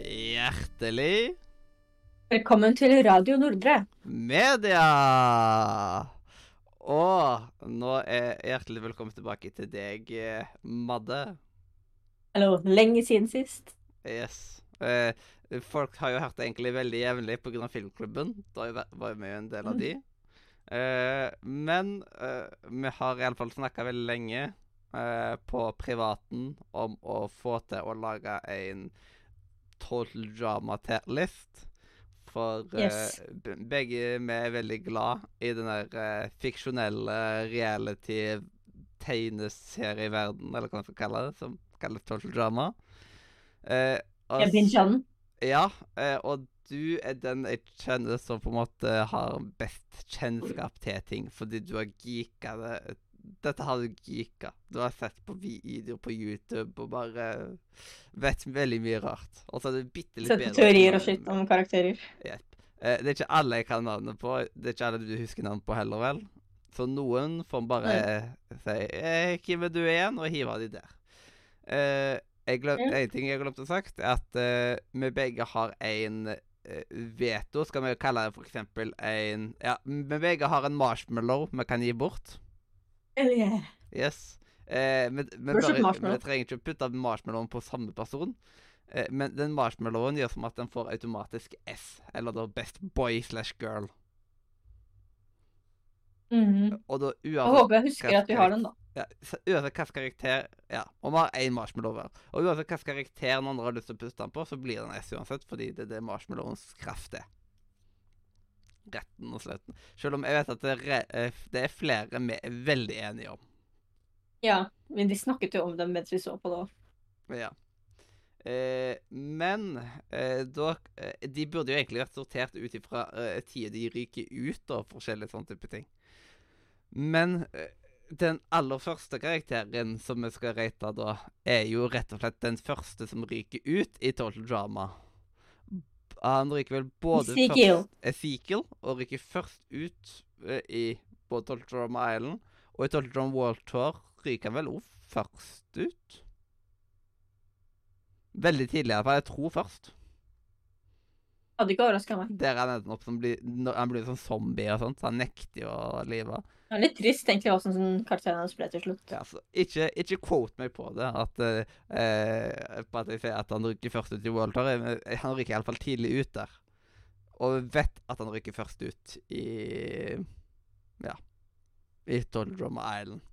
Hjertelig Velkommen til Radio Nordre. media! Og nå er hjertelig velkommen tilbake til deg, eh, Madde. Hallo. Lenge siden sist. Yes. Eh, folk har jo hørt det egentlig veldig jevnlig pga. filmklubben. Da har jo væ- var jo vi jo en del av de. Eh, men eh, vi har iallfall snakka veldig lenge eh, på privaten om å få til å lage en total drama-list. For eh, Yes. be- begge vi er veldig glad i den der eh, fiksjonelle reality-tegneserieverdenen, eller hva man skal kalle det, som kalles total drama. Eh, og Jeg begynner sånn. ja, eh, og du er den jeg kjenner som på en måte har best kjennskap til ting, fordi du har geeka det. Dette har du geeka. Du har sett på videoer på YouTube og bare vet veldig mye rart. Og så er du bitte litt Sett bedre. på teorier og på navnet. skitt om karakterer. Eh, Det er ikke alle jeg kan navnet på. Det er ikke alle du husker navnet på heller, vel? Så noen får bare si eh, 'Hvem er du igjen?' og hive de der. Eh, jeg glem, Ja. En ting jeg glemte å sagt, er at eh, vi begge har en eh, veto. Skal vi kalle det for eksempel en Ja, vi begge har en marshmallow vi kan gi bort. Eller- Yes. Eh, men, men Rush up bare, marshmallow. vi trenger ikke å putte marshmallowen på samme person. Eh, men den marshmallowen gjør som at den får automatisk S, eller da best boy slash girl. Mhm. Og da Jeg uansett håper jeg husker at vi har den, da. ja, så Uansett hvilken karakter Ja, og vi har én marshmallow hver. Og uansett hvilken karakter den andre har lyst til å putte den på, så blir den S uansett, fordi det er det marshmallowens kraft er. Retten og sletten. Selv om jeg vet at det er, re- eh, det er flere vi er veldig enige om. Ja, men de snakket jo om den mens vi så på det òg. Ja. Eh, men eh, da, eh, de burde jo egentlig vært sortert ut ifra eh, tider de ryker ut og forskjellige sånne type ting. Men eh, den aller første karakteren som vi skal rate da, er jo rett og slett den første som ryker ut i Total Drama. B- Han ryker vel både Ezekiel. først Ezekiel, og ryker først ut eh, i både Total Drama Island og i Total Drama World Tour ryker han vel òg først ut. Veldig tidlig, i hvert fall. Jeg tror først. Hadde ikke overraska meg. Der han ender opp som blir, når han blir sånn zombie og sånt. Så han nekter jo å live. Det er litt trist egentlig hva som sånn karakteren hans ble til slutt. Ja, så ikke, ikke quote meg på det, at, eh, eh, på at jeg sier at han rykker først ut i World Tour. men Han rykker iallfall tidlig ut der. Og vi vet at han rykker først ut i Ja. I Toldrum Island.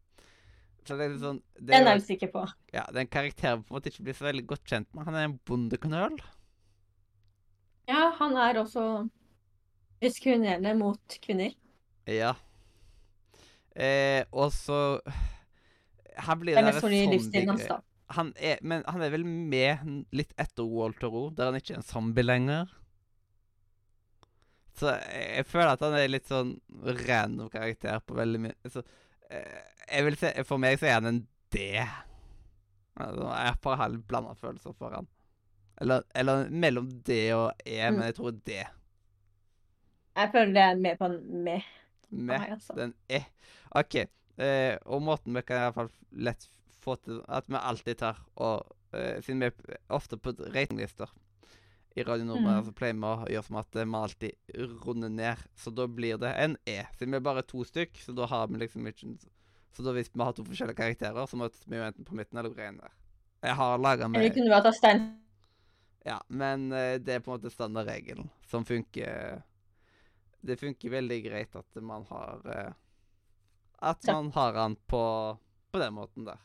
Så det er litt sånn det Den er er, jeg jo- usikker på. ja, den karakteren på en måte ikke blir så veldig godt kjent med. Han er en bondeknøl. Ja, han er også diskriminerende mot kvinner. Ja. Eh, og så Han blir Det er den mest fordi derre livsstilen hans, zombie- da. han er, men han er vel med n- litt etter Walter O, der han ikke er en zombie lenger. Så jeg, jeg føler at han er litt sånn random karakter på veldig mye Så eh, jeg vil se, For meg så er han en D. Altså, jeg bare har litt blanda følelser for han. Eller, eller mellom D og E, Mm. men jeg tror D. Jeg føler det er mer på en med. Med. meg, altså. Den er OK. Eh, og måten vi kan i hvert fall lett få til At vi alltid tar og eh, Siden vi er ofte på ratinglister i Radio Nordmann, Mm. så pleier vi å gjøre som at eh, vi alltid runder ned. Så da blir det en E. Siden vi er bare to stykk, så da har vi liksom ikke Så da hvis vi har to forskjellige karakterer, så møtes vi jo enten på midten eller greien der. Jeg har laga Eller med kunne vært at Stein ja, men eh, det er på en måte standardregelen som funker Det funker veldig greit at man har eh, At Så- man har han på, på den måten der.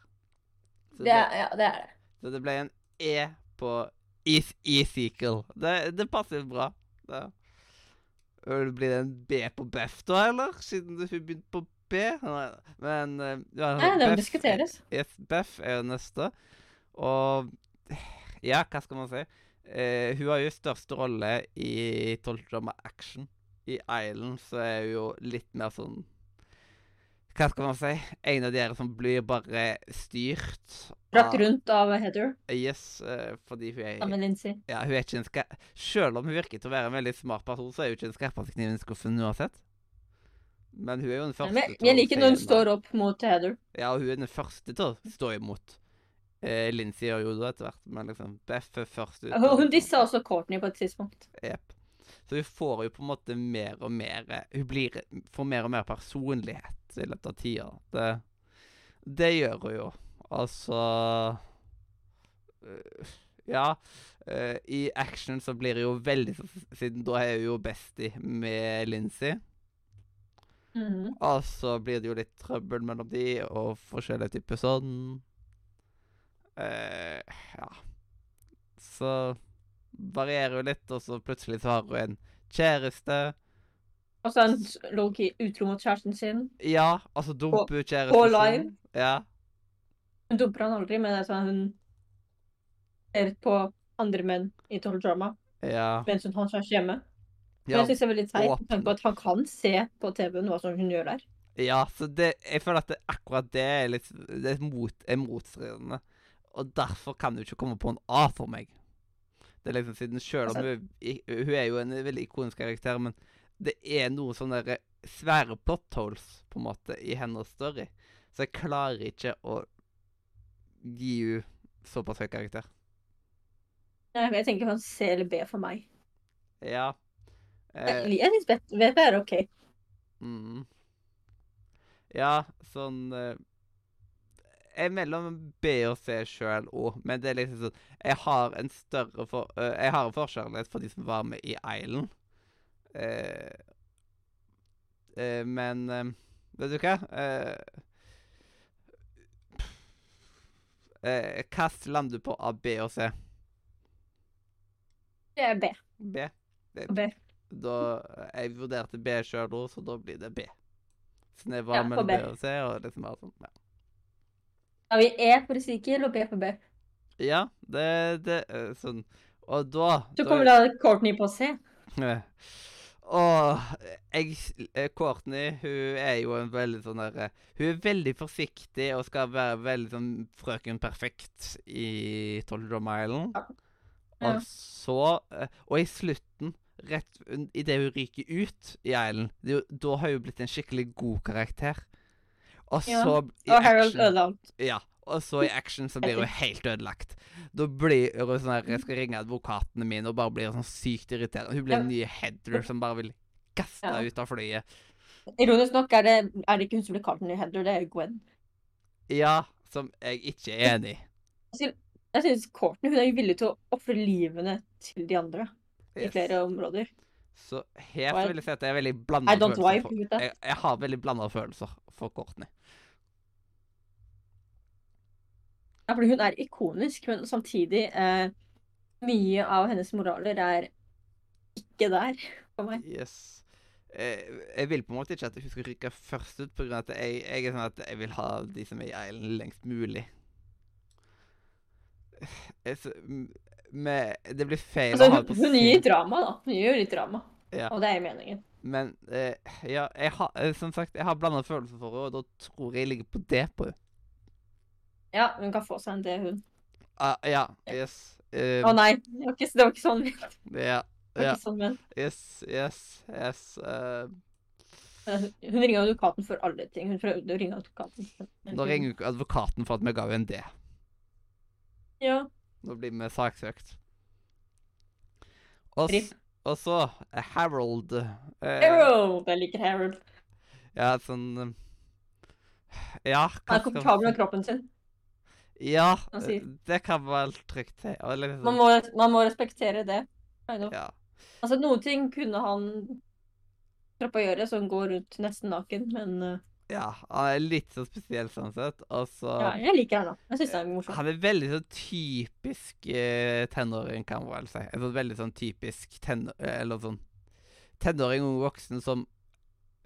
Så det, det, er- Ja, det er det. så det ble en E på Eas- Ezekiel. Det, det passer jo bra. Det. Og Blir det en B på Beff da, eller? Siden hun begynte på B? Nei, Men eh, ja, Nei, det må Beth- diskuteres. Yes, Beth er jo neste. Og ja, hva skal man si? Eh, hun har jo største rolle i Tolvdrama Action. I Island så er hun jo litt mer sånn Hva skal man si? En av dere som blir bare styrt Brakt rundt av Heather Yes, eh, fordi hun er sammen med Lindsay. Ja, hun er ikke en ska... Selv om hun virker til å være en veldig smart person, så er hun ikke den skarpeste kniven i skuffen uansett. Men hun er jo den første Men til å jeg liker si når hun nei. står opp mot Heather. Ja, og hun er den første til å stå imot. Eh, Lindsay gjør jo det etter hvert, men liksom Beth er først ut. Hun dissa også Courtney på et tidspunkt. Jep. Så hun får jo på en måte mer og mer eh, Hun blir, får mer og mer personlighet i løpet av tida. Det, det gjør hun jo. Altså øh, Ja. eh, I action så blir hun jo veldig sånn- Siden da er hun jo bestie med Lincy. Mhm. Og så blir det jo litt trøbbel mellom de, og forskjellige typer sånn. Eh, ja. Så varierer jo litt, og så plutselig så har hun en kjæreste. Og så er hun low-key utro mot kjæresten sin. Ja, altså dumper hun kjæresten på sin. live? Ja. Hun dumper han aldri, men det er sånn hun ser på andre menn i total drama Ja. mens hun holder seg hjemme. Men Ja, jeg synes det er veldig teit med tanke åpne. på at han kan se på TV-en hva som hun gjør der. ja så det, jeg føler at det, akkurat det er litt Det er, mot, er motstridende. Og derfor kan du ikke komme på en A for meg. Det er liksom siden Selv om Altså- hun, i- hun er jo en veldig ikonisk karakter, men det er noen sånne der eh, svære plot holes på en måte, i hennes story. Så jeg klarer ikke å gi henne såpass høy karakter. Nei, Jeg tenker han C eller B for meg. Ja. Eh. Jeg li- jeg synes bet- VP er OK. Mm. Ja, sånn eh, Jeg er mellom B og C sjøl òg, men det er liksom sånn Jeg har en større for, eh, Jeg har en forkjærlighet for de som var med i Island. Eh, eh, men eh, Vet du hva? Eh, eh, Kast lander du på A, B og C. Det er B. B. Det, B. da, jeg vurderte B sjøl òg, så da blir det B. Sånn jeg var Ja, på mellom B B. og C, og liksom bare sånn. Ja, Da har vi E for Ezekiel og B for B. ja det, det eh, Sånn. Og da Så da- kommer da Courtney på C. Eh, Og jeg, eh, Courtney hun er jo en veldig sånn derre Hun er veldig forsiktig og skal være veldig sånn frøken perfekt i Tollerdom Island. Ja. Ja. Og så eh, Og i slutten, rett idet hun ryker ut i Island, det, er jo- da har hun blitt en skikkelig god karakter. Og Ja. så i Og Harold action- ødela alt. ja, og så i action så blir hun helt ødelagt. Da blir hun sånn her, jeg skal ringe advokatene mine og bare blir sånn sykt irriterende. Hun blir den nye Heather som bare vil kaste Ja. henne ut av flyet. Ironisk nok er det, er det ikke hun som blir kalt den i Heather, det er jo Gwen. Ja, som jeg ikke er enig i. Jeg synes Courtney hun er jo villig til å ofre livene til de andre i Yes. flere områder. Så her Og så jeg- vil jeg si at jeg er veldig I blanda don't følelser. wipe, For, gutta. jeg, jeg har veldig blanda følelser for Courtney. Ja, fordi hun er ikonisk, men samtidig eh, Mye av hennes moraler er ikke der for meg. Yes. Eh, jeg vil på en måte ikke at hun skal rykke først ut, pga. at jeg, jeg er sånn at jeg vil ha de som er i Island lengst mulig. Jeg, s- m- med, det blir feil Altså, å ha hun, det på hun gir sin, drama, da. Hun gir jo litt drama. Ja. Og det er jo meningen. men eh, ja, jeg har, eh, som sagt, jeg har blanda følelser for henne, og da tror jeg jeg ligger på det på henne. Ja, hun kan få seg en D, hun. Ah, ja, yes. eh, Å nei, det var ikke, det var ikke sånn ment. ja, Det var Ja. ikke sånn ment. yes, yes, yes. eh, Men eh, Hun ringa advokaten for alle ting. Hun prøvde å ringe advokaten. nå ringer jo ikke advokaten for at vi ga henne en D. Ja. Nå blir vi saksøkt. Og, s- Rip. og så eh, Harold. Eh, Harold! Jeg liker Harold. ja, sånn eh, Ja. Han er hva skal man si? komfortabel med kroppen sin. Mm. Ja, han eh, sier. det kan vel trygt til. Og liksom, Man må, man må respektere det. Kind of. ja. Altså, noen ting kunne han slappe å gjøre, så han går rundt nesten naken, men eh, ja. Han er litt så spesiell sånn sett. Og så ja, jeg liker han da. Jeg syns han er morsom. Han er veldig sånn typisk eh, tenåring, kan man vel si. En sånn veldig sånn typisk tenåring Eller sånn tenåring, ung voksen, som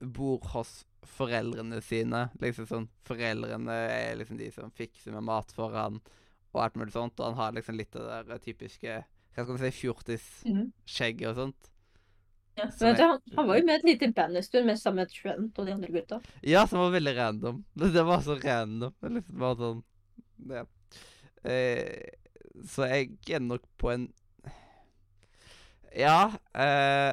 bor hos foreldrene sine. Liksom sånn Foreldrene er liksom de som fikser med mat for han, og alt mulig sånt. Og han har liksom litt av det der typiske Hva skal man si, fjortisskjegget og sånt. Ja, Som Mm. men vet du, jeg- han, han var jo med i et lite band en stund, men sammen med Trent og de andre gutta. Ja, som var veldig random. Det det var så random. Det er liksom bare sånn ja. eh, Så jeg er nok på en Ja eh,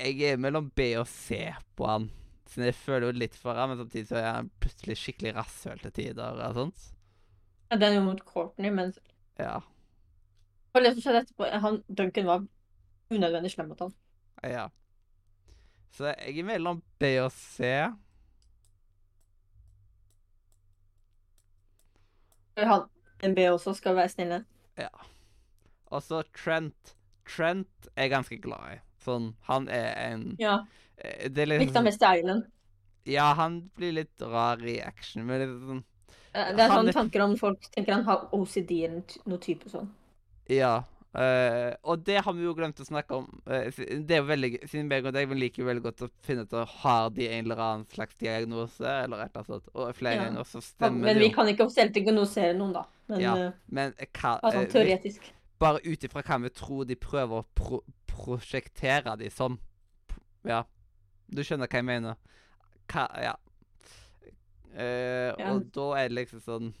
Jeg er mellom B og C på han. Så jeg føler jo litt for han, men samtidig så er han plutselig skikkelig rasshøl til tider. og sånt. Ja, Den jo mot Courtney, men Ja, for det som skjedde etterpå, han, Duncan var unødvendig slem mot han. ja. Så jeg er mellom B og C. Og Han, NB også skal være snille. Og så Trent. Trent er jeg ganske glad i. Sånn, han er en Ja, eh, Det er Likte han liksom mest i Island. Ja, han blir litt rar i action, men litt sånn Eh, Det er Han sånne er- tanker om folk tenker han har OCD eller t- noe type sånn. Ja. eh, og det har vi jo glemt å snakke om. eh, si- det er jo veldig gøy, Siden meg og deg vi liker jo veldig godt å finne ut om har de en eller annen slags diagnose, eller et eller annet sånt. Og flere Ja. ganger så Han, stemmer men det vi jo. kan ikke offisielt diagnosere noen, da. Men Ja, eh, Men hva, bare eh, sånn vi, teoretisk. bare ut ifra hva vi tror de prøver å pro prosjektere de som. P- Ja. Du skjønner hva jeg mener. Hva Ja. Eh, Ja. Og da er det liksom sånn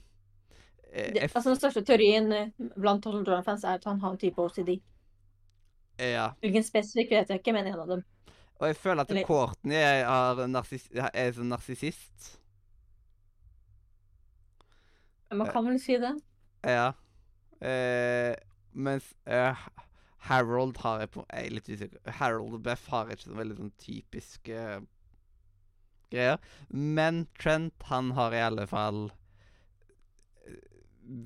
eh, Det, jeg f- altså, den største teorien eh, blant Total Drone-fans er at han har en type OCD. Ja. Hvilken spesifikk vet jeg ikke, men en av dem. Og jeg føler at Eller- Courtney er, er, narsis, er sånn narsissist. Men man kan vel si det. Ja. Eh, mens eh, Harold har jeg på Jeg er litt usikker. Harold og Beth har ikke sånn veldig sånn typiske eh, greier. Men Trent, han har i alle fall eh,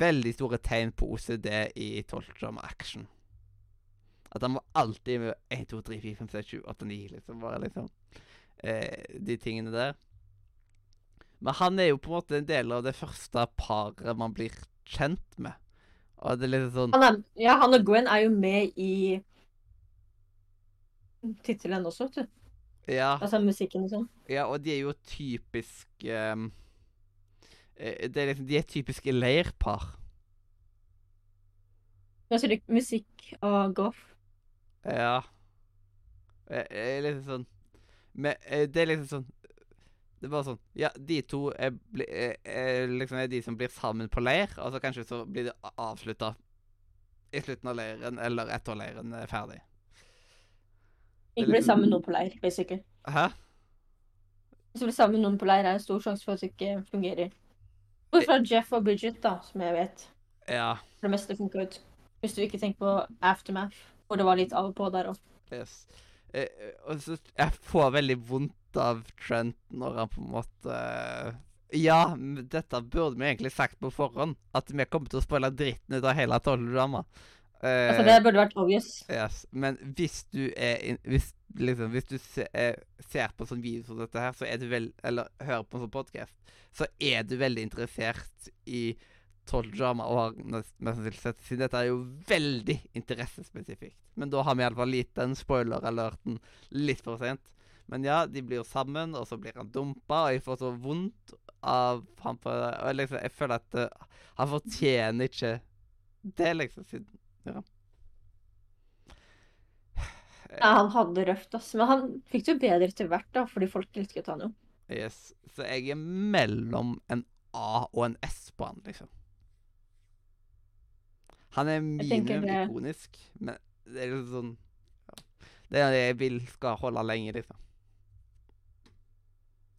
veldig store tegn på OCD i Toltrum Action. At han var alltid med 1, 2, 3, 4, 5, 6, 7, 8, 9, liksom. Bare liksom eh, De tingene der. Men han er jo på en måte en del av det første paret man blir kjent med. Og det er liksom sånn Han, er, ja, han og Gwen er jo med i tittelen også, vet du. Ja. Altså musikken og sånn. Ja, og de er jo typisk ehm, eh, det er liksom, De er typiske leirpar. Men så er det musikk og goff. Ja. Eh, eh, liksom sånn Men eh, det er liksom sånn Det er bare sånn Ja, de to er, bli, eh, eh, liksom er de som blir sammen på leir, og så kanskje så blir det avslutta i slutten av leiren eller etter leiren er ferdig. Ikke bli sammen med noen på leir, basically. Hæ? Hvis du blir sammen med noen på leir, er det en stor sjanse for at det ikke fungerer. Bortsett fra Jeff og Bridget, da, som jeg vet. Ja. For det meste funka ut. Hvis du ikke tenker på Aftermath, hvor det var litt av og på der òg. Yes. Eh, eh, og så jeg får veldig vondt av Trent når han på en måte eh, Ja, m- dette burde vi egentlig sagt på forhånd. At vi kommer til å spoile dritten ut av hele tolvdrama. Eh, Altså, det burde vært obvious. yes. Men hvis du er in, hvis, liksom, hvis du se, eh, ser på sånn video som dette her, så er du vel, eller hører på en sånn podkast, så er du veldig interessert i tolvdrama og har nest- mest sannsynlig sett siden dette er jo veldig interessespesifikt. Men da har vi iallfall gitt den spoiler-alerten litt for sent. Men ja, de blir jo sammen, og så blir han dumpa, og jeg får så vondt av han på og liksom, Jeg føler at eh, han fortjener ikke det, liksom, siden Ja. Ja, han hadde det røft, ass. Men han fikk det jo bedre etter hvert, da, fordi folk elsket han jo. Yes. Så jeg er mellom en A og en S på han, liksom. Han er tenker minimum det- ikonisk, men det er liksom sånn ja. Det er det jeg vil skal holde lenge, liksom.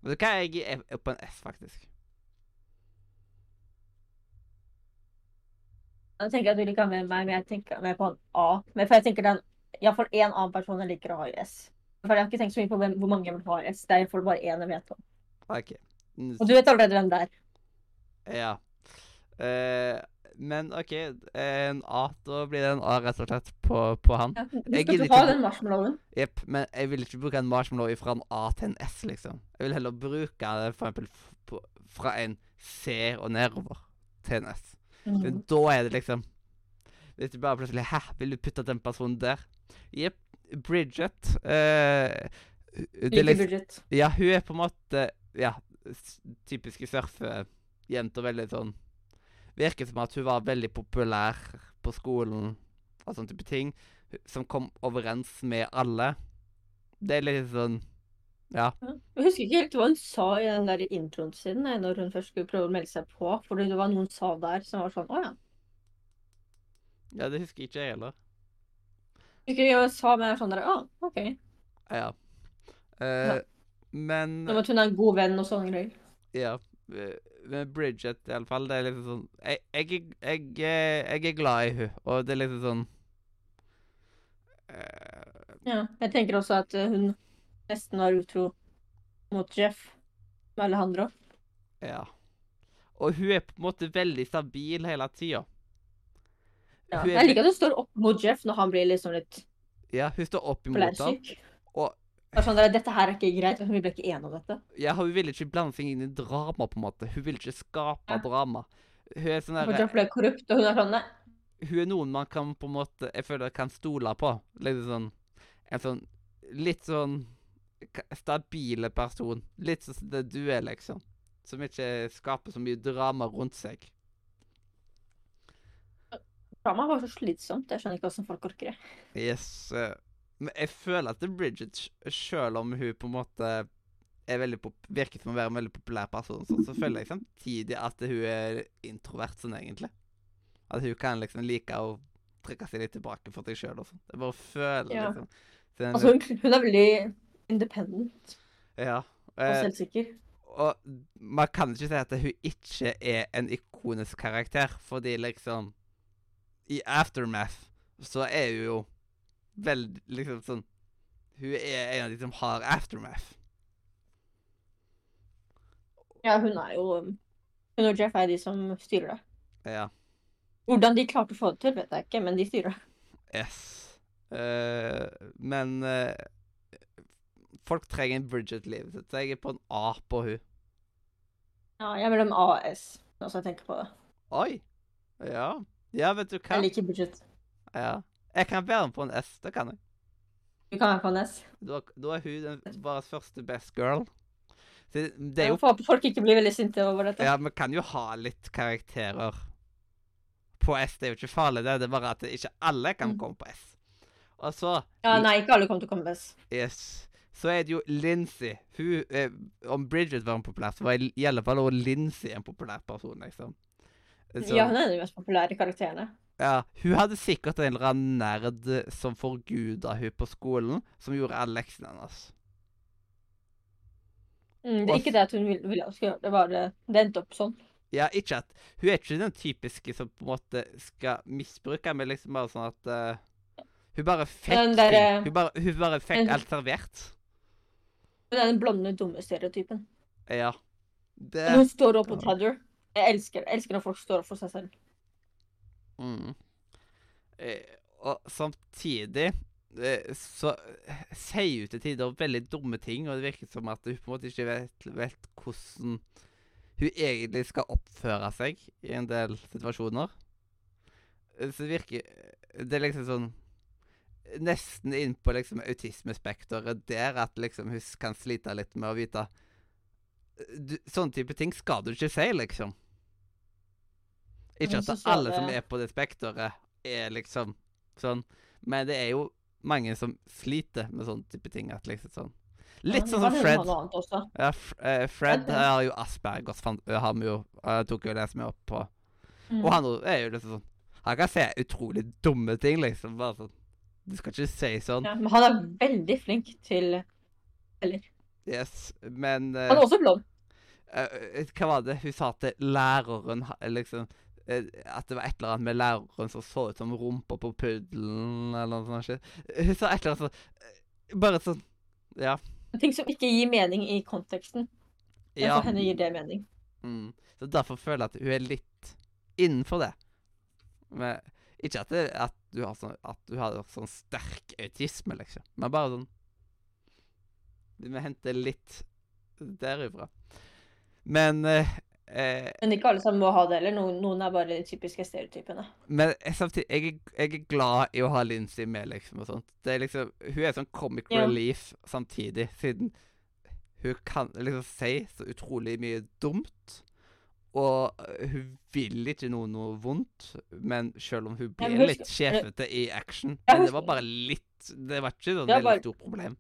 Vet du hva, jeg er er på en S, faktisk. Jeg tenker at du liker han mer enn meg, men jeg tenker mer på en A. Men for jeg tenker det er iallfall én annen person jeg liker å ha i S. For jeg har ikke tenkt så mye på hvem, hvor mange jeg vil ha i S. Det er i hvert fall bare én jeg vet om. OK. Mm, Og du vet allerede hvem det er. Ja. Eh, men OK, en A. Da blir det en A, rett og slett, på, på han. Ja. Du Jeg skal gidder du ha ikke- den marshmallowen. Jepp, men jeg vil ikke bruke en marshmallow fra en A til en S, liksom. Jeg vil heller bruke det for eksempel f- på, fra en C og nedover til en S. Mm. Men da er det liksom Hvis du bare plutselig Hæ, vil du putte den personen der? Jepp. Bridget eh, det er Liker liksom, Bridget. Ja, hun er på en måte Ja, s- typiske surfejenter. Veldig sånn Virker som at hun var veldig populær på skolen og sånne type ting. hu- Som kom overens med alle. Det er litt sånn Ja. Jeg husker ikke helt hva hun sa i den der introen sin nei, når hun først skulle prøve å melde seg på. Fordi det var noen sa der som var sånn Å ja. ja det husker ikke jeg heller. Jeg husker ikke hva hun sa, men jeg var sånn der, Å, OK. Ja. Eh, men Som at hun er en god venn og sånne greier. Ja. eh, Med Bridget, iallfall. Det er liksom sånn jeg, jeg, er- jeg, er- jeg er glad i hun, og det er liksom sånn eh, Ja. Jeg tenker også at eh, hun nesten var utro mot Jeff. Med Alejandro. Ja. Og hun er på en måte veldig stabil hele tida. Ja. Hun er Jeg liker at hun står opp mot Jeff når han blir liksom litt Ja, hun står opp imot ham. fleipsyk. og- Det er Sånn der, dette her er ikke greit, men vi ble ikke enige om dette. Ja, hun vil ikke blande seg inn i drama, på en måte. Hun vil ikke skape Ja. drama. Hun er sånn For derre Jeff ble korrupt, og hun er sånn Nei, hun er noen man kan på en måte Jeg føler kan stole på. Litt sånn En sånn litt sånn k- stabile person. Litt sånn som det du er, liksom. Som ikke skaper så mye drama rundt seg. drama var så slitsomt. Jeg skjønner ikke hvordan folk orker det. Yes. eh, Men jeg føler at Bridget, sj- selv om hun på en måte er veldig pop virker som å være en veldig populær person, så, så føler jeg samtidig at hun er introvert sånn, egentlig. At hun kan liksom like å trekke seg litt tilbake for seg sjøl og sånn. Jeg bare føler Ja. liksom så den- Altså, hun, hun er veldig independent Ja. og eh, selvsikker. og man kan ikke si at hun ikke er en ikonisk karakter, fordi liksom I Aftermath så er hun jo veldig liksom sånn Hun er en av de som har Aftermath. Ja, hun er jo Hun og Jeff er de som styrer det. Ja. Hvordan de klarte å få det til, vet jeg ikke, men de styrer det. Yes. Eh, men eh, folk trenger en Bridget i livet sitt, så jeg er på en A på hun. Ja, jeg er mellom A og S, nå som jeg tenker på det. Oi! Ja. Ja, vet du hva? Jeg liker Bridget. Ja. Jeg kan være med på en S, det kan jeg. Du kan være på en S. Da, da er hun den, vår første best girl. Så det er Jeg jo håper folk ikke blir veldig sinte over dette. Ja, vi kan jo ha litt karakterer på S. Det er jo ikke farlig, det. Det er bare at ikke alle kan Mm. komme på S. Og så Ja, nei, ikke alle kommer til å komme på S. Yes. Så er det jo Lincy. Hun, eh, om Bridget var en populær, så var i i alle fall også Lincy en populær person, liksom. Så, Ja, hun er den mest populære karakterene. ja, hun hadde sikkert en eller annen nerd som forguda hun på skolen, som gjorde alle leksene hennes. Mm, det er ikke det at hun ville vil at hun skulle gjøre det, bare det endte opp sånn. Ja, ikke at Hun er ikke den typiske som på en måte skal misbruke, men liksom bare sånn at eh, Hun bare fikk Den ting. derre- Hun bare, hun bare fikk Men- alt servert. Hun er den blonde, dumme stereotypen. Ja. Det Men hun står opp mot Heather. Jeg elsker, jeg elsker når folk står opp for seg selv. mm. Eh, Og samtidig eh, så eh, sier hun til tider veldig dumme ting, og det virker som at hun på en måte ikke vet, vet hvordan hun egentlig skal oppføre seg i en del situasjoner. Eh, Så det virker Det er liksom sånn Nesten inn på liksom autismespekteret der at liksom hun s- kan slite litt med å vite du, Sånne type ting skal du ikke si, liksom. Ikke Men at så det- så alle som det- er på det spekteret, er liksom sånn, men det er jo mange som sliter med sånne type ting. At liksom sånn Litt Ja, sånn men som hun Fred. har noe annet også. Ja, F eh, Fred Fred, ja. eh, har jo Aspergers, fan- eh, har vi jo, eh, tok jo det som jeg opp på. Mm. Og han er jo liksom sånn Han kan se utrolig dumme ting, liksom. Bare sånn Du skal ikke si sånn. Ja, men han er veldig flink til Yes, men eh, Han er også blond. eh, Hva var det hun sa til læreren, ha- liksom? eh, At det var et eller annet med læreren som så ut som rumpa på puddelen, eller noe sånt. shit. Hun sa et eller annet sånn eh, Bare sånn Ja. Ting som ikke gir mening i konteksten. Men ja. for henne gir det mening. Mm. Så derfor føler jeg at hun er litt innenfor det. Men ikke at, det, at, du, har sånn, at du har sånn sterk autisme, liksom. Men bare sånn Vi henter litt derifra. Men eh, eh, Men ikke alle sammen må ha det heller. Noen, noen er bare de typiske stereotypene. Men jeg- samtidig jeg, er- jeg er glad i å ha Lincy med, liksom, og sånt. Det er liksom Hun er sånn comic Ja. relief samtidig, siden hun kan liksom si så utrolig mye dumt. Og øh, hun vil ikke noe noe vondt, men selv om hun Ja, blir men husk- litt sjefete i action. Ja, Men det husk- var bare litt Det var ikke sånn Det var veldig bare- stort problem.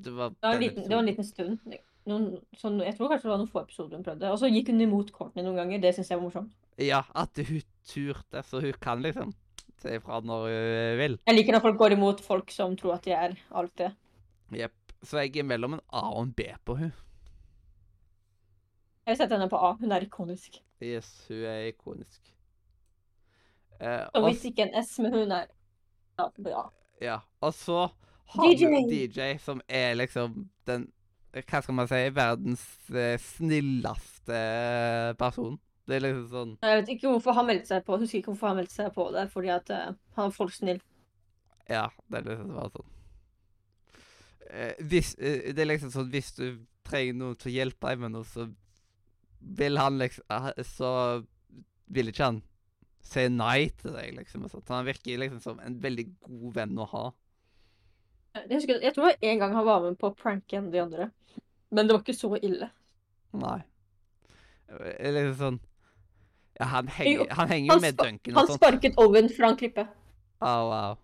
Det var Det var en den liten, det var en episoden. liten stund. Noen, sånn, jeg tror kanskje det var noen få episoder hun prøvde. Og så gikk hun imot Courtney noen ganger. Det syns jeg var morsomt. Ja, at hun turte, så hun kan liksom si ifra når hun vil. Jeg liker når folk går imot folk som tror at de er alt det. Jepp. Så jeg er mellom en A og en B på hun. Jeg vil sette henne på A. Hun er ikonisk. Yes, hun er ikonisk. Eh, Og og, hvis ikke en S, men hun er ja, på A. s- ja, og så har DJ. vi DJ, som er liksom den Hva skal man si? Verdens eh, snilleste person. Det er liksom sånn Jeg vet ikke hvorfor han meldte seg på. Jeg husker ikke hvorfor han meldte seg på det. Fordi at eh, han er folk snill. Ja, det er liksom bare sånn. Eh, hvis, eh, det er liksom sånn hvis du trenger noen til å hjelpe deg med noe, så vil han liksom ah, Så vil ikke han si nei til deg, liksom. Og sånt. Han virker liksom som en veldig god venn å ha. Jeg, husker, jeg tror det var en gang han var med på å pranke en av de andre. Men det var ikke så ille. Nei. Eh, Liksom sånn Ja, han Jo, henger, han henger jo han med spa- Duncan Han og sånt. sparket Owen fra en klippe. Au, au.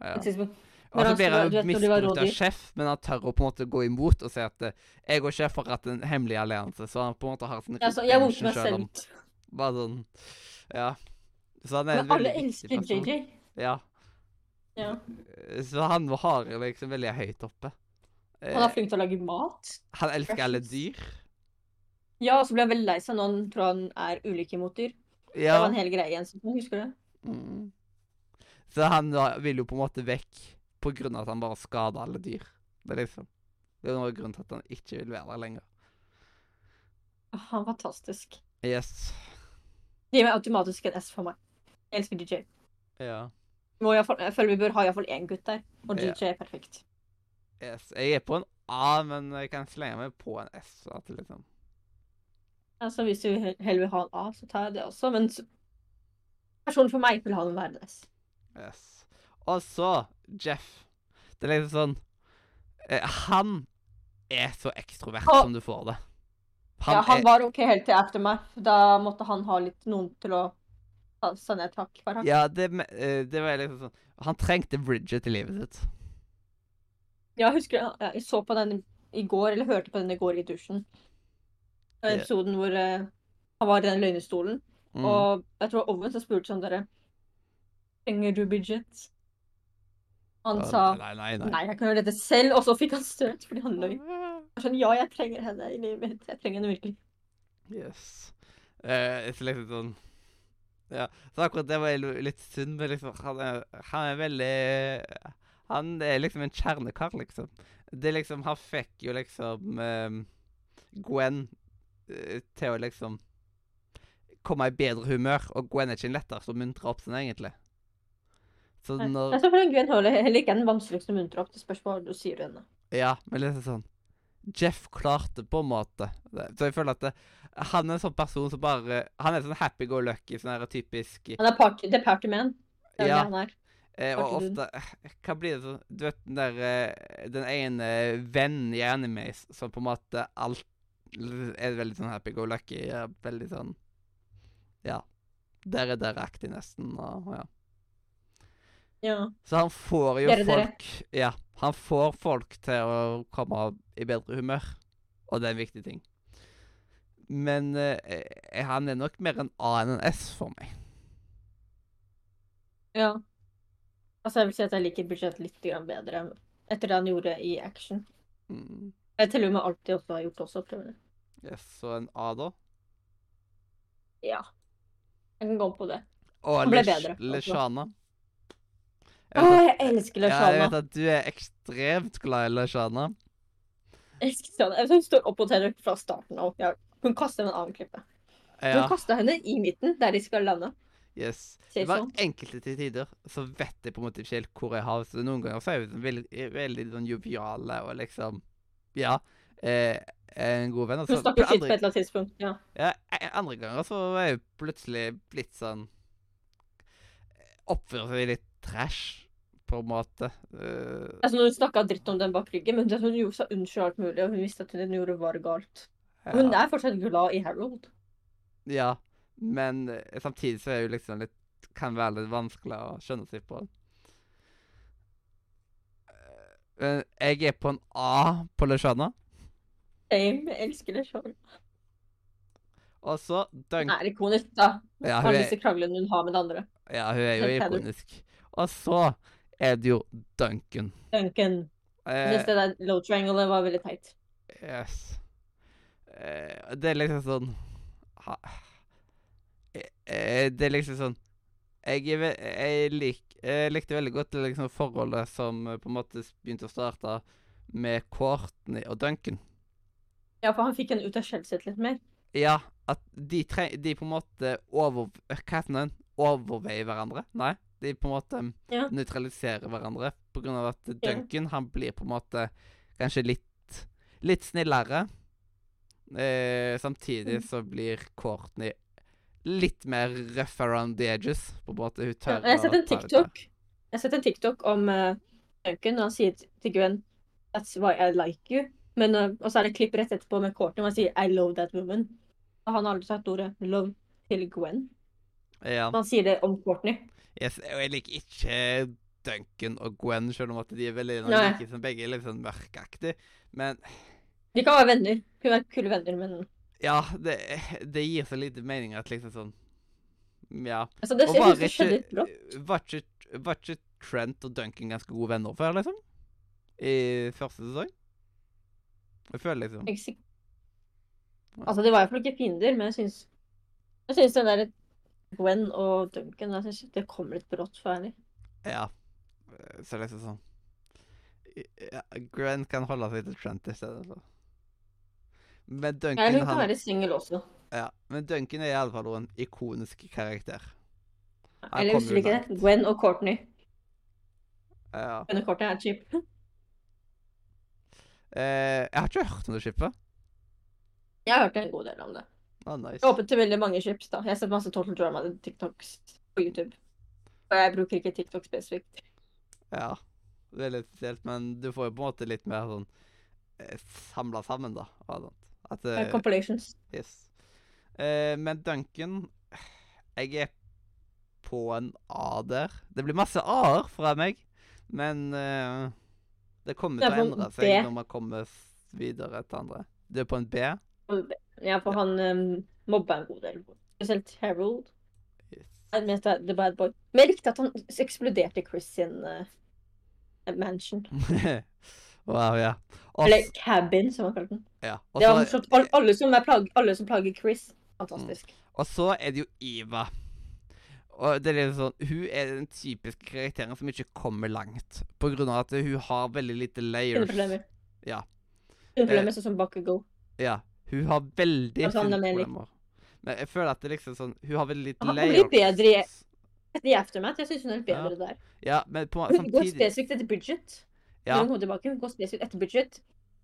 Ja. på et tidspunkt. Og Når så han blir skulle- han du jo vet når de var misbrukt av rådyr. sjef, men han tør å på en måte gå imot og si at eh, jeg og sjef har hatt en hemmelig allianse, så han på en måte har sin Altså, jeg redemption vonker meg selv om- selv ut. Bare sånn Ja. Så han er en Men alle veldig viktig elsker person. JJ. Ja. Ja. Så han har liksom veldig høyt oppe. Eh, Han er flink til å lage mat. han elsker alle Precious. dyr. Ja, og så ble han veldig lei seg når han tror han er ulykke mot dyr. Det var Ja. en hel greie igjen, så husker du det? Mm. Så han da vil jo på en måte vekk på grunn av at han bare skader alle dyr. Det er liksom Det er noen grunn til at han ikke vil være der lenger. Åh, Ah, Han er fantastisk. Yes. Det gir meg automatisk en S for meg. Jeg elsker DJ. Ja. Må jeg, jeg føler vi bør ha iallfall én gutt der, og Ja. DJ er perfekt. Yes. Jeg er på en A, men jeg kan slenge meg på en S. At det liksom. Altså, Hvis du he- heller vil ha en A, så tar jeg det også, men s- personen for meg vil ha en verden S. yes. Og så Jeff. Det er liksom sånn eh, Han er så ekstrovert Å. som du får det. Han, Ja, han er, var OK helt til Aftermath. Da måtte han ha litt noen til å ta seg ned takk for ham. ja det, me- eh, det var liksom sånn Han trengte Bridget i livet sitt. Jeg husker jeg jeg så på den i går, eller hørte på den i går i dusjen. Den Ja. Episoden hvor eh, han var i den løgnestolen. Mm. Og jeg tror Owen så spurte sånn dere Trenger du budget? Han Og- sa Nei, nei, nei. nei, jeg kan gjøre dette selv, og så fikk han støt fordi han løy. Ah. Jeg var Sånn, ja, jeg trenger henne i livet mitt. Jeg trenger henne virkelig. Yes. Eh, så liksom sånn Ja. Så akkurat det var jo litt synd, men liksom han er, han er veldig Han er liksom en kjernekar, liksom. Det er liksom Han fikk jo liksom eh, Gwen eh, til å liksom komme i bedre humør, og Gwen er ikke den letteste å muntre opp sånn, egentlig. Så Nei. når Jeg tror for Gwen Hurley heller ikke er den vanskeligste å muntre opp. Det spørs hva du sier til henne. Ja, men liksom sånn Jeff klarte på en måte. Det- Så jeg føler at det, han er en sånn person som bare Han er sånn happy go lucky, sånn her typisk Han er party, det er partyman. Det er Ja. det han er. eh, Og partydude. ofte eh, Hva blir det sånn Du vet den der eh, Den ene vennen i animes som på en måte alt er veldig sånn happy go lucky. Er veldig sånn Ja. Der er dere aktig, nesten. Og, ja. Ja. Så han får jo Dere, dere. folk Ja, han får folk til å komme i bedre humør, og det er en viktig ting. Men eh, eh, han er nok mer en A enn en S for meg. ja. Altså, jeg vil si at jeg liker Bridget litt grann bedre etter det han gjorde i Action. Mm. Jeg teller jo med alt de også har gjort også. prøver jeg. Yes, så en A, da. Ja. Jeg kan gå på det. Og Han ble bedre, altså. Leshana. Å, jeg elsker Ja, jeg Lashana. vet at du er ekstremt glad i Leshana. Jeg elsker Stjerne. Jeg synes Hun står opp mot henne fra starten av. Ja, hun kaster en annen klippe. Hun Ja, kaster henne i midten, der de skal lande. yes. Ser Det var sånn. enkelte til tider så vet jeg på en måte ikke helt hvor jeg har Så noen ganger så er jeg sånn veldig, veldig sånn joviale og liksom Ja. Eh, en god venn. Og Hun så snakker skitt på Altså, andre, et eller annet tidspunkt. Ja. ja, e- andre ganger så er jeg plutselig blitt sånn Oppfører seg litt trash, på en måte. Eh, Altså, hun snakka dritt om den bak ryggen, men hun gjorde seg unnskyld alt mulig, og hun visste at hun gjorde var galt. Hun ja. er fortsatt glad i Harold. ja. Men eh, samtidig så er det jo liksom litt Kan være litt vanskelig å skjønne seg på. Eh, Jeg er på en A på Lashana. Same. Jeg elsker det sånn. Og så Hun Dunk... er ikonisk, da. Ja, hun Har er, disse kranglene hun har med det andre. ja, hun er jo Helt ferdig. ikonisk. Og så er det jo Duncan. Duncan. Jeg Eh, synes det der low triangle var veldig teit. Yes. Eh, det er liksom sånn ha, eh, eh, Det er liksom sånn Jeg, er ve- jeg, lik, jeg likte veldig godt det liksom forholdet som eh, på en måte s- begynte å starte med Courtney og Duncan. Ja, for han fikk henne ut av skjellet sitt litt mer. Ja, at de, tre, de på en måte over, Hva heter den? Overveier hverandre? Nei. De på en måte mm, Ja. nøytraliserer hverandre på grunn av at Duncan han blir på en måte kanskje litt litt snillere. Eh, samtidig Mm. så blir Courtney litt mer rough around the edges. På en måte hun Ja, tør jeg har å sett en ta litt TikTok Jeg har sett en TikTok om eh, Duncan, og han sier til Gwen That's why I like you. Men, eh, og så er det klipp rett etterpå med Courtney, og han sier I love that woman. Og han har aldri sagt ordet love til Gwen. mer. Ja. Men han sier det om Courtney. Yes, og jeg liker ikke Duncan og Gwen, selv om at de er veldig Nei. like, som begge er litt sånn mørkeaktige. Men De kan være venner. Kunne være kule venner, men Ja, det, det gir så lite mening at liksom sånn Ja. altså, det, Og jeg var synes det skjedde litt brått. ikke Var ikke var ikke Trent og Duncan ganske gode venner før, liksom? I første sesong? Jeg føler liksom Jeg er ikke sikker. Altså, de var iallfall ikke fiender, men jeg syns Jeg syns den der Gwen og Duncan jeg synes Det kom litt brått, for å være ærlig. Ja. Så liksom sånn ja, Gwen kan holde seg til Trent i stedet. Så. Men Jeg Duncan, hun kan han, være singel også. ja, men Duncan er iallfall en ikonisk karakter. Han Eller kom husker jo du ikke det? Gwen og Courtney. Ja. Gwen og Courtney er cheap. Eh, jeg har ikke hørt om det skipet. Jeg har hørt en god del om det. Å, nice. Jeg har åpnet til veldig mange chips, da. Jeg har sett masse Total Drama TikToks på YouTube. Og jeg bruker ikke TikTok spesifikt. Ja. Det er litt spesielt, men du får jo på en måte litt mer sånn samla sammen, da. Og sånt. At Det er det compilations. Yes. Eh, men Duncan Jeg er på en A der. Det blir masse A-er fra meg, men eh, det kommer Du er til å på en endre seg B. når man kommer s- videre til andre. Du er på en B? Ja, for han um, mobba en god del. Spesielt Harold. Yes. Jeg mente The Bad Boy. Men jeg likte at han eksploderte Chris sin eh, mansion. wow, ja. Og Eller s- cabin, som han kalte den. ja. Det Og var så, morsomt. Al- Alle som, er plag alle som plager Chris. Fantastisk. og så er det jo Iva. Og det er litt sånn, Hun er den typiske karakteren som ikke kommer langt. På grunn av at hun har veldig lite Ingen layers. problemer. Ja. Eh. Ingen problemer, sånn som Bakugo. Ja. Hun har veldig Altså, han er fine mer lik- problemer. Men jeg føler at det liksom sånn Hun har veldig lite Han har layers. blitt bedre i- I Aftermath, jeg synes hun er litt bedre der. Ja, men på Hun går samtidig spesifikt etter Bridget. Ja. Når hun kommer tilbake, hun går spesifikt etter Bridget.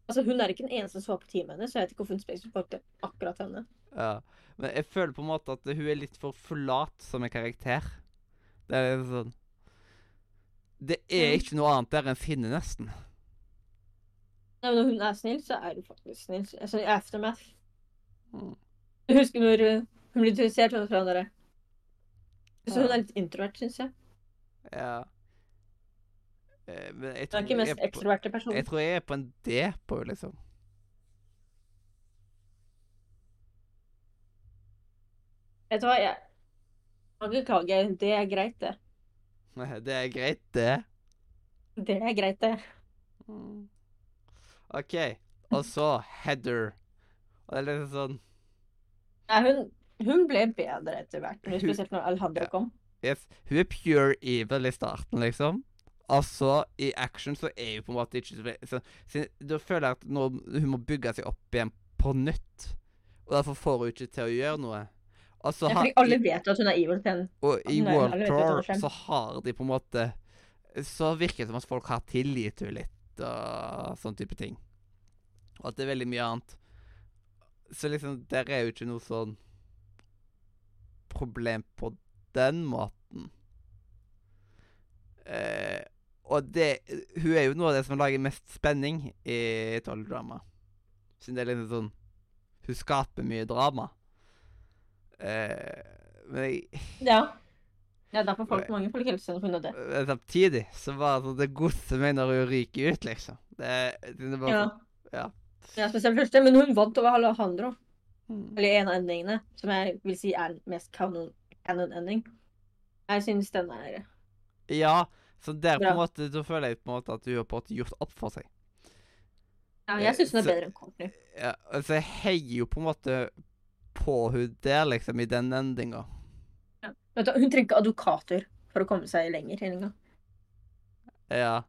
Altså, hun er ikke den eneste som var på teamet hennes, så jeg vet ikke hvorfor hun spesifikt valgte akkurat henne. ja. Men jeg føler på en måte at hun er litt for flat som en karakter. Det er liksom sånn Det er Ja. ikke noe annet der enn Finne, nesten. Nei, men når hun er snill, så er hun faktisk snill. Altså, i Aftermath. Mm. Jeg husker når uh, hun ble interessert hun fra han derre. Så hun Ja. er litt introvert, synes jeg. Ja. Eh, Men jeg Hun tror er ikke jeg, mest er på, ekstroverte personen. jeg tror jeg er på en D på henne, liksom. Vet du hva, jeg kan ikke klage. Det er greit, det. Det er greit, det. Det er greit, det. Mm. OK. Og så Heather. Og det er liksom sånn Nei, hun, hun ble bedre etter hvert, men spesielt når Alejandro Ja. kom. yes, Hun er pure evil i starten, liksom. Og så, i action, så er hun på en måte ikke så ve- så, så Da føler jeg at nå, hun må bygge seg opp igjen på nytt. Og derfor får hun ikke til å gjøre noe. Og så Ja, har fordi alle vet jo at hun er evil til henne. Og i Nei, World alle vet at Tour det skjer. så har de på en måte Så virker det som at folk har tilgitt henne litt, og sånn type ting. Og at det er veldig mye annet. Så liksom, der er jo ikke noe sånn problem på den måten. Eh, og det Hun er jo noe av det som lager mest spenning i Toll-drama. Siden det er liksom sånn Hun skaper mye drama. Eh, men jeg Ja. Ja, derfor folk, mange folk hilser henne pga. det. Eh, Samtidig så bare sånn, det godser meg når hun ryker ut, liksom. Det, det er bare Ja. sånn, ja. ja, spesielt første. Men hun vant over Alejandro. mm. Eller en av endingene, som jeg vil si er den mest kanon- canon-ending. Jeg synes den er ja. Så der på en Bra. måte, så føler jeg på en måte at hun har på en måte gjort opp for seg. ja, Jeg synes den er Så- bedre enn Courtney. Ja, altså, jeg heier jo på en måte på hun der, liksom, i den endinga. Vet du, Hun trenger ikke advokater for å komme seg lenger. engang. Ja.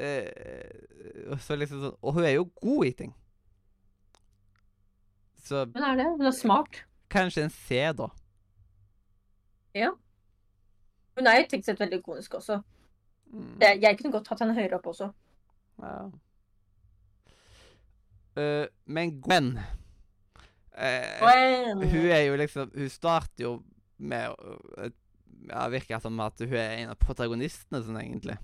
Eh, og så liksom sånn Og hun er jo god i ting. Så Hun er det. Hun er smart. kanskje en C, da. Hun er jo tenkt sett veldig ikonisk også. Mm. Jeg, jeg kunne godt hatt henne høyere opp også. Ja. Eh, men Gwen eh, Men, Hun er jo liksom Hun starter jo med å- et- Ja, virker som at hun er en av protagonistene sånn, egentlig.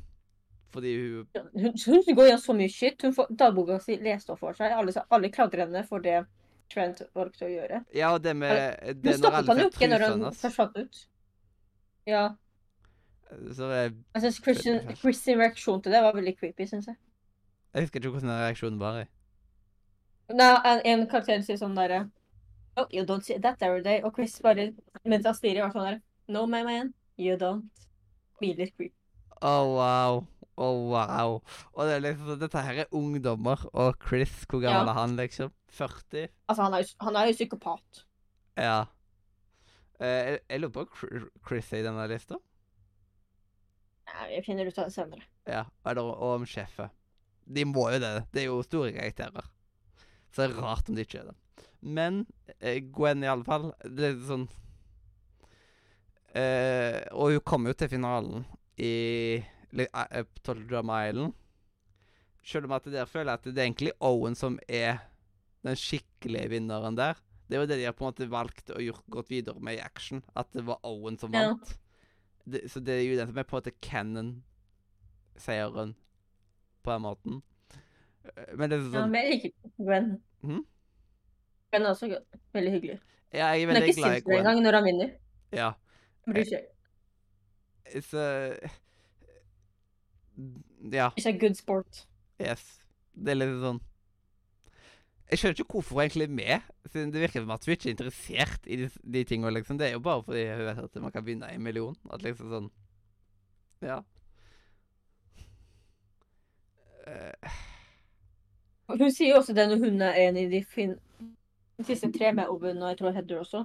Fordi hun hun, hun går gjennom så mye shit. Hun får dagboka si lest opp for seg. Alle, sa- alle klandrer henne for det Trent valgte å gjøre. Ja, og det med Hun det når stoppet alle han jo ser ikke når han trusene først fant ut. Ja. hans, så er Jeg synes Christian, Veldig fælt. Christian reaksjon til det var veldig creepy, synes jeg. Jeg husker ikke hvordan den reaksjonen var. jeg. Nei, en, en karakter sier sånn derre Oh, you don't see that every day. Og Chris bare, mens han stirrer, var sånn der No, my man, you don't. Smiler creepy. Å, wow. Å, wow. Og det er liksom, sånn, dette her er ungdommer, og Chris, hvor gammel Ja. er han, liksom? 40? Altså, han er, jo- han er jo psykopat. Ja. Eh, jeg, jeg lurer på om Chr- Chris er i denne lista. Nei, Jeg finner ut av det senere. Ja, eller og om sjefet. De må jo det. Det er jo store karakterer. Så det er rart om de ikke er det. Men eh, Gwen, i alle fall, det er litt sånn eh, Og hun kom jo til finalen i li- eh, eh, Total Drama Island. Selv om at det der føler jeg at det er egentlig Owen som er den skikkelige vinneren der. Det er jo det de har på en måte valgt og gjort, gått videre med i action. At det var Owen som Ja. vant. Det, så det er jo den som er på en måte canon-seieren, på den måten. Eh, Men det er Ja, sånn men jeg liker Gwen. Mhm. Gwen er også gøy. veldig hyggelig. Ja, jeg er Hun er veldig ikke glad i sint med en Gwen. gang når han vinner. Ja. Hun bryr seg Så eh, Ja. bryr seg good sport. Yes. Det er litt sånn Jeg skjønner ikke hvorfor hun egentlig er med, siden det virker som at hun ikke er interessert i de, de tingene, liksom. Det er jo bare fordi hun vet at man kan vinne en million. At liksom sånn Ja. Eh, Og Hun sier jo også det når hun er enig i de fin... De siste tre med Owen og jeg tror Heather også.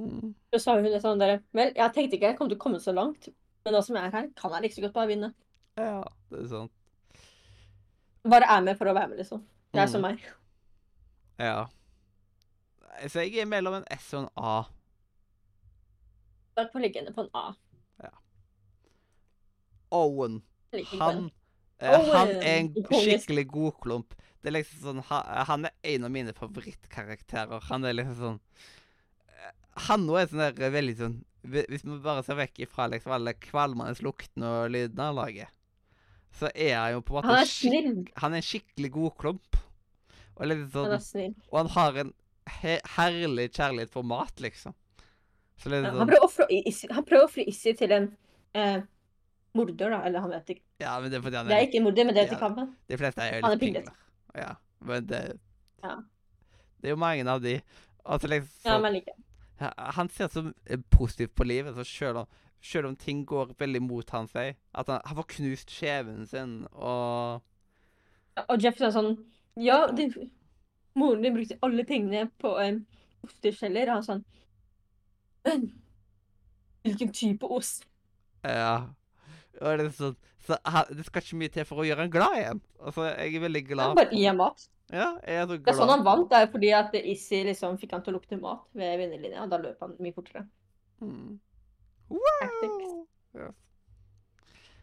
mm. Så sa hun det sånn der Vel, jeg tenkte ikke jeg kom til å komme så langt, men nå som jeg er her, kan jeg like så godt bare vinne. Ja, det er sånn, sant. Bare er med for å være med, liksom. Det er Mm. som meg. Ja. Nei, Så jeg er mellom en S og en A. Derfor ligger jeg henne på en A. Owen. Jeg liker ikke Han, henne. eh, han er en Owen! skikkelig god klump. Det er liksom sånn, ha- han er en av mine favorittkarakterer. Han er liksom sånn eh, Han nå er sånn der eh, veldig sånn hvi- Hvis vi bare ser vekk ifra liksom alle kvalmende luktene og lydene han lager, så er han jo på en måte Han er skik- snill. han er en skikkelig god klump. Og, liksom Han sånn, er snill. og han har en he herlig kjærlighet for mat, liksom. Så Ja, liksom sånn, Han prøver å ofre Izzy- han prøver å ofre Issi til en eh, morder, da. Eller han vet ikke. ja, men det er fordi han Det er ikke en morder, men Ja. det vet ikke han. De fleste er jo Han litt er pinglet. pingler. Ja, men det Ja. Det er jo mange av de. Altså, liksom, Ja, men like. ha- Han ser så eh, positivt på livet, så selv om, selv om ting går veldig mot hans vei At han, han får knust skjeven sin og Ja, Og Jeff sa sånn Ja, din, moren din brukte alle pengene på en osteskjeller. Og han sånn Men hvilken type ost? Ja. Og det, er sånn, så han, det skal ikke mye til for å gjøre han glad igjen. Altså, jeg er veldig Han glad. bare gir mat. Ja, jeg er så glad. Det er sånn han vant, det er fordi at Izzy liksom fikk han til å lukte mat ved vinnerlinja, og da løp han mye fortere. Mm. Tactics. Wow! Yes.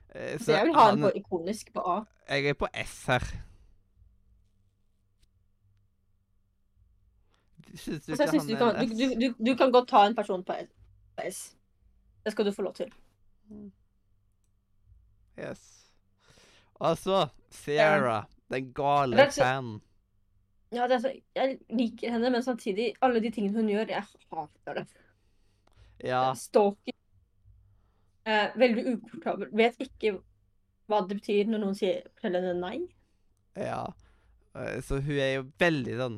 Eh, Så Så jeg vil ha han, en på ikonisk på A. jeg er på S her. Syns du Altså, jeg ikke synes han du, er kan, du, en S? du, du, du kan godt ta en person på S- på S. Det skal du få lov til. Yes. Og så Sierra, den Men gale altså- fan. Ja, det er så, jeg liker henne, men samtidig, alle de tingene hun gjør, jeg hater det. Ja, Stalking, Eh, veldig ukomfortabel. Vet ikke hva det betyr når noen sier forteller henne nei. Ja. Eh, Så hun er jo veldig sånn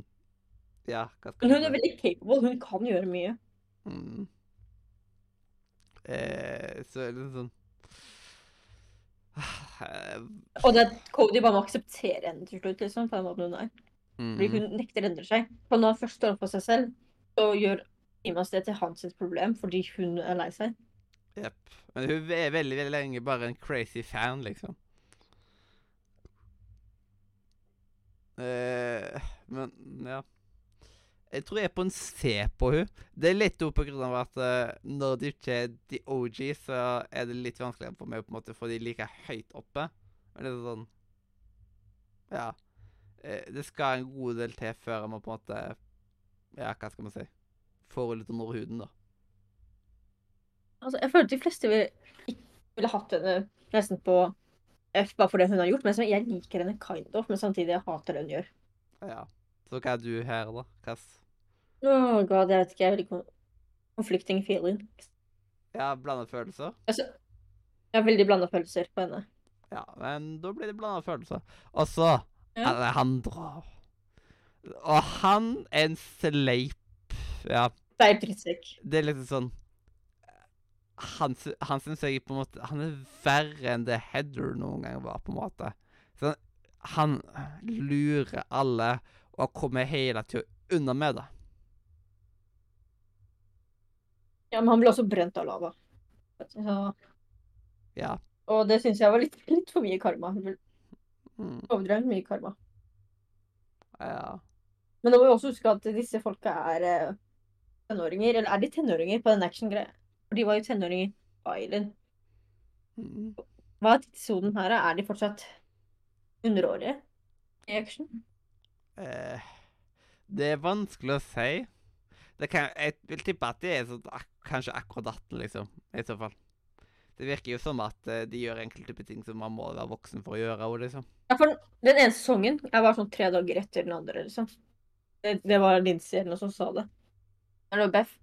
Ja, hva skal Men hun jeg er veldig capable. Hun kan gjøre mye. Mm. Eh, så er det sånn Eh, Og det at Cody bare må akseptere henne til slutt, liksom, på den måten hun er. Fordi mm. hun nekter å endre seg. For når hun først står opp for seg selv, så gjør Imas det til hans sitt problem fordi hun er lei seg. Jepp. Men hun er veldig veldig lenge bare en crazy fan, liksom. Eh, men ja. Jeg tror jeg er på en C på hun. Det er litt opp på grunn av at eh, når det ikke er the OG, så er det litt vanskeligere for meg på en måte, for de liker høyt oppe. Men det er sånn Ja. Eh, det skal en god del til før man på en måte Ja, hva skal man si? Får henne litt under huden, da. Altså, jeg føler at de fleste vil, ikke ville hatt henne nesten på F bare for det hun har gjort, men som- jeg liker henne kind of, men samtidig jeg hater det hun gjør. Ja. Så hva er du her, da? Hva s- Åh, god, jeg vet ikke, jeg er veldig kon- conflicting feeling. Ja, blanda følelser? Altså, jeg har veldig blanda følelser på henne. Ja, men da blir det blanda følelser. Og så Ja. Alejandro. Og han er en sleip. Ja, Det er drittsekk. det er liksom sånn Han, sy- han syns jeg på en måte Han er verre enn det Heather noen gang var, på en måte. Så han lurer alle og kommer hele tida unna med det. Ja, men han ble også brent av lava. Så, Ja. og det syns jeg var litt, litt for mye karma. Hun Mm, overdrev mye karma. ja. Men nå må vi også huske at disse folka er eh, tenåringer. Eller er de tenåringer på den action-greia? For de var jo tenåringer på Island. Mm. Hva er tidssonen her? da? Er de fortsatt underårige i action? Eh, det er vanskelig å si. Det kan, jeg vil tippe at de er sånn, ak kanskje akkurat 18, liksom. I så fall. Det virker jo som at eh, de gjør enkelte type ting som man må være voksen for å gjøre. Og liksom. Ja, for den ene sesongen jeg var sånn tre dager etter den andre, liksom. Det, det var Lindsay eller noe som sa det. Eller det var Beth.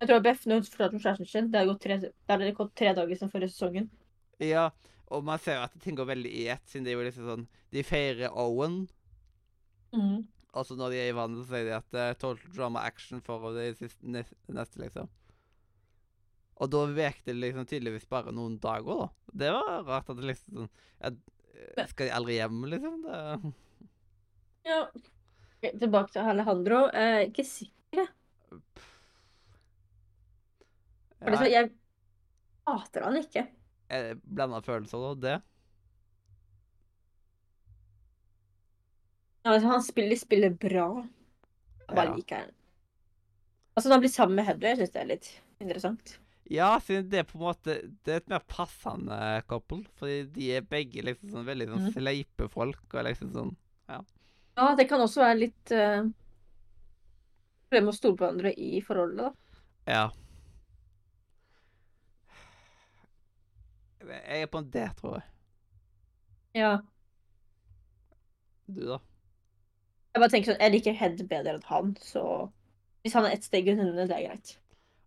Jeg tror det var Beth når hun fortalte om kjæresten sin. Det har gått tre, det har gått tre dager siden forrige sesongen. Ja, og man ser jo at ting går veldig i ett, siden det er jo liksom sånn De feirer Owen, Mm. og så Altså, når de er i vannet, så sier de at eh, total drama action for det siste, nes- neste, liksom. Og da vek det liksom tydeligvis bare noen dager, da. Det var rart at det liksom sånn ja, eh, Skal de aldri hjem, liksom? Det Ja. Ok, Tilbake til Alejandro. Eh, ikke sikker. for det Ja, som- Jeg hater han ikke. er det blanda følelser, da. Det. Ja, Altså, han spiller, spiller bra. Jeg bare Ja. liker han. Altså, når han blir sammen med Heather, jeg synes det er litt interessant. Ja, siden det er på en måte Det er et mer passende couple. Fordi de er begge liksom sånn veldig sånn Mhm. sleipe folk. Og liksom sånn Ja, det kan også være litt eh, Problemer med å stole på hverandre i forholdet, da. Ja. Jeg er på en D, tror jeg. Ja. Du, da? Jeg bare tenker sånn, jeg liker Head bedre enn han, så hvis han er ett steg under henne, det er greit.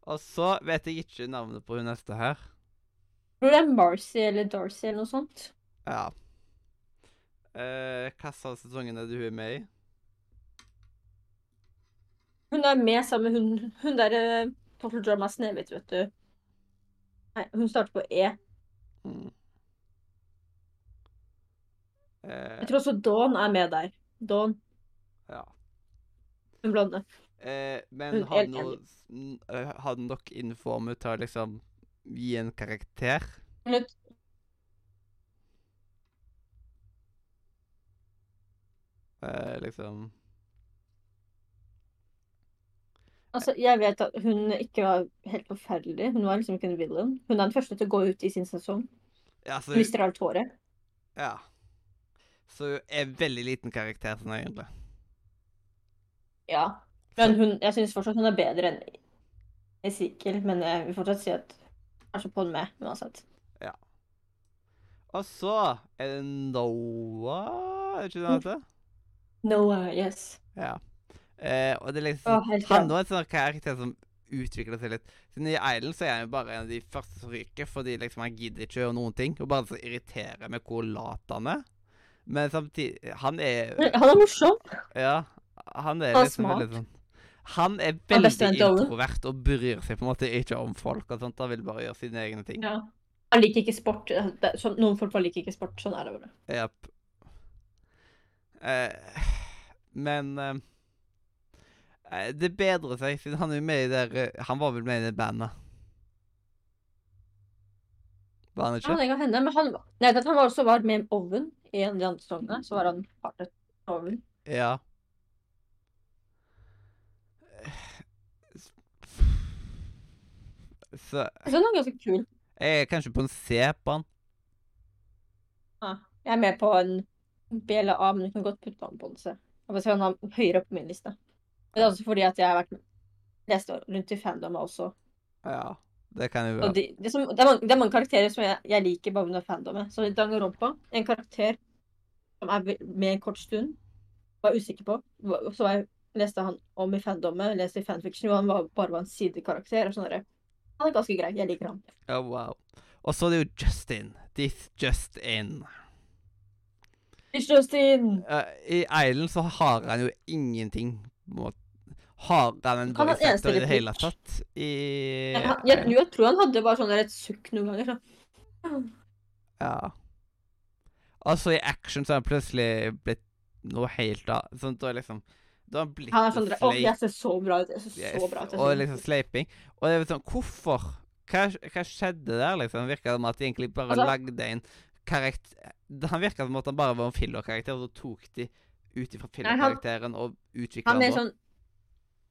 Og så vet jeg ikke navnet på hun neste her. Tror det er Marcy eller Darcy eller noe sånt. Ja. Eh, Hvilken av sesongene er det hun er med i? Hun er med sammen med hun, hun der eh, Total Drama Snehvit, vet du. Nei, hun starter på E. Mm. Eh, Jeg tror også Dawn er med der. Dawn, ja. hun blonde. Eh, men Hun har er du noe n- eh, har du nok info om hun til å liksom gi en karakter? Hun er- Eh, liksom Altså, jeg vet at hun ikke var helt forferdelig. Hun var liksom ikke en villain. Hun er den første til å gå ut i sin sesong. Ja, så Hun hun, mister alt håret. ja. Så hun er veldig liten karakter sånn egentlig. Ja. Men hun, jeg syns fortsatt hun er bedre enn Ezekiel, men jeg vil fortsatt si at kanskje på den med, uansett. Og så er det Noah Er det ikke det han heter? Noah, yes. Ja. Eh, og det er Å, liksom helt Han klart. da er en sånn karakter som utvikle seg litt. Siden I Island så er jeg jo bare en av de første som ryker, fordi liksom han gidder ikke gjøre noen ting. Og bare så irriterer meg hvor lat han er. Men samtidig Han er Han er morsom. Ja. Han er, Han er liksom veldig smart. sånn Han er Han er veldig bestevenn til alle. introvert og bryr seg på en måte ikke om folk og sånt. Han vil bare gjøre sine egne ting. Ja. Han liker ikke sport. Det, er sånn, noen folk bare liker ikke sport. Sånn er det bare. Japp. Eh, men eh, eh, det bedrer seg, siden han er jo med i der eh, Han var vel med i det bandet? Var han Ja, ikke? det kan hende. Men han, nei, vet du, han var også var med Oven i en av de andre sesongene. Så var han partner med Oven. Ja. Eh, Så Jeg synes han er ganske kul. jeg er kanskje på en C på han. Jeg er med på en B eller A, men du kan godt putte han på en C. Jeg bare ser han er høyere opp på min liste. Men det er også fordi at jeg har vært lest rundt i fandom også. Ja, det kan jo Og være. de, det, som, det, er mange, det er mange karakterer som jeg, jeg liker bare under fandomet. Så Danganronpa, en karakter som er ve- med en kort stund, var jeg usikker på. Hva- Så jeg leste han om i fandomet, leste i fanfiction, og han var, bare var en sidekarakter. og sånn der. Han er ganske grei. Jeg liker han. Ja, wow. Og så er det jo Justin. This Justin. Justin! Eh, I Island så har han jo ingenting på en måte. Har han en Kan han voice actor eneste i det hele replikk? tatt? I Jeg, jeg, jeg, tror han hadde bare sånn der et sukk noen ganger. Sånn. Ja. Og så i action så er han plutselig blitt noe helt annet. Sånn, da er liksom Da har han blitt Han er sånn en der, Å, sleip- jeg ser så bra ut. Jeg ser så Yes, bra ut. jeg og ser- liksom sleiping. Og det er sånn Hvorfor? Hva, hva skjedde der, liksom? Virka det som at de egentlig bare Altså- lagde en karakter Han virka som at han bare var en fillerkarakter, og så tok de ut ifra Nei, han- fillerkarakteren og utvikla Han er den. sånn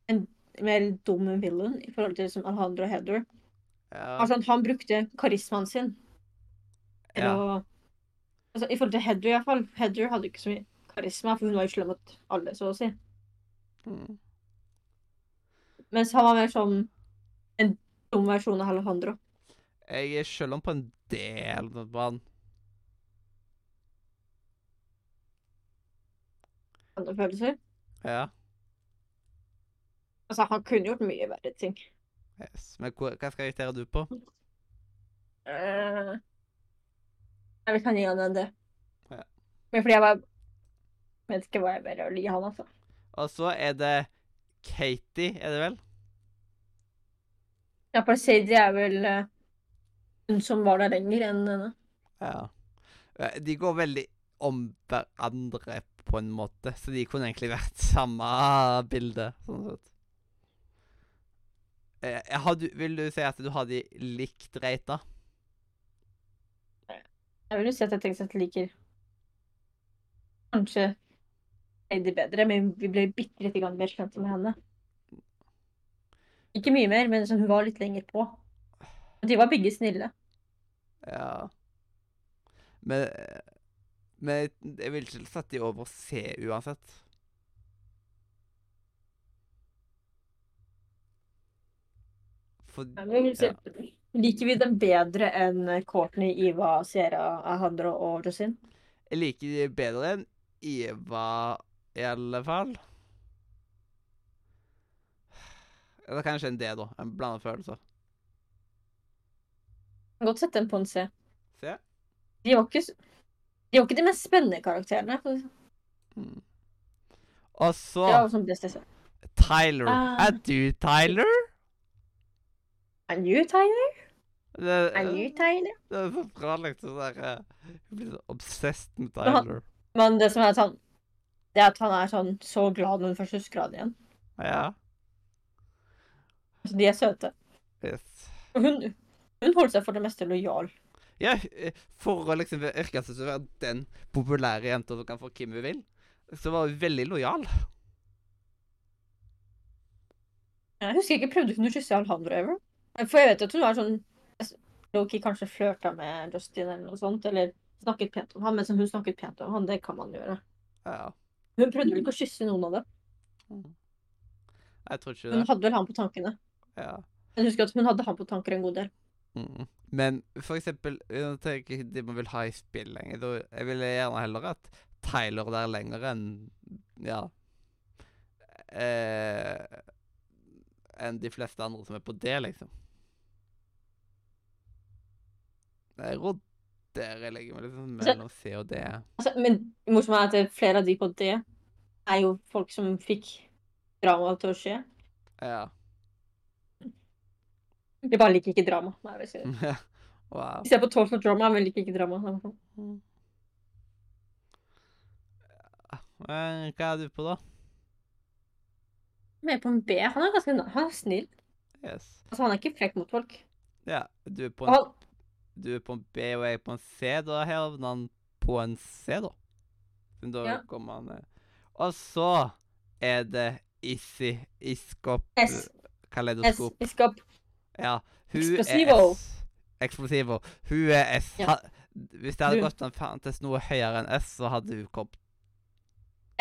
en mer dum villain i forhold til som Alejandro og Heather. Ja, Altså, han brukte karismaen sin til ja. å altså, I forhold til Heather, i hvert fall. Heather hadde ikke så mye karisma, for hun var jo slem mot alle, så å si. Mm. Mens han var mer sånn en dum versjon av Alejandro. Jeg er selv om på en del på han. Andre følelser. Ja. Altså, han kunne gjort mye verre ting. Yes. Men hva, hva skal jeg irritere du på? Eh, Jeg vil kan gi han en det. Ja. Men fordi jeg var Jeg vet ikke hva jeg ville gi han, altså. Og så er det Katie, er det vel? Ja, Parsaidi er vel eh, hun som var der lenger enn henne. Ja. Eh, De går veldig om hverandre på en måte, så de kunne egentlig vært samme bilde. sånn sett. Eh, Har du, vil du si at du har de likt rata? Jeg vil jo si at jeg tenker at jeg liker kanskje Heidi bedre, men vi ble bitte litt mer kjent med henne. Ikke mye mer, men sånn, hun var litt lenger på. Og De var begge snille. Ja. Men, eh, men jeg vil ikke sette de over C uansett. For, ja. Liker vi dem bedre enn Courtney, Iva, Sierra, Alejandro og Josin? Jeg liker de bedre enn Eva, i alle fall. Eller kanskje en D, da. En blandet følelser. Kan godt sette dem på en C. Se. De var ikke, s- de, var ikke de mest spennende karakterene. Mm. Og så Det var som best jeg så. Tyler. Ah. Er du Tyler? Er du Tyler? Det, Er du Tyler? det er så bra, liksom. Der, eh, jeg blir så obsessed med Men han- Tyler. Men det som er sånn Det er at han er sånn så glad når han først husker han igjen. Ja. Altså, de er søte. Yes. Og Hun, hun holdt seg for det meste lojal. Ja, eh, for å liksom yrke seg til å være den populære jenta som kan få hvem hun vil, så var hun veldig lojal. Jeg husker ikke, prøvde hun å kysse Alejandro ever? For jeg vet at hun var sånn Loki kanskje flørta med Justin eller noe sånt, eller snakket pent om han, men som hun snakket pent om han, det kan man gjøre. Ja. Hun prøvde vel ikke å kysse noen av dem. Jeg tror ikke Hun det. hadde vel han på tankene. Ja. Jeg husker at hun hadde han på tanker en god del. Mm. Men for eksempel, jeg tenker ikke det man vil ha i spill lenger. Da- Jeg ville gjerne heller at Tyler der lenger enn Ja. Eh, enn de fleste andre som er på det, liksom. Jeg råderer jeg legger meg litt sånn mellom C og D. Altså, men det morsomme er at det er flere av de på det er jo folk som fikk drama til å skje. Ja. De bare liker ikke drama. Nei, jeg vet ikke. Wow. De ser på Total Drama, men liker ikke drama. Nei, Men Eh, hva er du på, da? Men jeg er på en B. Han er ganske han er snill. Yes. Altså, han er ikke frekk mot folk. Ja, du er på Og en, han, du er på en B og jeg er på en C. Da havner han på en C, da. Men da Ja. kommer han eh. Og så er det Issi Iskop S, S, Kaleidoskop. biskop. Ja. Hun Explosivo. er S. Eksplosivo. Hun er S. Ja. Ha, hvis det hadde Du- gått an fantes noe høyere enn S, så hadde hun kommet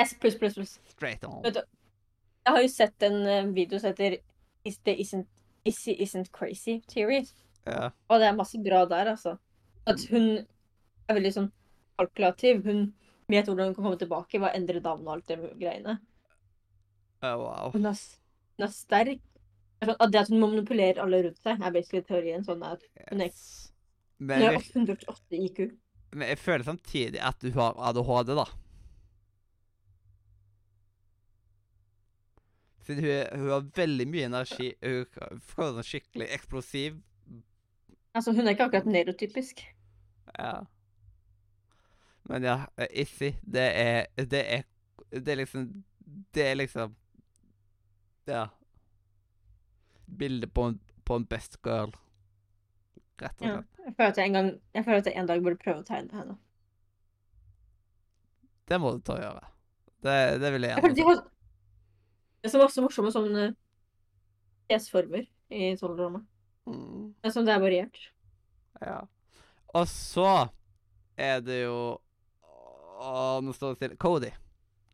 S pluss, pluss, pluss. straight on. Vet du- Jeg har jo sett en eh, video som heter Is It Isn't, Is It Isn't Crazy Theory. Ja. Og det er masse bra der, altså. At hun er veldig sånn kalkulativ. Hun vet hvordan hun kan komme tilbake ved å endre damen og alt det greiene. Ja, wow. Hun er, s- hun er sterk. Det er sånn at Det at hun manipulerer alle rundt seg, er basically teorien. sånn at Hun er- Yes. Hun Men, har jeg, 808 IQ. men jeg føler samtidig at du har ADHD, da. Siden hun, er- hun har veldig mye energi. Hun er sånn skikkelig eksplosiv. Altså, hun er ikke akkurat neurotypisk. Ja. Men ja, eh, Issy, det er Det er, det er liksom Det er liksom Ja. Bildet på en, på en best girl. Rett og Ja. slett. Jeg føler at jeg en, gang, jeg føler at jeg en dag burde prøve å tegne henne. Det må du ta og gjøre. Det, det vil jeg Jeg føler at de gjerne. se. har Det er så masse morsomme sånne fjesformer i tolvdrama. Mm. Det er sånn det er variert. Ja. Og så er det jo Å, nå står det stille. Cody.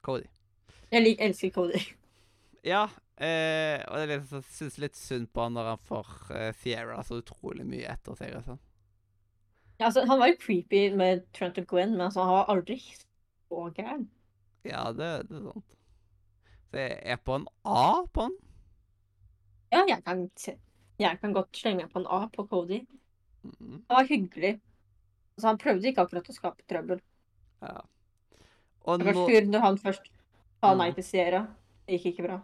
Cody. Jeg lik, elsker Cody. Ja. Eh, og det er liksom, jeg syns litt synd på han når han får eh, Sierra så utrolig mye etter seg. og sånn. Ja, altså, han var jo creepy med Trent og Gwen, men altså, han var aldri så gæren. Ja, det, det er sant. Så jeg er på en A på han. Ja, jeg kan, se- jeg kan godt slenge meg på en A på Cody. Mhm. Han var hyggelig. Altså, han prøvde ikke akkurat å skape trøbbel. Ja. Og Det nå, var sur når han først sa nei Mm. til Sierra. Det gikk ikke bra.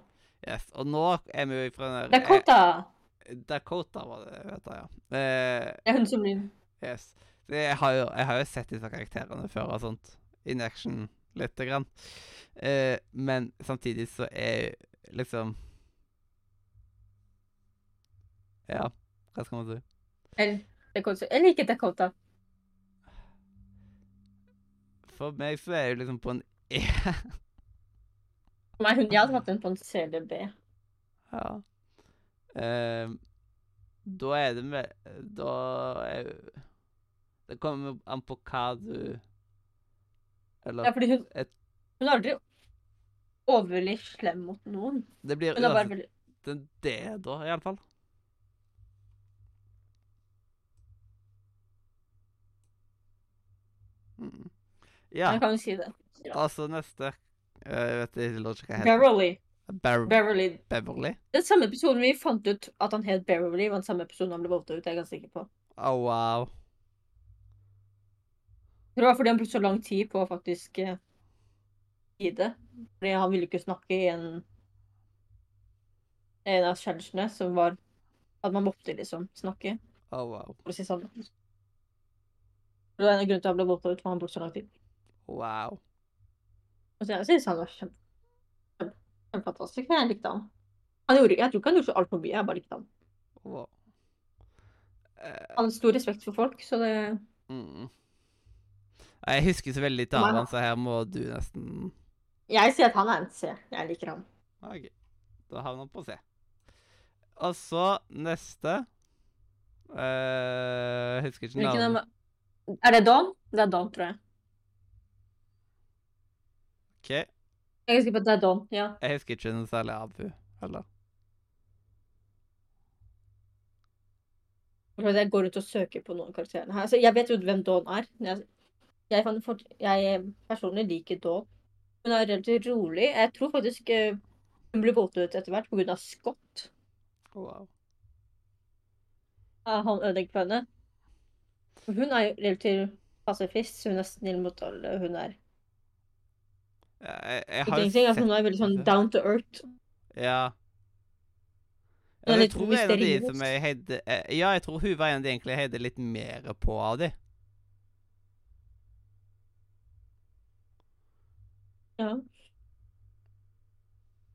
yes, og nå er vi jo fra den der- Dakota! eh, Dakota var det, vet jeg, ja. Eh, Det er hun som blir Yes. Det, jeg, har jo, jeg har jo sett disse karakterene før og sånt. In action, lite grann. Eh, men samtidig så er liksom Ja, hva skal man si? Eller Dakota. Jeg liker Dakota. For meg så er jeg jo liksom på en E. Nei, hun, jeg hadde hatt den på en CDB. ja. Eh, da er det med Da er Det kommer an på hva du Eller Ja, fordi hun, Et- hun er aldri overlig slem mot noen. Det blir Hun er bare uansett veldig en D, da, iallfall. Mm. Ja, Jeg kan jo si det. Ja. altså neste eh, Jeg vet ikke, jeg lurer ikke hva jeg heter. Beverly. Bar Beverly. Beverly? Den samme episoden vi fant ut at han het Beverly, var den samme episoden han ble votet ut. Jeg er ganske sikker på. Oh, wow. Jeg tror det var fordi han brukte så lang tid på å faktisk eh, si det. Fordi han ville ikke snakke i en, en av challengene som var at man måtte liksom snakke Oh, wow. for å si sannheten. Det var en av grunnene til at han ble votet ut, for han brukte så lang tid. Wow. Og så sånn jeg synes han var kjempe, kjempe, kjempefantastisk. Jeg likte han. han gjorde, jeg tror ikke han gjorde så altfor mye, jeg bare likte han. wow. Eh, Han hadde stor respekt for folk, så det mm. Nei, Jeg husker så veldig lite av Wow. han, så her må du nesten Jeg sier at han er en C. Jeg liker han. OK. Da havner han på C. Og så neste eh, Jeg husker ikke Hvilken navnet. av- er det Don? Det er Don, tror jeg. OK. Jeg er sikker på at det er Don, ja. Jeg husker ikke noe særlig av henne heller. For at Jeg går ut og søker på noen karakterene her. Altså, jeg vet jo hvem Dawn er. men Jeg, jeg, fant fort, jeg eh, personlig liker Dawn. Hun er relativt rolig. Jeg tror faktisk eh, hun ble votet ut etter hvert pga. Scott. Wow. Ja, Han ødelegger for henne. Hun er jo relativt pasifist. Hun er snill mot alle. Hun er Ja, Jeg, jeg har jo Ingenting, altså, sett- Hun er veldig sånn down to earth. Ja. Hun Ja, er jeg litt tror en av de mysteriøs. som jeg heide, eh, Ja, jeg tror hun var en av de egentlig jeg heide litt mer på av de. Ja.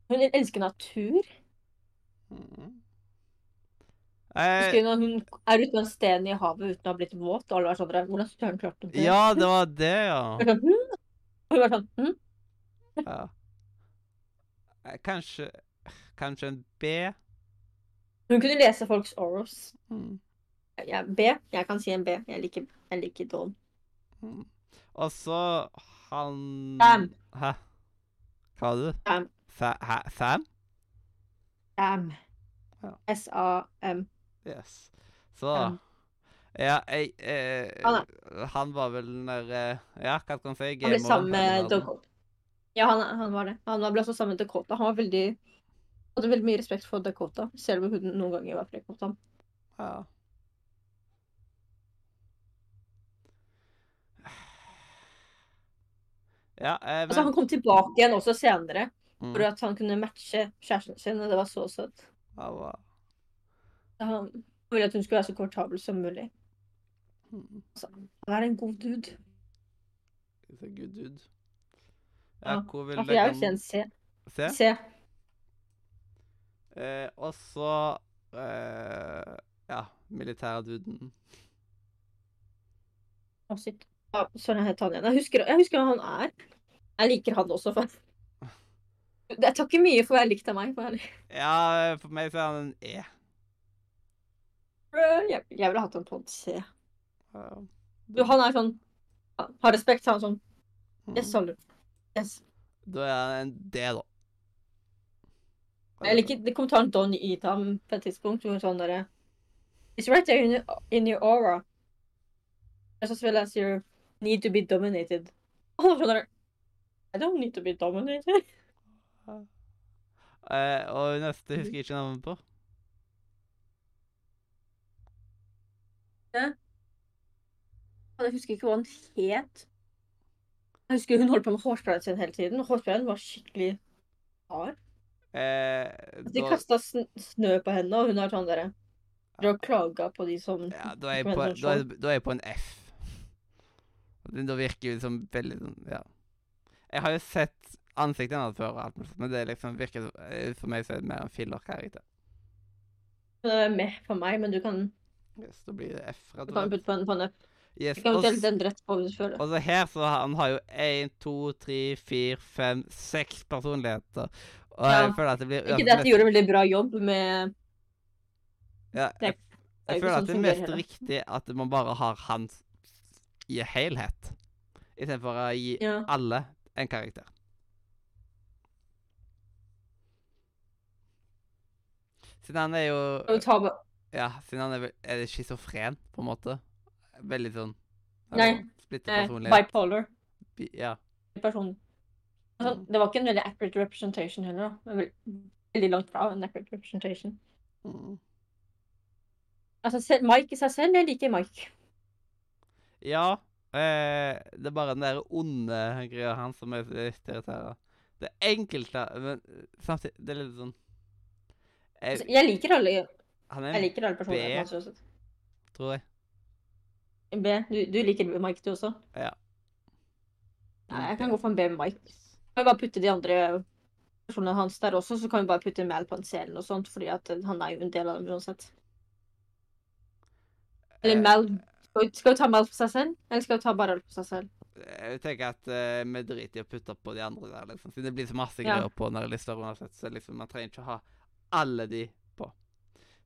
Hun elsker natur. Eh. Mhm. Mm. Husker Eh, du når hun er ute med stenen i havet uten å ha blitt våt? Og alle var sånn der, Hvordan søren klarte hun det? ja, det var det, ja. Hun var sånn, «Hm?» Hun var sånn hm? ja. Eh, Kanskje Kanskje en B? Hun kunne lese folks auros. Mm. Mhm. Ja, B. Jeg kan si en B. Jeg liker, jeg liker Dawn. Mhm. Og så han Sam. Hæ? Hva var det? Sam. Sa, hæ? Sam? Sam. Ja. S-A-M. Yes. Så Sam. Ja, jeg eh, Han Han var vel den der eh, Ja, hva kan man si? Han ble gameren, sammen med nerden. Dakota. Ja, han, han var det. Han ble også sammen med Dakota. Han var veldig, hadde veldig mye respekt for Dakota, selv om hun noen ganger var frekk mot ham. Ja. Ja, eh, men Altså, han kom tilbake igjen også senere, mm, for at han kunne matche kjæresten sin, og det var så søtt. ja, wow. Han ville at hun skulle være så komfortabel som mulig. Mm, Han er en god dude. så Good dude. Ja, Ja, hvor vil Altså, jeg er jo dere sen C. se? C. Eh, og så eh, Ja, militærduden. Å, shit. Ja, Søren, jeg het han igjen. Jeg husker, jeg husker hva han er. Jeg liker han også, for Jeg tar ikke mye for hva jeg likte meg. For jeg, Ja, for meg så er han en E. jeg, jeg ville hatt han på en C. Ja. Du, han er sånn ja, Har respekt, han er sånn Yes, Mm. Salu. Yes. Da er han en D, da. Jeg liker det kommentaren Don gitt ham på et tidspunkt. Hun var sånn derre It's right there in your, in your aura. It's as well as your need to be dominated. Og han var sånn der, I don't need to be dominated. Eh, og neste husker jeg ikke navnet på. Og Jeg husker ikke hva han het. Jeg husker hun holdt på med hårsprayen sin hele tiden. og Hårsprayen var skikkelig hard. Eh, Altså, De da- kasta sn snø på henne, og hun var sånn derre Dere klaga på de som Ja, da er jeg Ikke på, ment som da er, da er jeg på en F. Og det- Da virker det som veldig sånn Ja. Jeg har jo sett ansiktet hennes før, og alt mulig sånt, men det liksom virker eh, for meg så er det mer en filler-karakter. Hun er med for meg, men du kan, Yes, da blir det F. rett du og slett. kan putte på en panne. Yes, Jeg kan og, eventuelt s- endre etterpå hvis du føler. og så her så har han har jo én, to, tre, fire, fem, seks personligheter. Og jeg Ja. føler at det blir Ikke det at de gjorde en veldig bra jobb med ja, jeg, er jeg jo føler ikke sånn at det er fungerer mest heller. riktig at man bare har han i helhet, istedenfor å gi Ja. alle en karakter. Siden han er å jo ta med Ja, siden han er, vel- er det schizofren, på en måte. Veldig sånn Nei, Splitta eh, personlighet. bipolar Bi- Ja. person. Altså, det var ikke en veldig accurate representation heller, da. Men vel- Veldig langt fra en accurate representation. Mm. Altså, selv, Mike i seg selv, jeg liker Mike. Ja. Eh, det er bare den der onde greia hans som er litt irriterende. Det enkelte, men samtidig Det er litt sånn Altså, jeg, jeg liker alle, Han jeg er en liker alle personene. B. hans også. tror jeg. B. Du, du liker Mike, du også? Ja. Nei, jeg kan gå for en B med Mike. Kan vi bare putte de andre personene hans der også, så kan vi bare putte Mal på en C eller noe sånt, fordi at eh, han er jo en del av dem uansett. Eller Eh, Mal Skal vi- Skal vi ta Mal for seg selv, eller skal vi ta bare alt for seg selv? Jeg tenker at eh, vi driter i å putte på de andre der, liksom. Siden det blir så masse Ja. greier på når det er litt større uansett, så liksom, man trenger ikke å ha alle de på.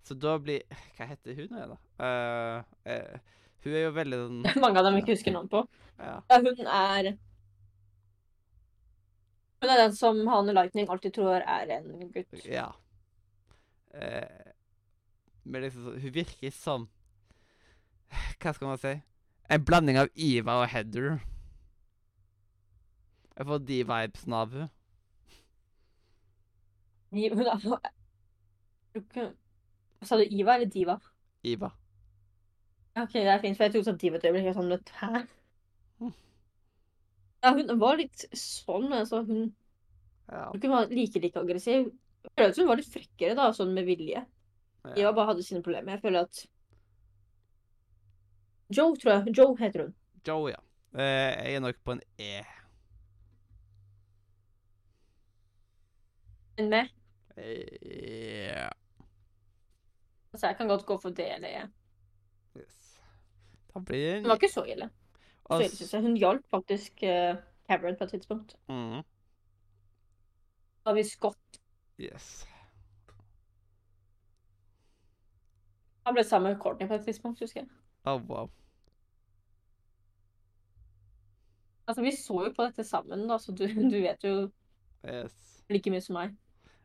Så da blir Hva heter hun igjen, da? Eh, eh, hun er jo veldig sånn Mange av dem jeg ikke husker navn på. ja. Ja, hun er Hun er den som Hane Lightning alltid tror er en gutt. ja. Eh, men liksom, så- hun virker som Hva skal man si? En blanding av Iva og Heather. Jeg får de vibesene av henne. Hun er Tror ikke- Sa du Iva eller Diva? Iva. Ja, Ok, det er fint, for jeg tok sånn Diva et øyeblikk. Jeg var sånn, hæ? Mm. Ja, hun var litt sånn, men altså. Hun, Ja. hun kunne være like like aggressiv. Jeg føler at hun var litt frekkere, da, sånn med vilje. ja. Diva bare hadde sine problemer. Jeg føler at Joe, tror jeg. Joe heter hun. Joe, ja. Eh, jeg er nok på en E. Men med. Eh, Altså, jeg kan godt gå for det eller jeg. yes. Da blir det en Hun var ikke så ille. Så ille, synes Ass- jeg. Hun hjalp faktisk eh, Cameron på et tidspunkt. mm, Da har vi Scott. Yes. Han ble sammen med Courtney på et tidspunkt, husker jeg. Oh, wow. Altså, vi så jo på dette sammen, da, så du, du vet jo Yes. like mye som meg.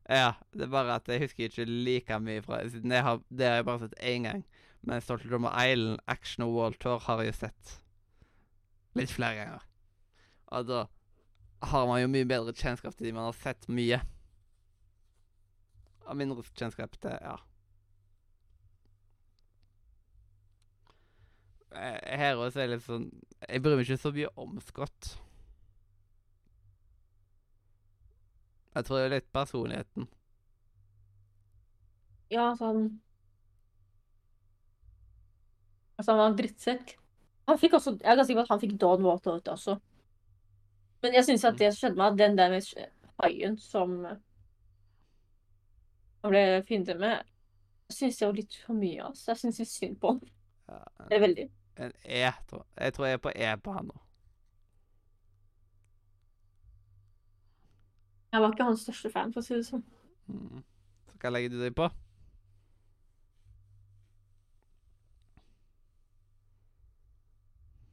Ja, det er bare at jeg husker ikke like mye fra siden jeg har, Det har jeg bare sett én gang. Men Stolte Drummer Island, Action og Wall Tour har jeg jo sett litt flere ganger. Og da har man jo mye bedre kjennskap til de man har sett mye. Og mindre kjennskap til Ja. Eh, Her også er det litt sånn Jeg bryr meg ikke så mye om Scott. Jeg tror det er litt personligheten. Ja, altså han Altså, han var en drittsekk. Han fikk også Jeg er ganske sikker på at han fikk Don Water ut også. Men jeg syns at det som skjedde med han, den der med sj- haien som eh, han ble fiende med, syns jeg var litt for mye, altså. Jeg syns litt synd på han. Ja, en- Det er veldig. en E, tror jeg. Jeg tror jeg er på E på han nå. Jeg var ikke hans største fan, for å si det sånn. Mm. Så hva legger du deg på?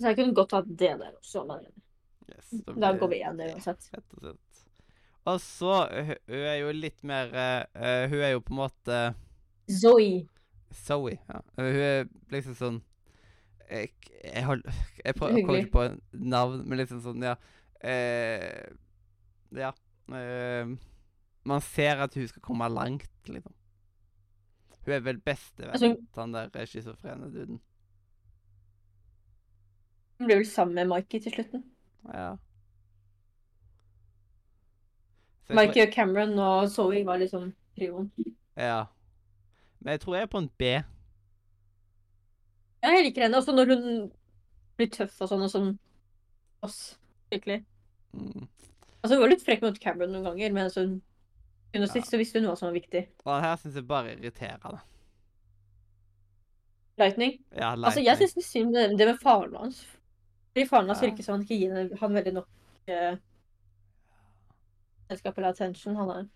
Så jeg kunne godt hatt det der også. Men Yes, da går vi igjen, det uansett. Rett og slett. Og så, hu- hun er jo litt mer eh, eh, Hun er jo på en måte Zoe. Zoe. Ja. Eh, Hun er liksom sånn Jeg, jeg, hold, jeg, prøver, jeg kommer Hyggelig. ikke på navn, men liksom sånn, ja. Eh, ja. Eh, man ser at hun skal komme langt, liksom. Hun er vel bestevenn Altså- til han der eh, schizofrene duden. Hun ble vel sammen med Mikey til slutten. Ja. Så jeg tror- Mikey og Cameron og Zoe var liksom trioen. Ja. Men jeg tror jeg er på en B. Ja, jeg liker henne. Også når hun blir tøff og sånn, og sånn oss. Skikkelig. Mm. Altså, hun var litt frekk mot Cameron noen ganger, men altså, hun hun og sist så visste hun hva som var viktig. Og den her syns jeg bare er irriterende. Lightning. Ja, Altså, jeg Lightning. syns litt synd på det- det med faren hans. Fordi faren hans Ja. virker som han ikke gir henne- han veldig nok eh, selskap eller attention. Han er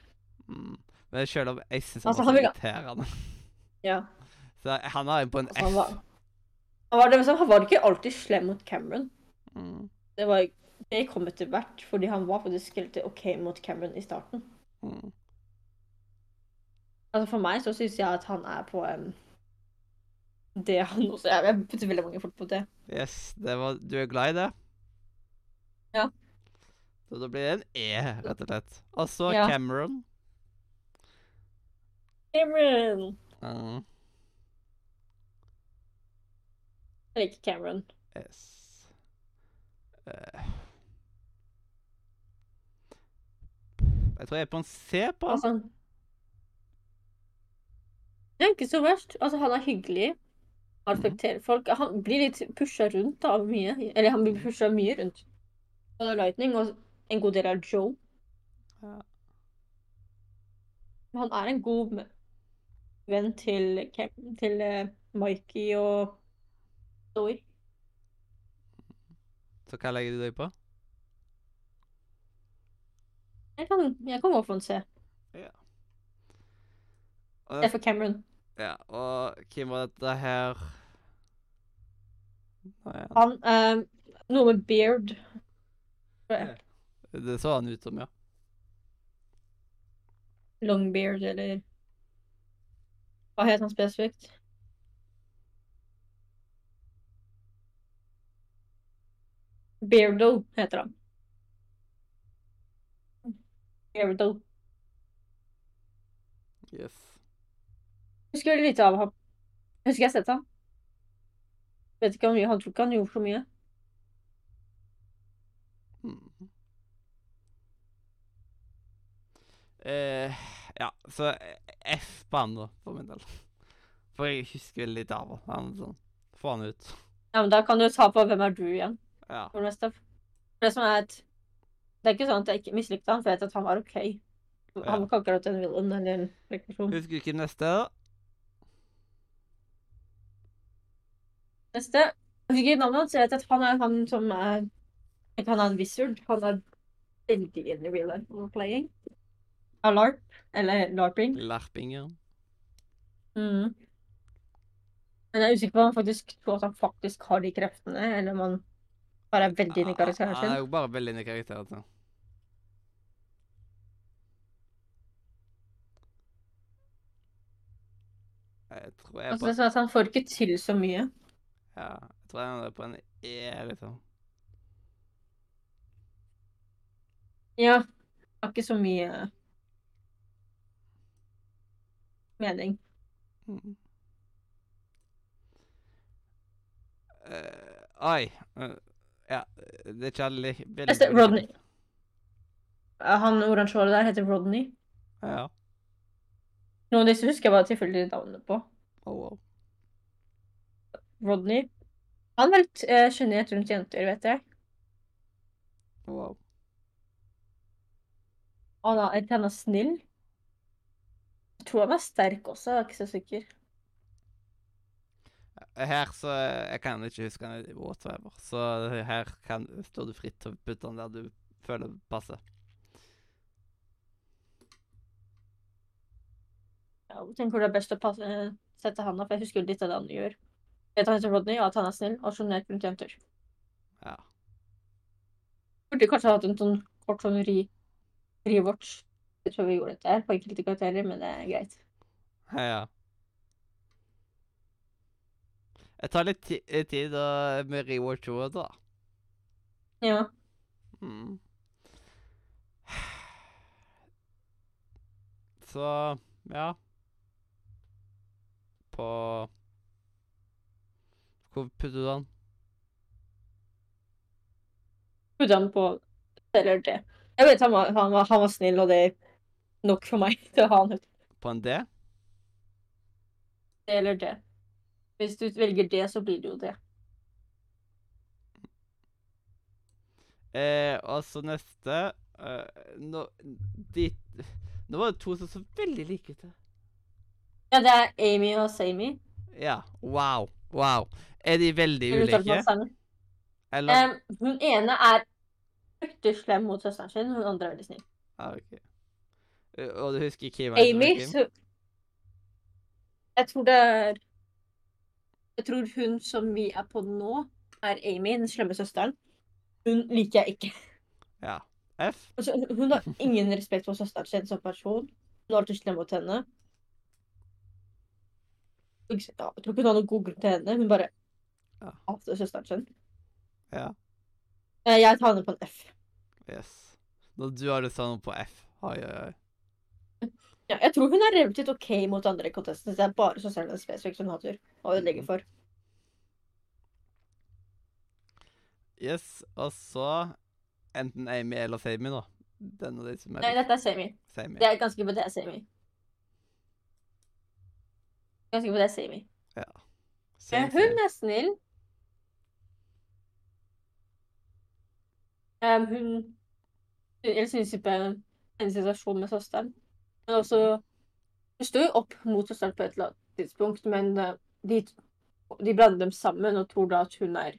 mm. Men selv om jeg syns han Altså, han er vil- irriterende, Ja. så jeg- han har jo på en Altså, han var, S. han, var, det, men så han var ikke alltid slem mot Cameron. Mm. Det, var, det kom etter hvert, fordi han var faktisk helt OK mot Cameron i starten. Mm. Altså For meg så syns jeg at han er på en det han også er. Jeg putter veldig mange folk på det. Yes, det var Du er glad i det? Ja. Så da blir det en E, rett og slett. Og så Ja. Cameron. Cameron! Mm. Jeg liker Cameron. S. Eh. Jeg tror jeg er på en C på han. Altså, det er ikke så verst. Altså Han er hyggelig. Han Respekterer folk. Han blir litt pusha rundt da, av mye. Eller han blir pusha mye rundt. Både Lightning og en god del av Joe. Ja. Men Han er en god m- venn til, Cam- til eh, Mikey og Zoe. Så hva legger du deg på? Jeg kan, jeg kan gå for en C. Og Det er for Cameron. Ja, og hvem var dette her? Nei, han- Han, eh, noe med beard. tror jeg. Det så han ut som, ja. Long beard, eller Hva het han spesifikt? Beardo heter han. Beardo. Yes. husker veldig lite av ham. Jeg husker jeg har sett ham. Vet ikke om mye. Han tror ikke han gjorde så mye. Mm. Eh, ja, så eh, F på han, da, for min del. For jeg husker veldig litt av han. han. er Sånn. Få han ut. Ja, men da kan du ta på hvem er du igjen. Ja. For det meste. For Det som er et Det er ikke sånn at jeg ikke mislikte han, for jeg vet at han var OK. Han var ikke akkurat en villain eller en rekreasjon. Husker du ikke neste? da? Neste. Jeg fikk ikke navnet hans. Jeg vet at han er han som er Ikke han er en wizard. Han er veldig in the real life role playing. Av LARP. Eller LARPing. Lerpinger. Mm. Men jeg er usikker på om han faktisk tror at han faktisk har de kreftene, eller om han bare er veldig inn i karakteren Han er sin. jo bare veldig altså. inn i karakteren sin. Jeg tror jeg, Altså, på, det er sånn at han får ikke til så mye. ja, jeg tror jeg er på en E, liksom. Ja. det Har ikke så mye mening. Mm. Eh, oi. eh, ja, det er ikke alle like- veldig Neste, ulike. Altså, Rodney. Han oransjehåret der heter Rodney. Ja. Noen av disse husker jeg bare tilfeldig navnet på. Oh, wow. Rodney. Han var litt eh, sjenert rundt jenter, vet jeg. Oh, wow. Han er, han er snill. Jeg tror han er sterk også, jeg er ikke så sikker. Her så Jeg kan ikke huske han i whatsoever, så her kan, står du fritt til å putte han der du føler passer. Jeg tenker det er best å passe, eh, sette han opp, jeg husker litt av det han gjør. Jeg vet han heter Rodney, og at han er snill og sjenert rundt jenter. Ja. Burde kanskje hatt en sånn kort sånn ri, rewatch. Jeg tror vi gjorde dette her på enkelte karakterer, men det er greit. Ja. Jeg tar litt ti eh, tid da, med reward 2, da. Ja. Mm. Så ja På Hvor putter du den? Burde han på eller det. Jeg vet han var, han var, han var snill, og det er nok for meg til å ha han ut. På en D? Det eller det. Hvis du velger det, så blir det jo det. Eh, og så neste eh, Nå de, Nå var det to som så veldig like ut. Ja, det er Amy og Samy. Ja. Wow. Wow. Er de veldig Eller uttaler ulike? man sammen. Eller Em, hun ene er fryktelig slem mot søsteren sin, hun andre er veldig snill. ah, ok. Eh, Og du husker Kim? er det Amy, Kim? så Jeg tror det er Jeg tror hun som vi er på nå, er Amy, den slemme søsteren. Hun liker jeg ikke. Ja. F? Altså, hun- hun har ingen respekt for søsteren sin som person. Hun er alltid slem mot henne. Ikke s- ja, Jeg tror ikke hun har noen god grunn til henne. Hun bare Ja. hater søsteren sin. Ja. Eh, Jeg tar henne på en F. Yes. Når du har det sånn på F. Oi, oi, oi. Ja, jeg tror hun er relativt OK mot andre i kontesten. så Det er bare søsteren hennes spesifikt hun hater og ødelegger for. Yes, og så enten Amy eller Sami, da. Den av de som er Nei, dette er Sami. Sami. Det er ganske på det er Sami. Ganske på det er Sami. Same, same. Men hun er snill. Ehm, hun Jeg synes ikke på hennes situasjon med søsteren. Men også Hun står jo opp mot søsteren på et eller annet tidspunkt, men eh, de, de blander dem sammen og tror da at hun er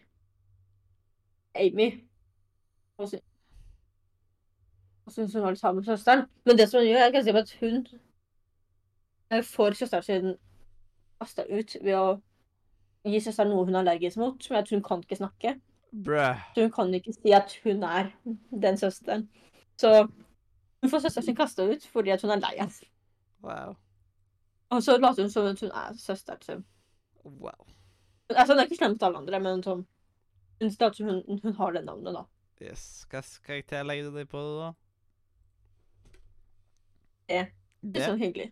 Amy. Og sy- og syns hun var litt sammen med søsteren. Men det som hun gjør, er ganske at hun eh, får søsteren sin kasta ut ved å gi søsteren noe hun er allergisk mot, som er at hun kan ikke snakke. Bruh. Så hun kan ikke si at hun er den søsteren. Så hun får søsteren sin kasta ut fordi at hun er lei henne. Wow. Og så later hun som at hun er søsteren sin. Wow. Men, Altså, hun er ikke slem mot alle andre, men sånn hun later som hun, hun har det navnet, da. Yes. Hva slags karakter legger du deg på, da? Det. Litt D? sånn hyggelig.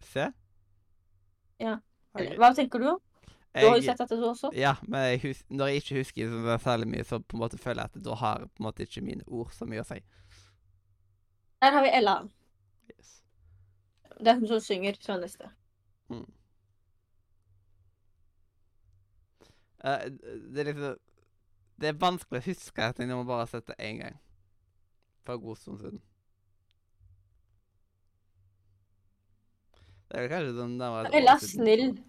C? Ja. Eller, Ok. Hva tenker du om? Du har jo Jeg- sett dette, du også. Ja, men jeg hus når jeg ikke husker så det særlig mye, så på en måte føler jeg at da har på en måte ikke mine ord så mye å si. Der har vi Ella. Yes. Det er hun som synger, så er neste. Eh, det er liksom Det er vanskelig å huske at jeg må bare har sett det én gang. For en god stund siden. Det er vel kanskje sånn nærmere et år Ella er siden. snill.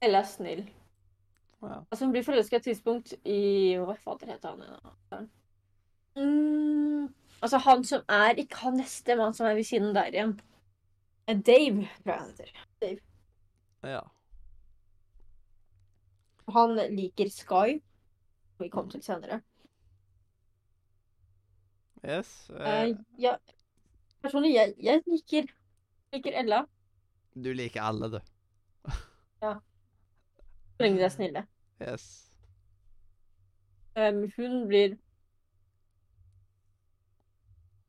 Ella er snill. Ja. Altså, hun blir forelska et tidspunkt i Hva fader heter han igjen? da? Mm, altså, han som er Ikke han neste, men han som er ved siden der igjen. Eh, Dave, tror jeg han heter. ja. Han liker Sky. som Vi kommer til senere. Yes. eh, Eh, ja, personlig, jeg, jeg liker liker Ella. du liker alle, du. Så lenge de er snille. Yes. Um, hun blir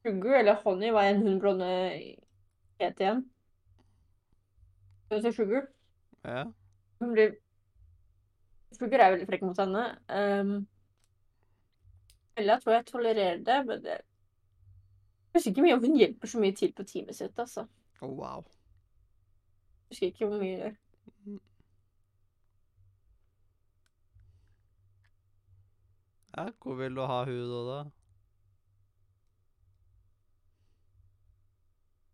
Sugar eller Honey, hva enn hun blonde het igjen. Hun heter Sugar. Ja. Hun blir Sugar er veldig frekk mot henne. Um, Ella tror jeg tolererer det, men det jeg husker ikke mye om hun hjelper så mye til på teamet sitt. altså. Oh, wow. Jeg husker ikke hvor mye hun gjør. Ja, hvor vil du ha hun da, da?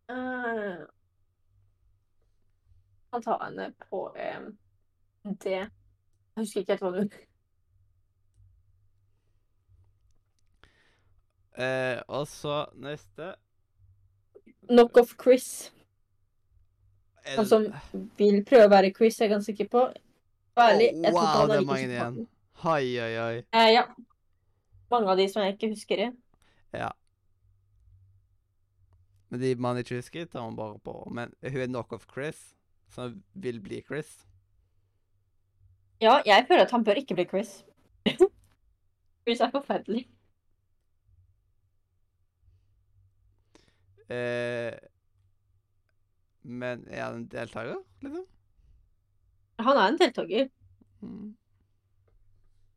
Eh, Han tar henne på eh, det Jeg husker ikke helt hva hun Eh, og så neste Knock off Chris. er Han det- Sånn som vil prøve å være quiz, er jeg ganske sikker på. Ærlig, Å, Oh, jeg tror ikke wow, han det er er like mange igjen. sympatisk. Oi, oi, oi. Eh, ja. Mange av de som jeg ikke husker i. Men de man ikke husker, tar man bare på. Men hun er knock off Chris, som vil bli Chris. Ja, jeg føler at han bør ikke bli Chris. Chris er forferdelig. Eh, men er han en deltaker, liksom? Han er en deltaker. Mm.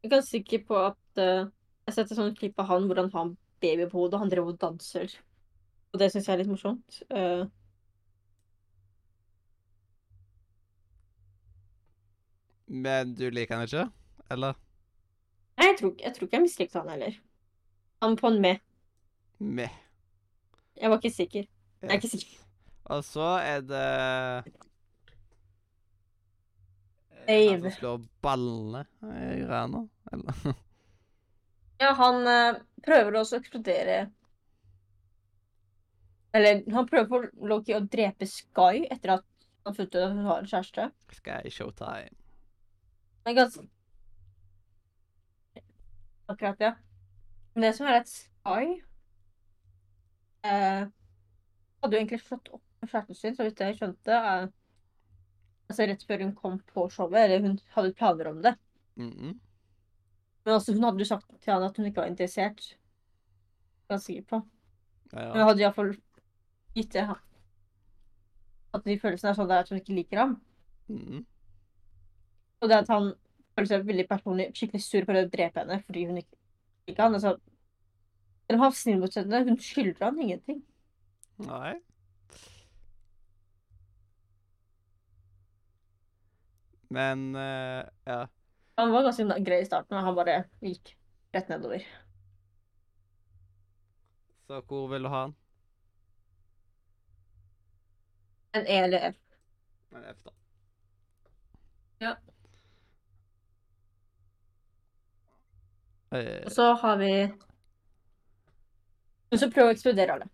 Jeg er ganske sikker på at eh, Jeg har sett et sånt klipp av han hvor han har en baby på hodet, og han driver og danser. Og det syns jeg er litt morsomt. Eh, Men du liker han ikke? Eller? nei, jeg tror, ikke- jeg tror ikke jeg mislikte han heller. Han på en med. Meh. Jeg var ikke sikker. Jeg er ikke Yes. sikker. Og så er det Eh, Han Dave. som slår ballene i Rana, eller? Ja, han eh, prøver også å eksplodere Eller han prøver for Loki å drepe Sky etter at han funnet ut at hun har en kjæreste. Skal jeg showtime? Men ganske Akkurat, ja. Men det som er at Sky eh, hadde jo egentlig slått opp med kjæresten sin, så vidt jeg skjønte. Eh, altså rett før hun kom på showet, eller hun hadde planer om det. Mm -mm. Men altså, hun hadde jo sagt til han at hun ikke var interessert. Ganske sikker på. Ja, Men ja. jeg hadde iallfall gitt det. han- At de følelsene er sånn der at hun ikke liker ham. Mm -mm. Og det at han føler seg veldig personlig skikkelig sur for å drepe henne fordi hun ikke liker han. Altså, selv om han var snill mot henne, hun skylder han ingenting. Nei. Men eh, ja. Han var ganske na- grei i starten, men han bare gikk rett nedover. Så hvor vil du ha han? En E eller F. En F, da. Ja. Eh, Og så har vi Hun som prøver å eksplodere alle.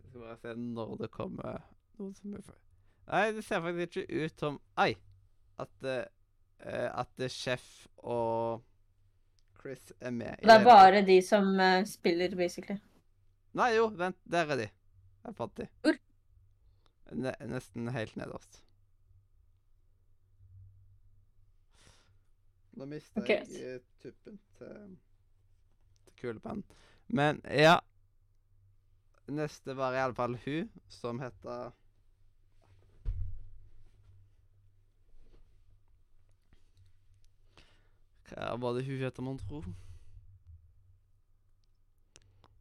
jeg skal bare se når det kommer noen som er for Nei, det ser faktisk ikke ut som Ai! At, eh, eh, at eh, Chef og Chris er med. i Og det er hele tatt. bare de som eh, spiller, basically. Nei, jo, vent. Der er de. Jeg fant de. Hvor? Ne nesten helt nederst. Nå mista Ok. jeg eh, tuppen til, til kulepennen. Men ja Neste var iallfall hun, som heter Hva var det hun heter, mon tro?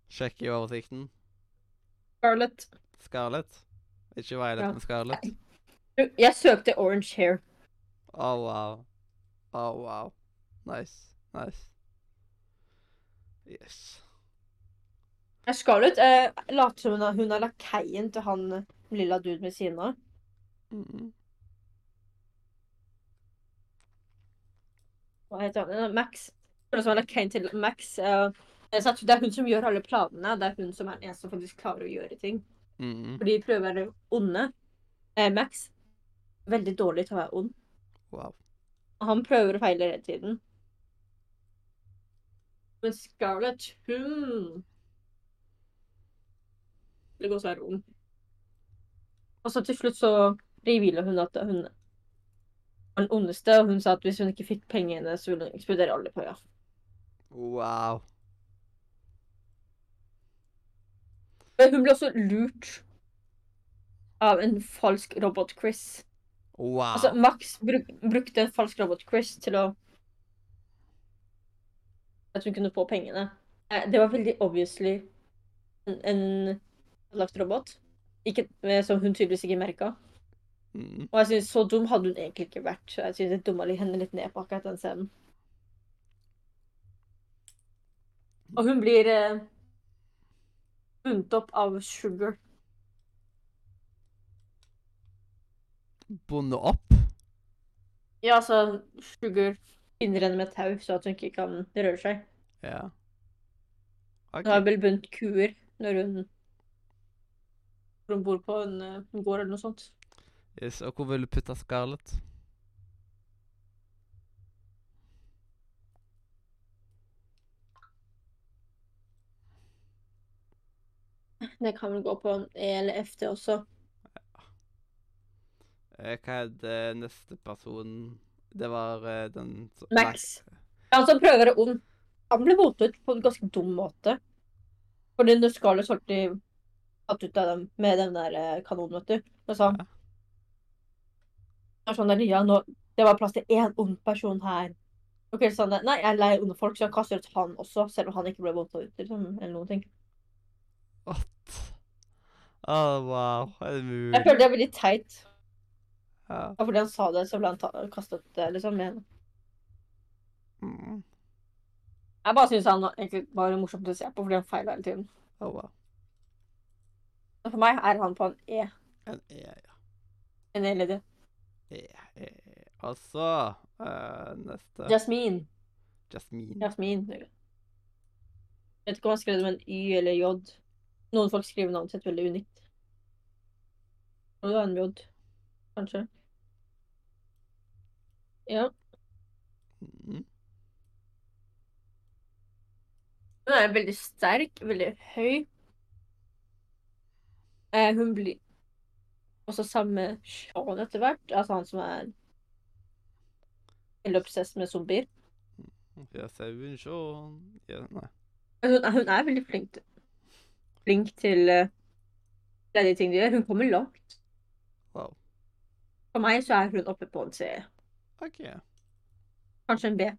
Sjekker jo oversikten. Scarlett. Scarlett. Ikke Violet, Ja. men Scarlett. Jeg søkte orange hair. Oh, wow. Oh, wow. Nice. Nice. Yes. Ja, Scarlett eh, later som hun er, hun er lakeien til han eh, lilla dude ved siden av. Mm. Hva heter han? Eh, Max. Hun som er lakeien til Max. Eh, det er sant, det er hun som gjør alle planene. Det er hun som er den eneste som faktisk klarer å gjøre ting. Mm. For de prøver å være onde. Eh, Max. Veldig dårlig til å være ond. Wow. Og Han prøver og feiler hele tiden. Men Scarlett, hun Det går svært ung. Og så til slutt så revealer hun at hun var den ondeste, og hun sa at hvis hun ikke fikk pengene, så ville hun eksplodere alle på Jaff. Wow. Men hun ble også lurt av en falsk robot-Chris. Wow. Altså, Max bruk brukte en falsk robot-Chris til å At hun kunne få pengene. Eh, Det var veldig obviously en, en lagt robot. Ikke, eh, som hun tydeligvis ikke merka. mm. Og jeg synes, så dum hadde hun egentlig ikke vært. Så jeg synes det dumma litt- henne litt ned på akkurat den scenen. Og hun blir eh, bundet opp av Sugar. Bonde opp. Ja, altså, Sugar binder henne med tau, så at hun ikke kan røre seg. Ja. OK. Hun har vel bundet kuer når hun, når hun bor på en, eh, en gård eller noe sånt. Yes. Og hvor vil du putte Scarlett? Det kan vel gå på en E eller FT også. Eh, hva er det neste personen Det var eh, den som- Max. Han som prøver å være ond, han ble votet på en ganske dum måte. Fordi når Scarlett holdt i tatt ut av dem med den der eh, kanonen, vet du, og sa han Ja. Det var sånn der, ja, nå, det var plass til én ond person her. Og Chris sa han, nei, jeg er lei onde folk, så jeg kaster ut han også, selv om han ikke ble votet ut, liksom, eller noen ting. What? Oh, wow. Er det mulig? Jeg føler det er veldig teit. Ja. Ja, fordi han sa det, så ble han ta- kastet eh, liksom med henne. Mm. Jeg bare synes han var- egentlig var morsomt å se på, fordi han feiler hele tiden. Oh, wow. Så for meg er han på en E. En E, ja. En E eller D. E, E, E. Og så eh, neste Jasmin. Jasmine. Jasmin. Jeg vet ikke om han skrev det med en Y eller J. Noen folk skriver navnet sitt veldig unikt. Og det var en J, kanskje. Ja. Mm. Hun er veldig sterk, veldig høy. Eh, hun blir også sammen med Sean etter hvert, altså han som er veldig obsess med zombier. Jeg ser hun sjån. Ja, nei. Men Altså, Hun, er- hun er veldig flink til, flink til eh, det er de ting de gjør. Hun kommer langt. Wow. For meg så er hun oppe på en C, OK. kanskje en B.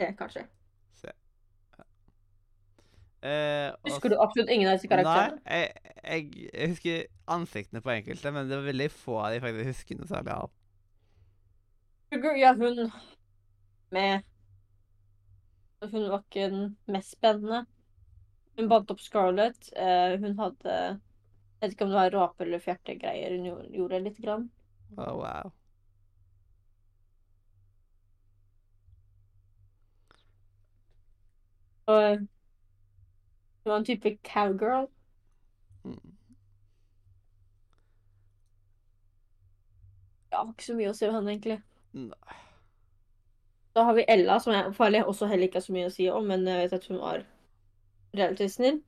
C, kanskje. Eh, og Husker s- du absolutt ingen av disse karakterene? Nei, jeg, jeg, jeg husker ansiktene på enkelte, men det var veldig få av de jeg faktisk husker noe særlig av. Sugar, ja, hun med Hun var ikke den mest spennende. Hun bandt opp Scarlett. eh, hun hadde Jeg vet ikke om det var rape- eller fjertegreier hun gjorde- gjorde litt. Grann. Oh, wow. Og hun var en type cowgirl. Mm. Ja, ikke så mye å si om henne, egentlig. Nei. Da har vi Ella, som jeg farlig, også heller ikke har så mye å si om, men jeg vet at hun var relativt snill.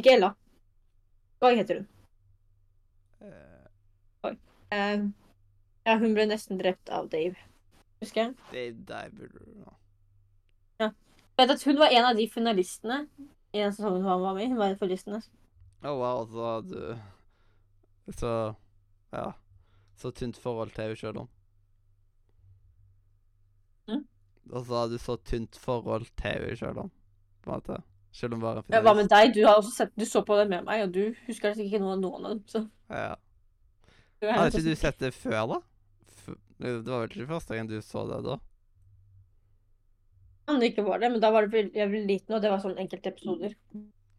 Ikke Ella. Hva heter hun? Eh, Eh, ja, hun ble nesten drept av Dave, husker jeg. det der burde du nå. vet at hun var en av de finalistene i den sesongen hun var med i. Hun var en av finalistene. Oh, wow, altså du Så Ja. Så tynt forhold til henne sjøl om. Mm. Og så har du så tynt forhold til henne sjøl, på en måte. Selv om hun var en Ja, hva med deg? Du, har også sett, du så på det med meg, og du husker sikkert ikke noe av noen av dem. Så Ja. du er Hadde helt ikke du sånn- sett det før, da? F det var vel ikke første gang du så det da? Om det ikke var det, men da var det vel- jeg var liten, og det var sånn enkelte episoder.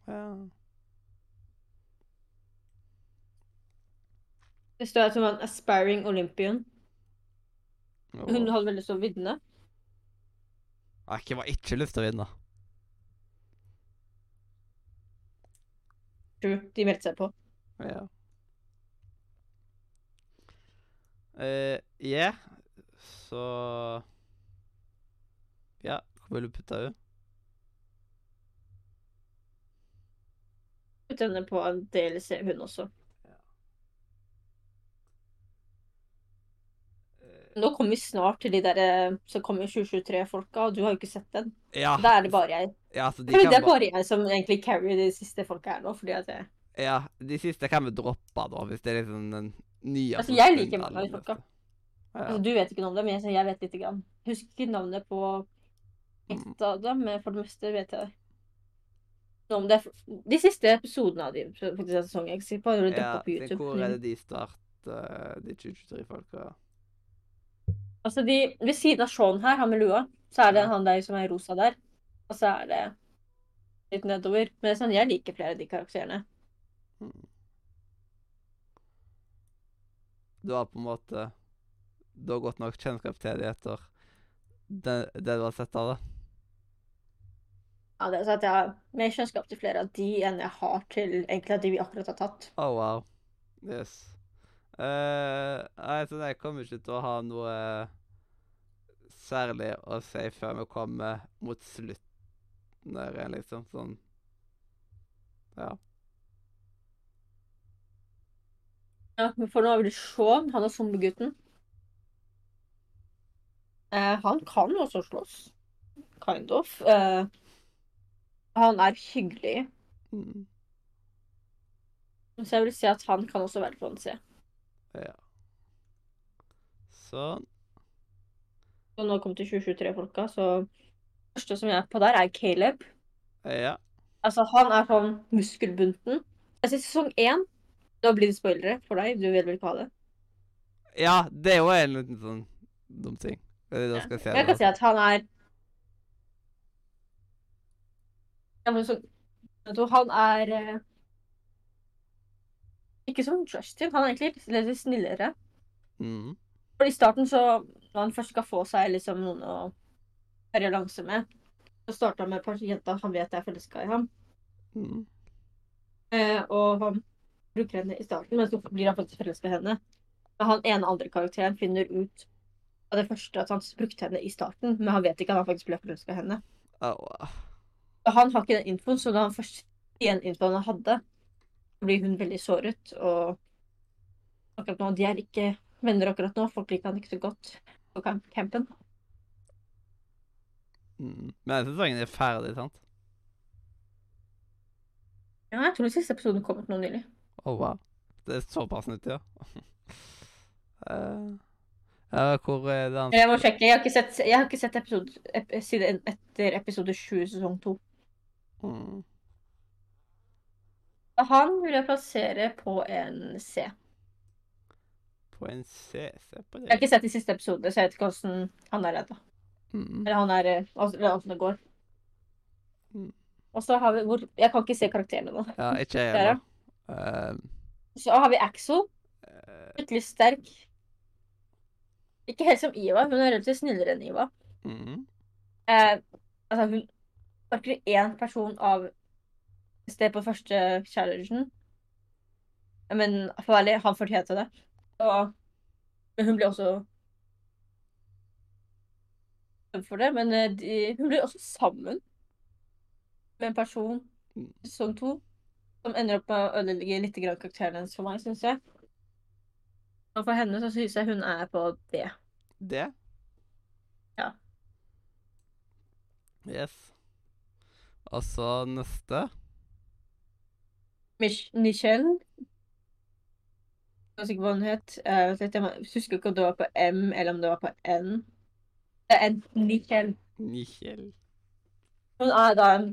Ja. Det står at hun var en aspiring Olympian. Hun Åh. hadde veldig lyst til å vinne. Jeg var ikke lyst til å vinne. Tror de meldte seg på. Ja. Eh, ja, så Ja, hvor vil du putte henne? Puttet henne på en DLC, hun også. Nå kommer vi snart til de der eh, som kommer i 2023-folka, og du har jo ikke sett den. Ja, Da er det bare jeg. ja, altså, de Men det kan er ba- bare jeg som egentlig carrier de siste folka her nå, fordi at jeg ja, de siste kan vi droppe, da, hvis det er liksom den nye Altså, som jeg skal liker inn mange av de aller folka. neste. Ja, Altså, du vet ikke noe om det, men jeg, så jeg vet lite grann. Jeg Husker ikke navnet på ett av dem, men for det meste vet jeg noe om det. De siste episodene av de faktisk av sesongen, jeg er sikker på, har du dukket ja, opp på så YouTube. hvor er det de starter, de 2023-folka? Altså, de, ved siden av Sean her, han med lua, så er det Ja. han der som er i rosa der. Og så er det litt nedover. Men det er sånn, jeg liker flere av de karakterene. Du har på en måte Du har godt nok kjennskap til dem etter det, det du har sett av det? Ja, det er så at jeg har mer kjennskap til flere av de enn jeg har til egentlig av de vi akkurat har tatt. Oh, wow. Yes. Eh, Nei, så jeg kommer ikke til å ha noe særlig å si før vi kommer mot slutten der, igjen, liksom. Sånn Ja. Ja, men for nå har vi det Sean, han er zombiegutten. Eh, han kan også slåss. Kind of. Eh, han er hyggelig. Mm. Så jeg vil si at han kan også være Fonzie. Sånn. Og nå kom til 2023-folka, så første som jeg er på der, er Caleb. Ja. Altså, han er sånn muskelbunten. Altså, i sesong én Nå blir det spoilere for deg, du vil vel ikke ha det. ja, det er jo en liten sånn dum ting. Eh, Da skal jeg se Men det. jeg kan si at han er ja, men så, jeg tror Han er eh, ikke som Justin. Han er egentlig litt, litt snillere. Mm. For I starten, så, når han først skal få seg liksom noen å være i allianse med, så starter han med et par jenter han vet er forelska i ham. Mm. Eh, og han bruker henne i starten, men så blir han faktisk forelsket i henne. Men han ene andre karakteren finner ut av det første at han brukte henne i starten, men han vet ikke at han faktisk ble forelsket i henne. Au, au. Og han har ikke den infoen, så da han først fikk den infoen han hadde, blir hun veldig såret. Og akkurat nå, de er ikke venner akkurat nå. Folk liker han ikke så godt på camp campen. Mm. Men sesongen er ferdig, sant? Ja, jeg tror den siste episoden kom ut nå nylig. Oh, wow. Det er såpass nytt, ja. Eh, ja, hvor er det han Jeg må sjekke. Jeg har ikke sett, jeg har ikke sett episode, ep siden etter episode 7 sesong 2. mm. Han vil jeg plassere på en C. På en C. Se på Jeg har det. ikke sett de siste episodene, så jeg vet ikke hvordan han er redd. da. Mm. Eller han er, eh, altså, eller hvordan det går. Mm. Og så har vi hvor, Jeg kan ikke se karakterene nå. Ja, ikke jeg Der, ja. heller. Eh, Så har vi Axel. eh, Litt sterk. Ikke helt som Iva, hun er relativt snillere enn Iva. mm. Eh, altså, hun sparker én person av sted på første challengen. Men for å være ærlig, han fortjente det. Og men hun ble også dømt for det. Men eh, de, hun ble også sammen med en person i sesong to som ender opp med å ødelegge litt grann karakteren hennes for meg, syns jeg. Og for henne så syns jeg hun er på B. Det? Ja. Yes. Og så neste. Mich Nichelle. Jeg er sikker på hva hun het. Eh, vent litt, jeg må- jeg husker ikke om det var på M eller om det var på N. en Nichel. Nichel. Hun er da en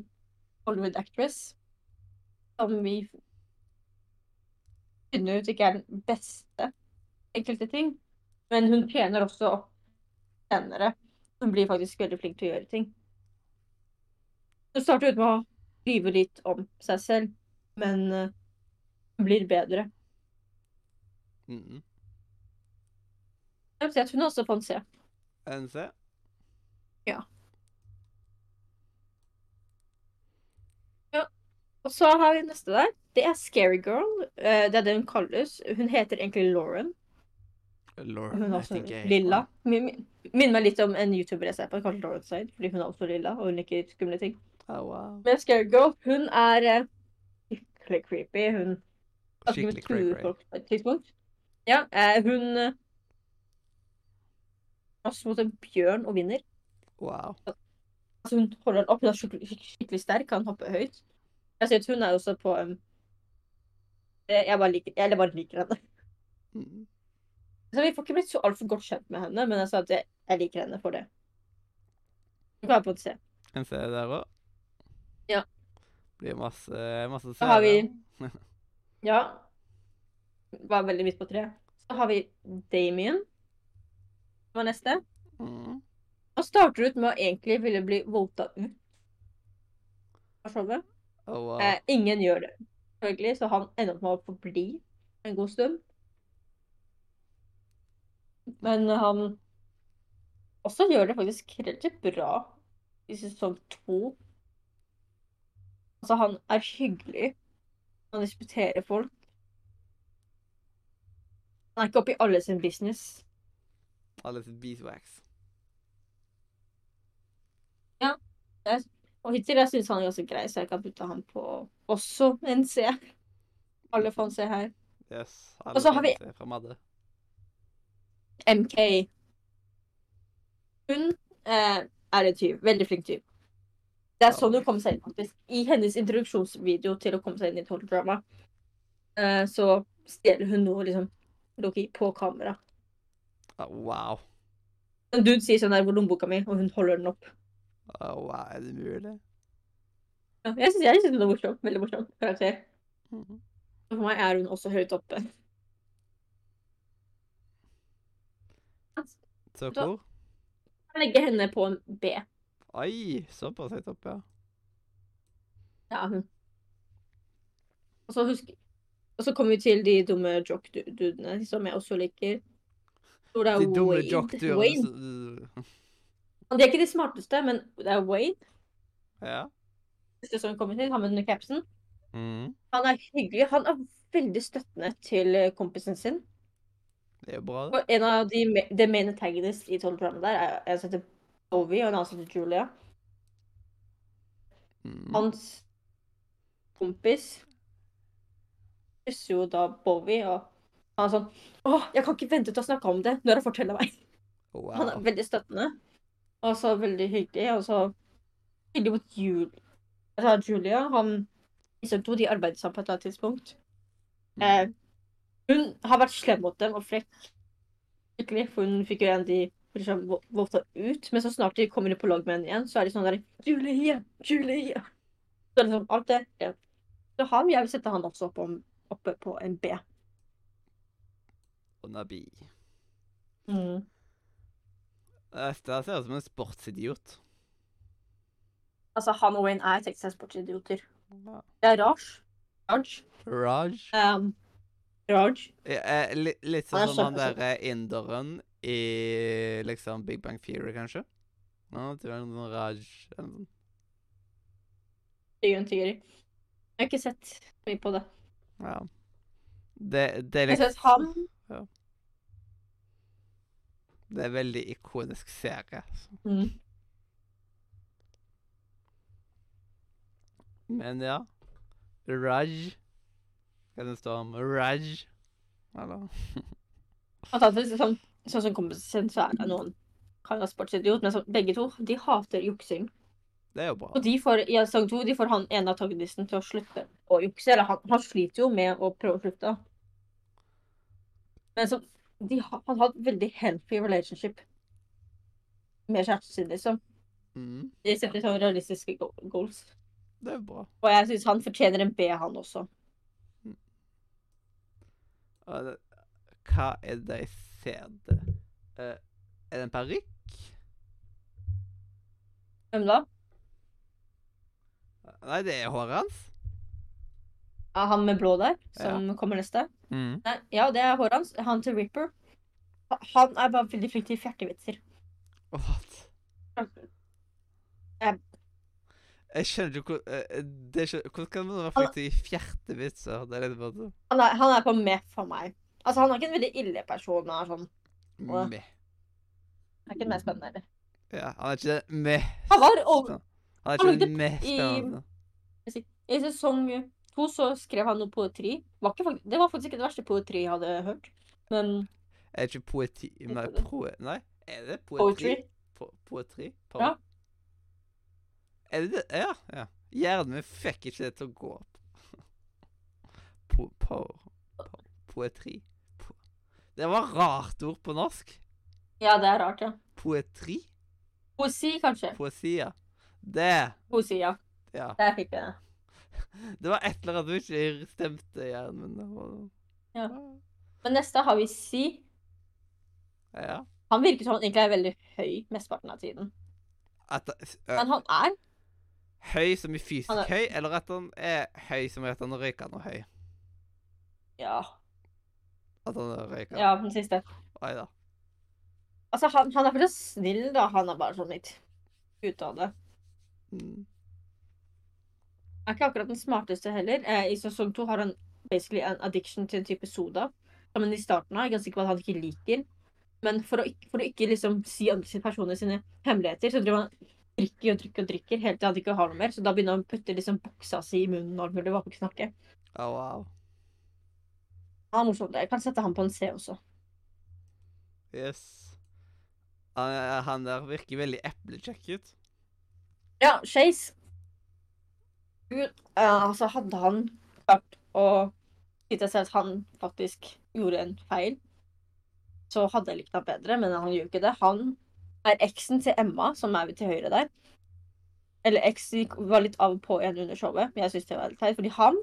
Hollywood actress som vi finner ut ikke er den beste i enkelte ting. Men hun trener også opp senere. Hun blir faktisk veldig flink til å gjøre ting. Hun starter ut med å lyve litt om seg selv, men eh, hun blir bedre. Mm Jeg vil si at hun er også fant se. NC? Ja. Ja. Og så har vi neste der. Det er Scary Girl. Eh, Det er det hun kalles. Hun heter egentlig Lauren. Lauren, Hun er jeg også tenker jeg- altså, lilla. Min- min- Minner meg litt om en YouTuber jeg ser på, kalt Lauren Side, fordi hun er også lilla, og hun liker skumle ting. Å, Oh, wow. Men Scary Girl, hun er eh, skikkelig creepy. Hun at hun Skikkelig truer cray-cray. folk Altså, på et tidspunkt. Ja, eh, hun eh, slåss mot en bjørn og vinner. Wow. Altså, hun holder den opp. Hun er skikkelig, skik- skikkelig sterk, kan hoppe høyt. Jeg ser at hun er også på um, eh, jeg, bare liker, jeg bare liker henne. Mm. Så vi får ikke blitt så altfor godt kjent med henne, men jeg sa at jeg, jeg liker henne for det. Hun kan være på et sted. NC der òg? Ja. Blir masse, masse Da har vi- seere. Ja. Var veldig midt på treet. Så har vi Damien. Som er neste. Mm. Han starter ut med å egentlig ville bli voldtatt ut. av showet. Å, Oh, wow. Eh, ingen gjør det, selvfølgelig, så han ender opp med å forbli en god stund. Men han også gjør det faktisk relativt bra i sesong to. Altså, han er hyggelig. Han respekterer folk. Han er ikke oppe i alle sin business. Alle sitt beeswax. Og hittil jeg synes han er ganske grei, så jeg kan putte han på også en C. Alle får en C her. Yes. Og så har vi- Fra Madde. MK. Hun eh, er en tyv. Veldig flink tyv. Det er sånn hun kom seg inn faktisk. I hennes introduksjonsvideo til å komme seg inn i Tolv-drama, eh, så stjeler hun noe liksom, Loki på kamera. Å, Ah, wow. En dude sier sånn der hvor lommeboka mi, og hun holder den opp. Å, Oh, wow. Er det mulig? Ja, jeg synes jeg synes hun er morsom. Veldig morsom karakter. Mhm. Og For meg er hun også høyt oppe. Så Da- hvor? Jeg legger henne på en B. Oi, såpass høyt opp, ja. Ja, hun. Mhm. Og så husker Og så kommer vi til de dumme jock-dudene, som jeg også liker. Hvor det er De dumme Wade. Wade. jock-turene. Og De er ikke de smarteste, men det er Wade Ja. neste som kommer til, han med den capsen. Mhm. Han er hyggelig. Han er veldig støttende til eh, kompisen sin. Det er jo bra, det. Og en av de, me- the main antagonists i 12 programmet der er en som heter Bowie, og en annen som heter Julia. Mhm. Hans kompis kysser jo da Bowie, og han er sånn Åh, jeg kan ikke vente til å snakke om det når han forteller meg. Han er Wow. veldig støttende, og så veldig hyggelig. Og så hyggelig mot Jul. Altså, Julia, han liksom to, de arbeidet sammen på et eller annet tidspunkt. Eh, hun har vært slem mot dem og frekk. Skikkelig, for hun fikk jo en de liksom, vo- voldta ut. Men så snart de kommer inn på lag med henne igjen, så er de sånn der Julie, Julie. Så er det sånn, alt det. Ja. Så han, jeg vil sette han også opp om, oppe på en B. Og Nabi. Eh, Dette ser ut som en sportsidiot. Altså, han og Wayne er Texas-sportsidioter. Ja. Det er Raj. Raj. Raj. Um, Raj. Ja, eh, li litt Han er sånn som han kjempesøt. derre inderen i liksom Big Bang Theory, kanskje? Ja, det var en sånn Raj eller noe sånt. Tigeren tiger. Jeg har ikke sett mye på det. Ja. Det, det er Jeg synes liksom han Det er veldig ikonisk serie. altså. mm. Men ja. Raj. Hva det står om Raj? Eller at han faktisk sånn, sånn som kompisen sin, så er det noen kan være sportsidiot, men så, begge to de hater juksing. Det er jo bra. Og de får, i sesong to de får han ene antagonisten til å slutte å jukse. Eller han, han sliter jo med å prøve å slutte. Men så, de, ha- han har et veldig healthy relationship. med kjæresten sin, liksom. Mm, De setter sånne realistiske go- goals. det er bra. Og jeg syns han fortjener en B, han også. Og det- Hva er det jeg ser det? Eh, er det en parykk? Hvem da? Nei, det er håret hans. Ja, han med blå der, som kommer neste. Mm. Nei, ja, det er håret hans. Han til Ripper. Ha- Han er bare veldig flink til fjertevitser. What? Jeg- Jeg skjønner ikke hvor eh, det skjønner, Hvordan kan man være flink til fjertevitser? Det er litt bare sånn Han er, han er på med for meg. Altså, han er ikke en veldig ille person. Han er sånn. Åh. meh. Han er ikke den mest spennende. heller. Ja, han er ikke det meh Han var over spennende. Han er han ikke det lagde meh i- spennende. I sesong to så skrev han noe poetri. Var ikke, fak- det var faktisk ikke det verste poetri jeg hadde hørt. Men Er det ikke poeti Nei, det? pro, nei er det poetri? poetry Po poetri? Po Ja. Er det det? Ja. ja. Hjernen min fikk ikke det til å gå opp. Po po po poetri. Po det var rart ord på norsk. Ja, det er rart, ja. Poetri? Poesi, kanskje. Poesi, ja. Det Poesi, ja. Ja. Der fikk jeg det. Det var et eller annet som ikke stemte i hjernen min. Det var- Ja. Men neste har vi Si. ja. Han virker som han egentlig er veldig høy mesteparten av tiden. At, det- ø, Men han er høy som i fysisk Han er- høy, eller at han er høy som i at han er røykende høy? Ja, At han er røykende. ja den siste. Oi da. Altså, han, han er fortsatt snill, da. Han er bare sånn litt ute av det. Mm. Er ikke akkurat den smarteste heller. Eh, I sesong to har han basically en addiction til en type soda. Som han i starten av er ganske sikker på at han ikke liker. Men for å ikke, for å ikke liksom si andre sine personer sine hemmeligheter, så driver han drikker og drikker og drikker helt til han ikke har noe mer. Så da begynner han å putte liksom boksa si i munnen når han burde bare snakke. Au, au. Han er morsom. Jeg kan sette han på en C også. Yes. Han, er- han der virker veldig eplekjekk ut. Ja, Chase Gud, eh, altså hadde han klart å si til seg at han faktisk gjorde en feil, så hadde jeg likt ham bedre, men han gjør jo ikke det. Han er eksen til Emma, som er til høyre der. Eller eks gikk- var litt av og på igjen under showet, men jeg syns det var litt teit. Fordi han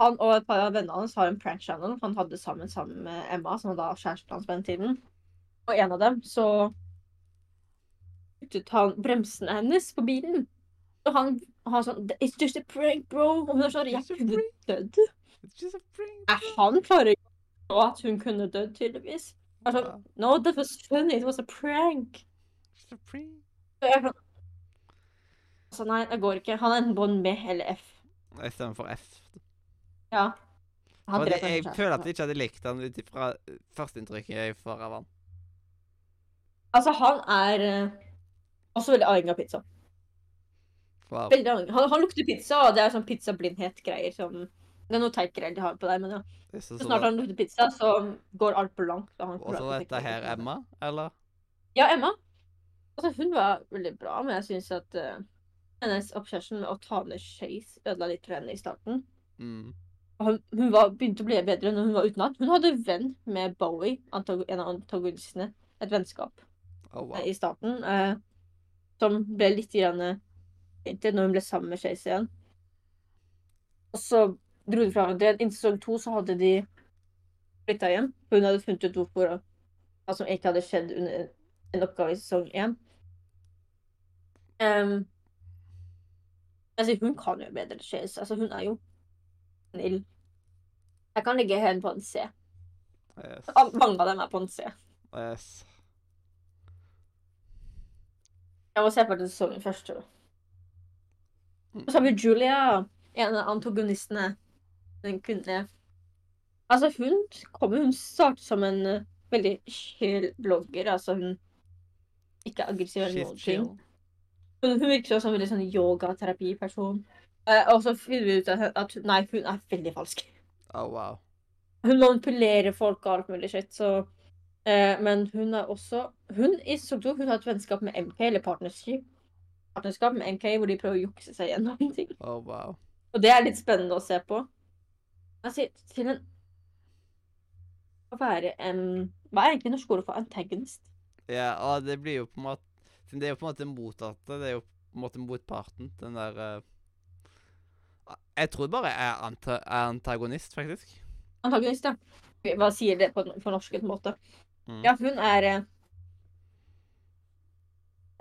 han og et par av vennene hans har en prank channel han hadde sammen sammen med Emma, som var da kjæresten hans på den tiden. Og en av dem så kuttet han bremsene hennes på bilen. Og han, han sånn It's just a prank, bro. Og hun er sånn Jeg It's a kunne prank. dødd. It's just a prank. Nei, han klarer ikke å forstå at hun kunne dødd, tydeligvis. Han er sånn, Ja, no, that was funny, it was a prank. just a prank. Så jeg er sånn, altså, nei, det går ikke. Han er enten på en B eller F. Jeg stemmer for F. Ja. Han Og det, dreper jeg kjæresten. føler at jeg ikke hadde likt han ut ifra ø, førsteinntrykket jeg får av han. Altså, han er eh, også veldig avhengig av pizza. Wow. Veldig avhengig. Han, han lukter pizza, og det er sånn pizzablindhet-greier som Det er noe teitgreier de har på deg, men ja. Jeg synes Så det snart var- han lukter pizza, så går alt på langt. Og han Altså, Og så klarer ikke dette å tenke her på det. Emma, eller? Ja, Emma. Altså, hun var veldig bra, men jeg syns at eh, hennes obsession med å ta ned Chase ødela litt for henne i starten. Mm. Og Hun, hun var, begynte å bli bedre når hun var utenlands. Hun hadde en venn med Bowie, antag en av antagonistene. Et vennskap Oh, eh, wow. i starten. eh, som ble litt grann eh, inntil når hun ble sammen med Chase igjen. Og så dro de fra hverandre. igjen. I sesong to så hadde de flytta hjem. for Hun hadde funnet ut hvorfor og hva som egentlig hadde skjedd under en oppgave i sesong én. Ehm, altså, hun kan jo bedre Chase. Altså, hun er jo snill. Jeg kan ligge henne på en C. Yes. Al- Mange av dem er på en C. yes. Jeg må se på den sesongen først. tror jeg. Mm. Og så har vi Julia, en av antagonistene. Den kvinnelige. Altså, hun kom jo Hun startet som en eh, veldig chill blogger. Altså, hun ikke aggressiv eller She's noen ting. chill. Hun, hun virker også som en veldig sånn yogaterapiperson. Eh, og så finner vi ut at, at hun- nei, hun er veldig falsk. Oh, wow. Hun manipulerer folk og alt mulig shit, så eh, Men hun er også Hun i sesong to hun har et vennskap med MK, eller partnerskap, partnerskap med MK, hvor de prøver å jukse seg gjennom ting. Oh, wow. Og det er litt spennende å se på. Altså, til en Å være en Hva er egentlig norsk ord for antagonist? Ja, og det blir jo på en måte Det er jo på en måte mottatt Det er jo på en måte mot parten, den der eh, Jeg tror bare jeg er anta er antagonist, faktisk. Antagonist, ja. Hva sier det på, på norsk en måte? Mm. Ja, hun er eh,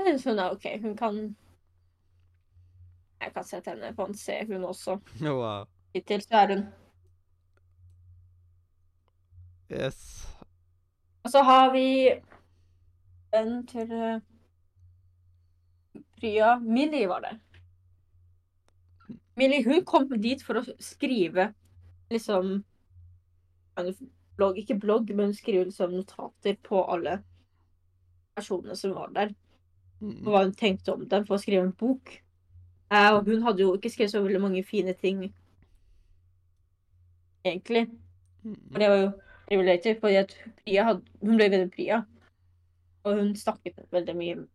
Jeg synes hun er OK. Hun kan Jeg kan sette henne på en C, hun også. Wow. Hittil så er hun Yes. Og så har vi en til eh, Priya Millie var det. Millie hun kom dit for å skrive liksom en blogg, Ikke blogg, men skrive liksom notater på alle personene som var der. Og Mm. hva hun tenkte om dem, for å skrive en bok. Eh, og hun hadde jo ikke skrevet så veldig mange fine ting, egentlig. Og Mm. det var jo revelated, fordi at Priya hadde, hun ble venn med Priya. Og hun snakket veldig mye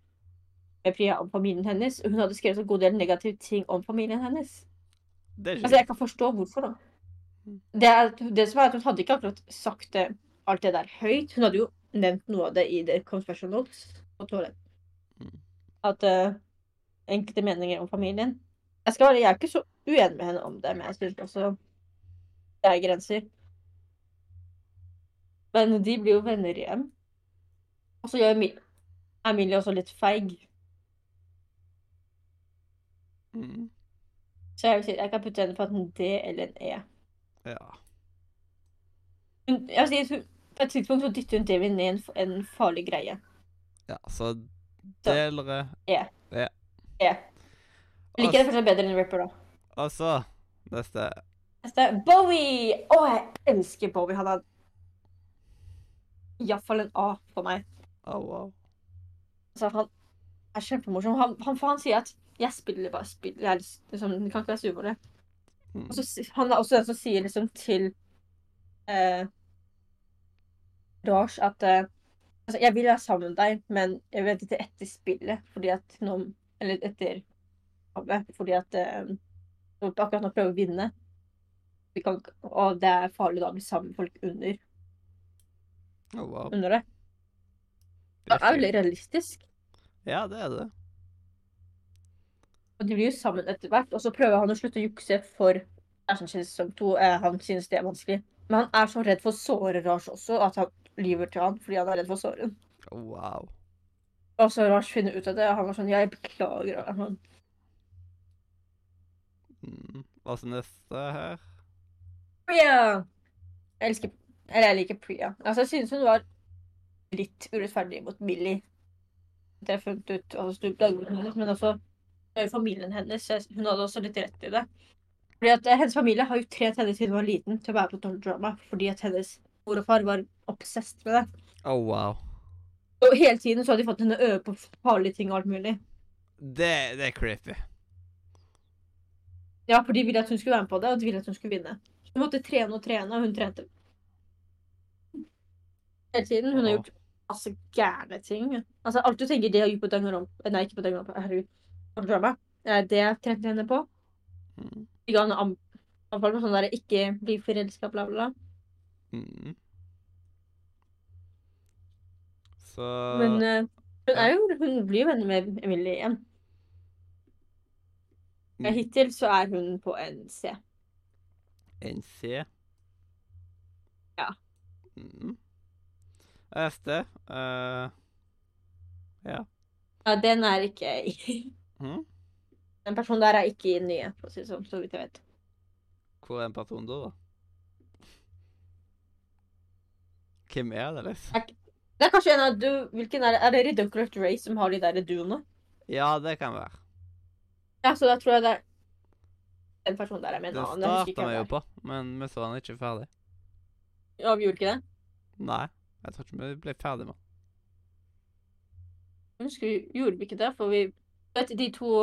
med Priya om familien hennes. Og hun hadde skrevet en god del negative ting om familien hennes. Det er Altså, ikke jeg kan forstå hvorfor, da. Mm. Det, er, det som er at Hun hadde ikke akkurat sagt det, alt det der høyt. Hun hadde jo nevnt noe av det i The Confession Notes på toalett. Mm. At eh, enkelte meninger om familien Jeg skal være, jeg er ikke så uenig med henne om det, men jeg synes også det er grenser. Men de blir jo venner igjen. Og så gjør Emi- Emilie også litt feig. mm. Så jeg, vil si, jeg kan putte henne på en D eller en E. Ja. Hun, jeg sier, hun, på et tidspunkt så dytter hun David ned i en, f- en farlig greie. ja. Så delere Ja. Ja. Ja. Jeg Og liker E. det fortsatt bedre enn Ripper, da. s- Og så Neste. Neste. Bowie! Å, jeg elsker Bowie. Han er iallfall en A for meg. Au, au. Altså, han er kjempemorsom. Han, han, for han sier at 'jeg spiller bare spill'. Jeg er liksom, du kan ikke være sur for det. Mm. Og så, si- han er også den som sier liksom til eh, Raj at eh, altså, 'Jeg vil være sammen med deg, men jeg vil vente til etter spillet', fordi at nå Eller etter havet, fordi at eh, nå- akkurat nå prøver vi å vinne. Vi kan, ikke- og det er farlig da å bli sammen med folk under, Au, au. under det. Det er veldig realistisk. Ja, det er det. Og de blir jo sammen etter hvert. Og så prøver han å slutte å jukse for kjæresten sin i sesong to. Eh, han synes det er vanskelig. Men han er så redd for å såre Raj også, at han lyver til han fordi han er redd for å såre ham. Oh, Wow. Og så Raj finner ut av det, og han var sånn Jeg beklager. Og han, Mm. Hva så neste her? Priya! Jeg elsker Eller jeg liker Priya. Altså, jeg synes hun var litt urettferdig mot Millie. Det har jeg funnet ut. Altså, snu dagboken hennes, men også med familien hennes. Jeg- Hun hadde også litt rett i det. Fordi at eh, Hennes familie har jo trent henne siden hun var liten til å være på Dollar Drama fordi at hennes mor og far var obsessed med det. Au, Oh, wow. Og hele tiden så hadde de fått henne øve på farlige ting og alt mulig. Det, det er creepy. Ja, for de ville at hun skulle være med på det, og de ville at hun skulle vinne. Så hun måtte trene og trene, og hun trente. Hele tiden. Hun har Ja. gjort masse gærne ting. Altså, alt du tenker det har gjort på Danganronpa eh, Nei, ikke på Danganronpa, herregud. På Drama. Eh, Det trente jeg henne på. Mm. De ga henne an- anbefaling om sånn der ikke bli forelska, bla, bla, bla. Mm. Så Men eh, hun, ja. er jo, hun blir jo venner med Emilie igjen. Men Mm. Hittil så er hun på en C. NC. eh, Ja. Mm. Neste. eh, Ja, den er ikke hm? Den personen der er ikke i den nye, for å si det sånn, så vidt jeg vet. Hvor er en person da, da? Hvem er det, liksom? Det er kanskje en av du, hvilken er det? Er det Ridiculous Ray som har de der duoene? Ja, det kan være. Ja, så da tror jeg det er den personen der er med en Det annen. Jeg starta husker ikke vi jo hvem det på, men vi så den ikke ferdig. er. Ja, vi gjorde ikke det? Nei, jeg tror ikke vi ble ferdig med den. Jeg husker vi gjorde vi ikke det, for vi vet du, de to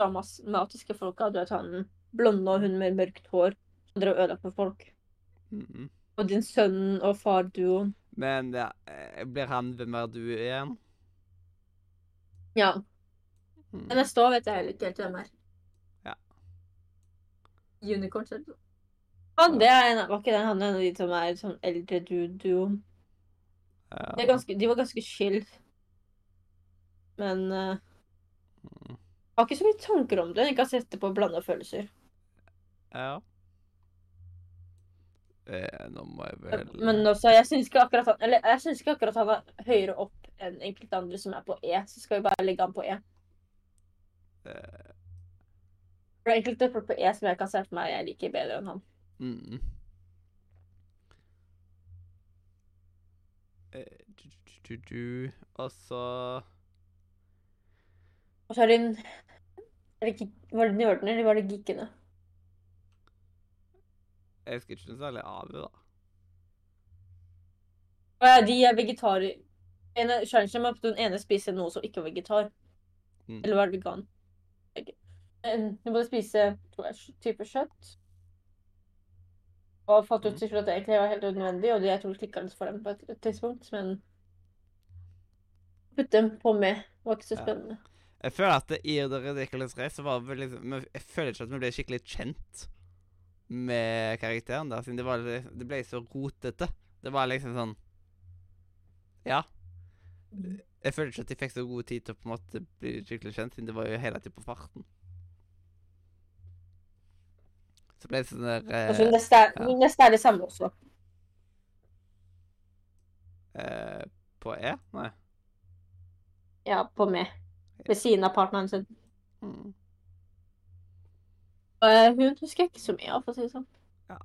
dramatiske folka hadde jo tatt den blonde og hun med mørkt hår som drev og ødela for folk. Mm. Og din sønn og far-duoen. Men ja, eh, blir han hvem er du igjen? Ja. Mm. Den neste år vet jeg heller ikke helt hvem er. Ja. Unicorn, ser du. Han, det er en, var ikke den, han er en av de som er sånn eldre duo-duoen. Ja. De, er ganske, de var ganske chill Men eh, jeg har ikke så mye tanker om det. Jeg kan sette på blanda følelser. Ja. Eh, nå må jeg Eh, vel Men også, jeg syns ikke, akkurat han- eller jeg synes ikke akkurat han er høyere opp enn enkelte andre som er på E. Så skal vi bare legge han på E. eh, For det er enkelte folk på E som jeg kan se for meg jeg liker bedre enn han. mm. Eh, du, du, du, du. Og så Og så er det en er det gik- Var det nerdene, eller var det geekene? Jeg husker ikke noe særlig av det, da. Å ja, de er vegetarer. En av challengene var at den ene spiser noe som ikke var vegetar. Mm. Eller var det vegan? Jeg vet ikke. Men Du måtte spise tror jeg, type kjøtt. Og fant Mm. ut til slutt at det egentlig var helt unødvendig, og det- jeg tror det klikka litt for dem på et tidspunkt, men Putt dem på med. Det var ikke så Ja. spennende. Jeg føler at det, i The Ridiculous Race så var vi liksom men Jeg føler ikke at vi ble skikkelig kjent med karakteren der, siden det, var, det ble så rotete. Det var liksom sånn Ja. Mhm. Jeg føler ikke at de fikk så god tid til å på en måte bli skikkelig kjent, siden det var jo hele tiden på farten. Så ble det sånn der Og så eh, Altså, neste, er, ja. neste er det samme også. eh, På E? Nei. Ja, på med. Ved siden av partneren sin. Mm. Og eh, hun husker jeg ikke så mye av, for å si det sånn. Ja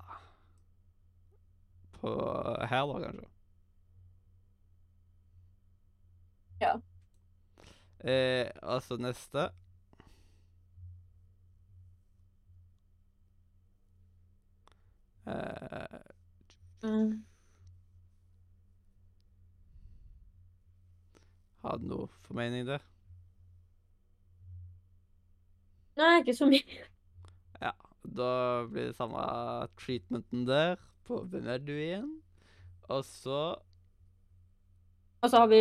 På her, da, kanskje? Ja. Eh, altså neste eh, Mm. Har du noe formening der? Nei, ikke så mye. Da blir det samme treatmenten der. På hvem er du igjen? Og så Og så har vi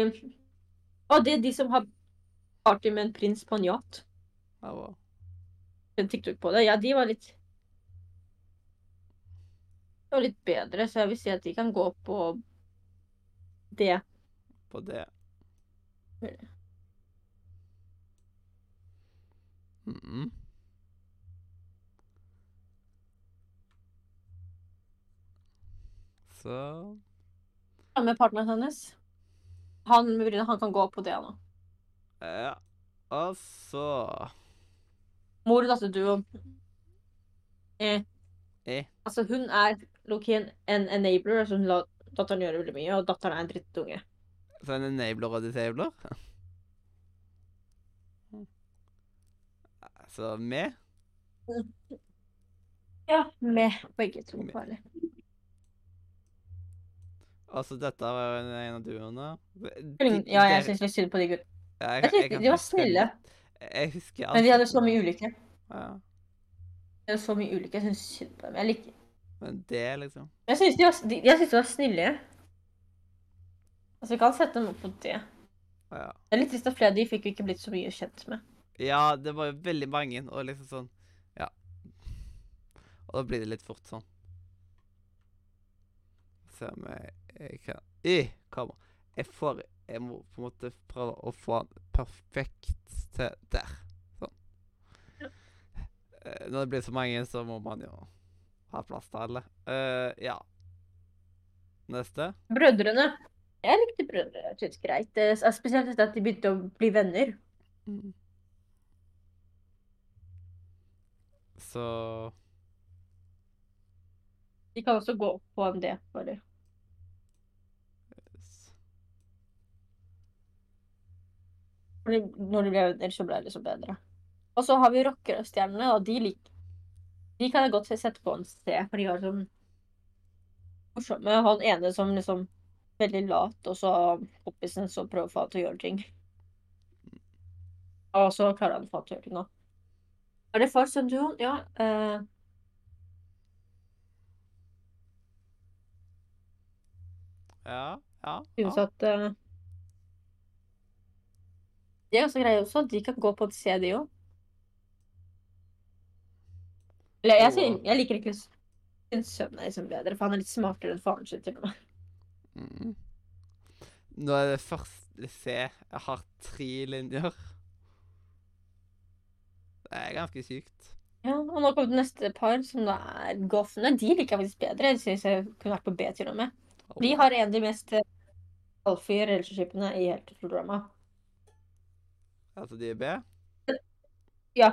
Å, det er de som har party med en prins på en yacht. Ja, hva? En TikTok på det. Ja, de var litt Det var litt bedre, så jeg vil si at de kan gå på det. på det. Mm. Så Ja, Med partneren hennes. Han, med brillene, han kan gå på det nå. Ja. Og så Mor og datterduo. Eh. Eh. Altså, hun er Loki en, en enabler, altså hun lar datteren gjøre veldig mye, og datteren er en drittunge. Så en enabler og disabler. Så vi Ja, med begge to. Med. bare. Altså, dette var jo en av duoene. Ja, jeg syns litt synd på de gutta. jeg, Jeg kan- jeg tenkte, kan de var huske den snille, godt. Jeg husker men de hadde alt. så mye ulykke. Ja. De hadde så mye ulykke, Jeg syns synd på dem. Jeg, lik... Men det, liksom jeg syns de, var- de, jeg synes de var snille. Altså, Vi kan sette dem opp på det. Ja. Det er litt trist at flere av de fikk vi ikke blitt så mye kjent med. Ja, det var jo veldig mange, og liksom sånn Ja. Og da blir det litt fort sånn. Se om jeg, jeg kan I, kamera. Jeg får Jeg må på en måte prøve å få den perfekt til der. Sånn. Eh, Når det blir så mange, så må man jo ha plass til alle. Eh, ja. Neste. Brødrene. Jeg likte brødre. jeg synes greit. Det er spesielt etter at de begynte å bli venner. Så De kan også gå opp på en D. Bare. Når de- Når de ble venner, så ble det så bedre. Og så har vi rockerstjernene, og de lik... De kan jeg godt se- sette på en sted, for de var sånn morsomme. Og han ene som liksom veldig lat, og så kompisen som prøver å få han til å gjøre ting. Og så klarer han å få han til å gjøre ting òg. Er det far som du Ja. Eh, Ja, ja. synes ja. at eh, De er ganske greie også. De kan gå på en CD òg. Eller jeg, sier, Og- jeg liker ikke sin sønn er liksom bedre, for han er litt smartere enn faren sin. til og med. Mm. Nå er det først C har tre linjer. Det er ganske sykt. Ja, og nå kom det neste par, som da er goffene. De liker jeg faktisk bedre. Jeg synes jeg kunne vært på B til og med. De har en av de mest eh, alfy relationshipene i hele programmet. Altså, de er B. Ja.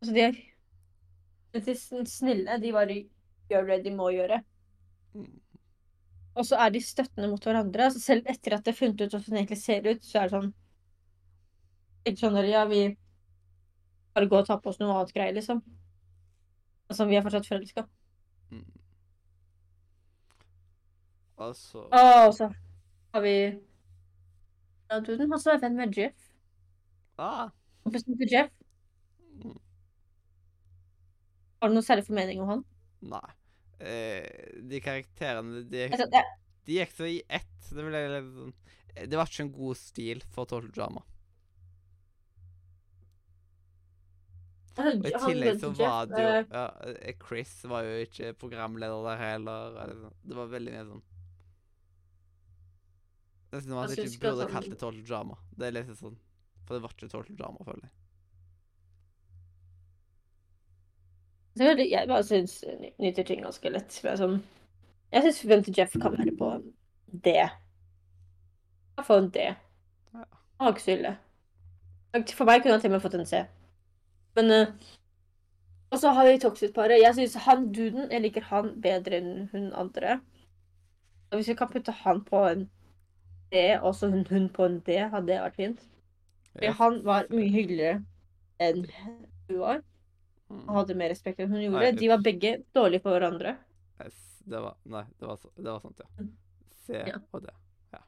Altså, de er Men de sn- snille. De bare gjør det de må gjøre. Mm. Og så er de støttende mot hverandre. Altså, selv etter at de har funnet ut hvordan de egentlig ser ut, så er det sånn Ikke sånn der, ja, vi bare går og tar på oss noe annet greier, liksom. Altså, vi er fortsatt forelska. Og så Og så har vi ja, duden. Han som er venn med Jeff. ah. Kompisen til Jeff. Mm. Har du noen særlig formening om han? Nei. Eh, de karakterene de, Jeg sa- jeg- de gikk så i ett. Det ble litt sånn Det var ikke en god stil for tolvdrama. Og i han- tillegg så Jeff, var det jo eh, ja, eh, Chris var jo ikke programleder der heller. og det- Det var veldig mye sånn Det er sånn at Altså, Jeg jeg synes ikke ikke at burde han- kalt det tolvdrama. Det er litt sånn For det var ikke tolvdrama, føler jeg. Så jeg- Jeg bare syns nyter ting ganske lett. For jeg, er sånn, jeg syns hvem til Jeff kan være på det. Jeg får en D. Ja. Han var ikke så ille. For meg kunne han til og med fått en C. Men eh, Og så har vi Toxic-paret. Jeg syns han duden Jeg liker han bedre enn hun andre. Og hvis vi kan putte han på en D, og så hun, hun på en D, hadde det vært fint. For Ja. han var mye hyggeligere enn hun var. Mm. Han hadde mer respekt enn hun gjorde. Nei, De var begge dårlige for hverandre. S- Det var Nei, det var, så- det var sånt, ja. Mm. C Ja. og D. Ja.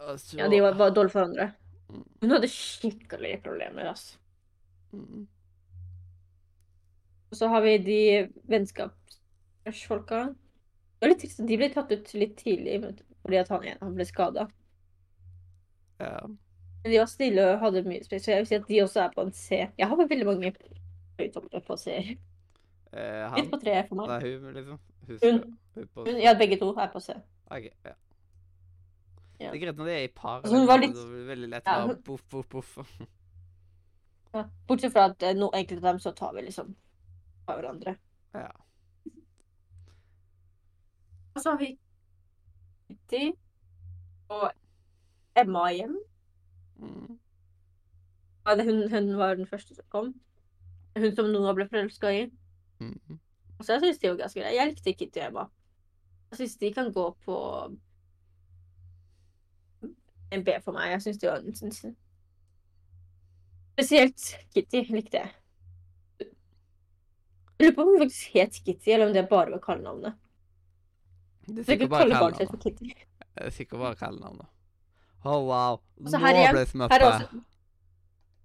Og så Ja, de var bare dårlige for hverandre. Mm. Hun hadde skikkelige problemer, altså. Mm. Og så har vi de vennskapsfolka. Det var litt trist. at De ble tatt ut litt tidlig men- fordi at han ene han ble skada. Ja. Men de var snille og hadde mye respekt, så jeg vil si at de også er på en C. Jeg har veldig mange høyt oppe på C. Eh, han Litt på tre for meg. Nei, hun, liksom. Hun, Hun. hun på Men ja, begge to er på C. OK. Ja. Ja. Det er greit når det er i par. Altså, hun var liksom, litt- Da blir det veldig lett å Ja, bare hun- poff, poff, poff. Ja. Bortsett fra at eh, no, enkelte av dem så tar vi liksom fra hverandre. Ja. Og så har vi Kitty og Emma hjem. Mm. Ja, det- Hun, hun var den første som kom. Hun som Noah ble forelska i. Mm. Og så jeg synes de var ganske greie. Jeg likte Kitty og Emma. Jeg syns de kan gå på en B for meg. Jeg syns de var en en- en- Spesielt Kitty likte jeg. Jeg lurer på om hun faktisk het Kitty, eller om det bare var kallenavnet. Det er Så jeg kan sikkert bare kalle barnet sitt for kallenavnet. Kitty. Det er sikkert bare kallenavnet. Oh, wow. Og Nå så her igjen- ble jeg Her er smurpa. også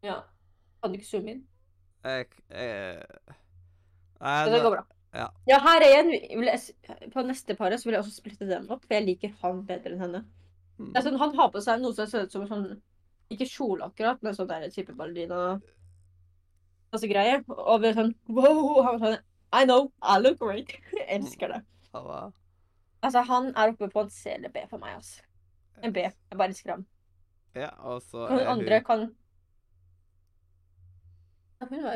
Ja. Kan du ikke zoome inn? Jeg eh, Så Nei, det går nå- bra. Ja. Ja, her er igjen. Vil jeg, s- på neste paret så vil jeg også splitte dem opp, for jeg liker han bedre enn henne. Det er mm. sånn, han har på seg noe som ser ut som en sånn Ikke kjole akkurat, men sånn der type ballerina masse greier. Og vi er sånn wow! Han er sånn I know, I look great. Jeg elsker det. Oh, wow. Altså, han er oppe på en C eller B for meg, altså. En B. Jeg bare elsker ham. Ja, og så Og er hun andre kan Ja, Hun var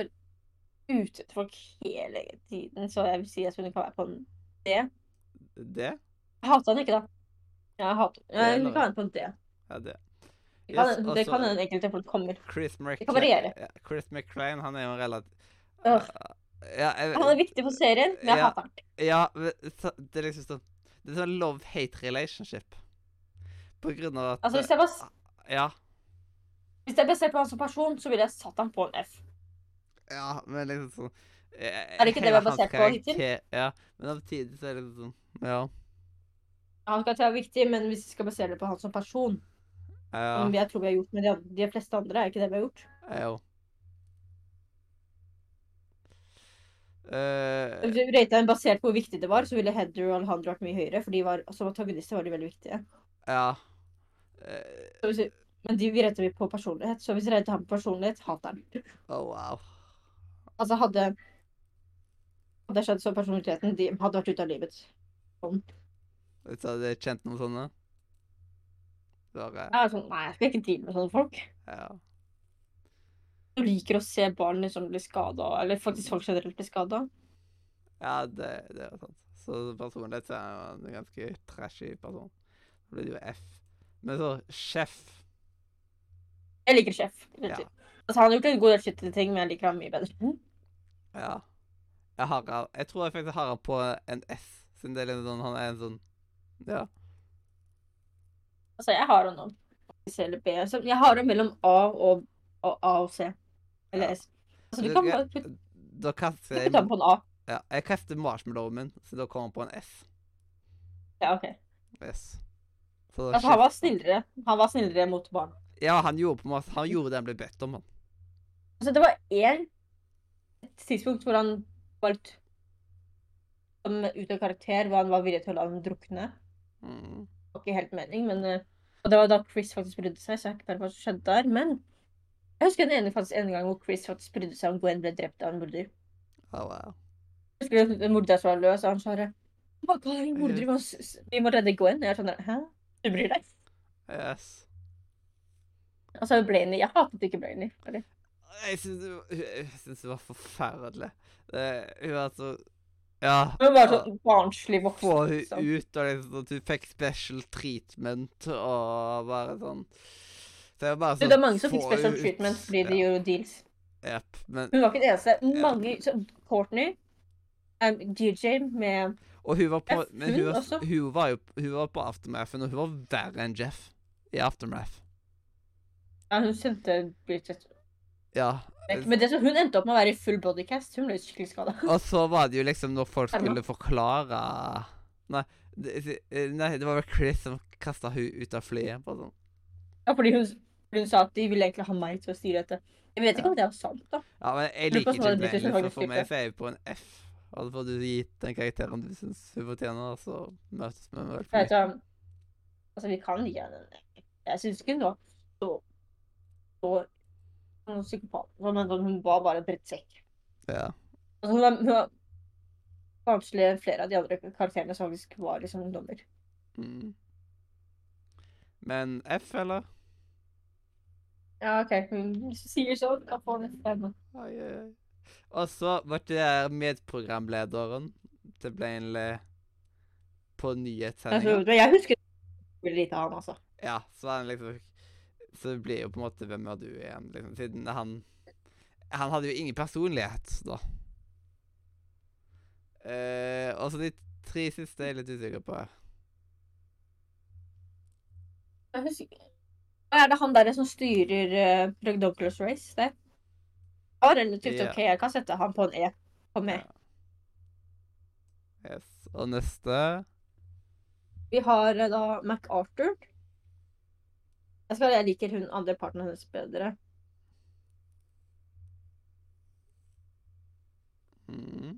ute etter folk hele tiden, så jeg vil si at hun kan være på en D. hun det. Jeg hater han ikke, da. Ja, Jeg hater er Nei, Hun lavere. kan være på en D. Ja, det. Det kan- Yes, og Det så- kan hende enkelte folk kommer. Chris Det kan McClain, variere. ja, Chris McClain han er jo en relativt Åh. ja, jeg, Han er viktig for serien, men jeg Ja. hater han. Ja, men så- det er liksom sånn Det er sånn love-hate relationship. På grunn av at Altså, hvis jeg, var, Ja. hvis jeg ble sett på han som person, så ville jeg satt han på en F. Ja, men liksom sånn Er det ikke det vi er basert på hittil? Ja, men samtidig så er det liksom sånn Ja. Han skal være viktig, men hvis vi skal basere det på han som person, Ja, som jeg tror vi har gjort med de, an- de fleste andre, er ikke det vi har gjort. jo. Eh, Hvis vi ratet den basert på hvor viktig det var, så ville Heather og Alejandro vært mye høyere, for de var, som antagonister var de veldig viktige. ja. Eh, Så hvis vi, men de vi ratet vi på personlighet, så hvis vi ratet ham på personlighet, hater han. oh, wow. Altså, hadde hadde jeg skjedd så personligheten, de hadde vært ute av livet. Sånn. Vet du, Hadde jeg kjent noen sånne? Bare Jeg er sånn, nei, jeg skal ikke drive med sånne folk. Ja. Som liker å se barn liksom bli skada, eller faktisk folk generelt bli skada. Ja, det, det er sant. Så personlighet så er han en ganske trashy person. Så blir det jo F. Men så sjef. Jeg liker sjef. Ja. Mhm. Altså, han har gjort en god del skitne ting, men jeg liker ham mye bedre. ja. Jeg, har, han- jeg tror jeg faktisk har han på en S, siden det er litt sånn, han er en sånn Ja. Altså, jeg har han nå. C eller B. Så jeg har han mellom A og, og A og C. Eller Ja. S. Altså, du Det- kan jeg- bare putte, Da kaster jeg putte ham på en A. Ja, jeg kaster marshmallowen min, så da kommer han på en S. Ja, ok. S. Så da Altså, han var skifter han. snillere. Han var snillere mot barn. Ja, han gjorde på en måte Han gjorde det han ble bedt om, han. Altså, det var én et tidspunkt hvor han var litt som ut av karakter, hvor han var villig til å la dem drukne. Mm. Det var ikke helt mening, men eh, Og det var da Chris faktisk brydde seg, så jeg er ikke klar over hva som skjedde der. Men jeg husker en ene, faktisk en gang hvor Chris faktisk brydde seg om Gwen ble drept av en morder. Ja, wow. Jeg husker en morder som var løs, og han sa bare «Å, hva er en morder? Vi må s- s- Vi må redde Gwen. Jeg er sånn der, Hæ? Du bryr deg? Yes. Og så er Blaney. Jeg hatet ikke Blaney. sorry. Jeg syns det, var- jeg syns det var forferdelig. Det, hun var så Ja. Hun var å sånn barnslig voksen. Få hun liksom. ut, og liksom at hun fikk special treatment og bare sånn Det er bare Du, sånn Det er mange som få fikk special hun ut. treatment fordi de ja, gjorde deals. Jepp. Men Hun var ikke den eneste. Mange så Courtney, um, DJ med Og hun var på Jeff, Men hun hun, var- også. hun var jo Hun var på Aftermathen, og hun var verre enn Jeff i Aftermath. ja, Hun sendte Bridget Ja. vekk. Men det som hun endte opp med å være i full bodycast. Hun ble skikkelig skada. Og så var det jo liksom når folk Emma? skulle forklare Nei, det, eh, nei, det var vel Chris som kasta hun ut av flyet. Bare sånn. Ja, fordi hun, hun sa at de ville egentlig ha meg til å styre dette. Jeg vet ikke om det er sant, da. Ja, men jeg Lurer på liker hva ikke det blir til Glenn, så slags for meg type. så er jeg på en F. Og så får du gitt den karakteren du syns hun fortjener, og så møtes vi vel Jeg for vet, um, altså, vi kan gi henne en Jeg syns ikke hun var så, så noen psykopat, men hun var bare en drittsekk. Ja. Altså, hun var, hun var barnslig enn flere av de andre karakterene som faktisk var liksom dommer. Mm. Men F, eller? Ja, OK. Hun sier sånn. Kan få en stemme. Oi, oi, oi. Og så ble det der medprogramlederen til Blainley på nyhetssendinga. Altså, jeg husker veldig lite av han, altså. Ja, så han liksom Så det blir jo på en måte Hvem er du igjen? Liksom, siden han Han hadde jo ingen personlighet, da. Eh, og så de tre siste er jeg litt usikker på. her. Jeg husker... Hva er det han der som styrer uh, Douglas Race? Det? det var relativt Ja. OK. Jeg kan sette han på en E. På meg. Yes. Og neste Vi har eh, da MacArthur. Jeg, skal, jeg liker hun andre parten hennes bedre. Mhm.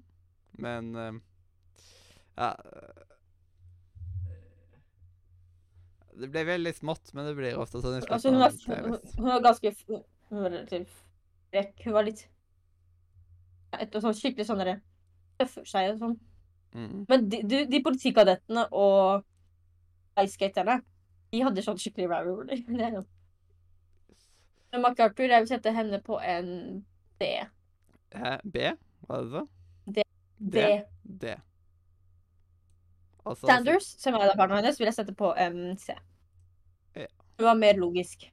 Men eh, Ja. eh, Det ble veldig smått, men det blir ofte sånn. i slutten Altså, hun, av var, en hun, playlist. hun var ganske f- Hun var relativt frekk. Hun var litt ja, et, sånn, Skikkelig sånn derre Tøffer seg og sånn. Mhm. Men de, de, de politikadettene og ice-skaterne, de hadde sånn skikkelig rivalry. Det er jo- Men MacArthur, jeg vil sette henne på en D. Hæ? Eh, B? Hva er det så? D. D. D. Altså, Sanders, som er da barna hennes, vil jeg sette på en C. Ja. Hun var mer logisk.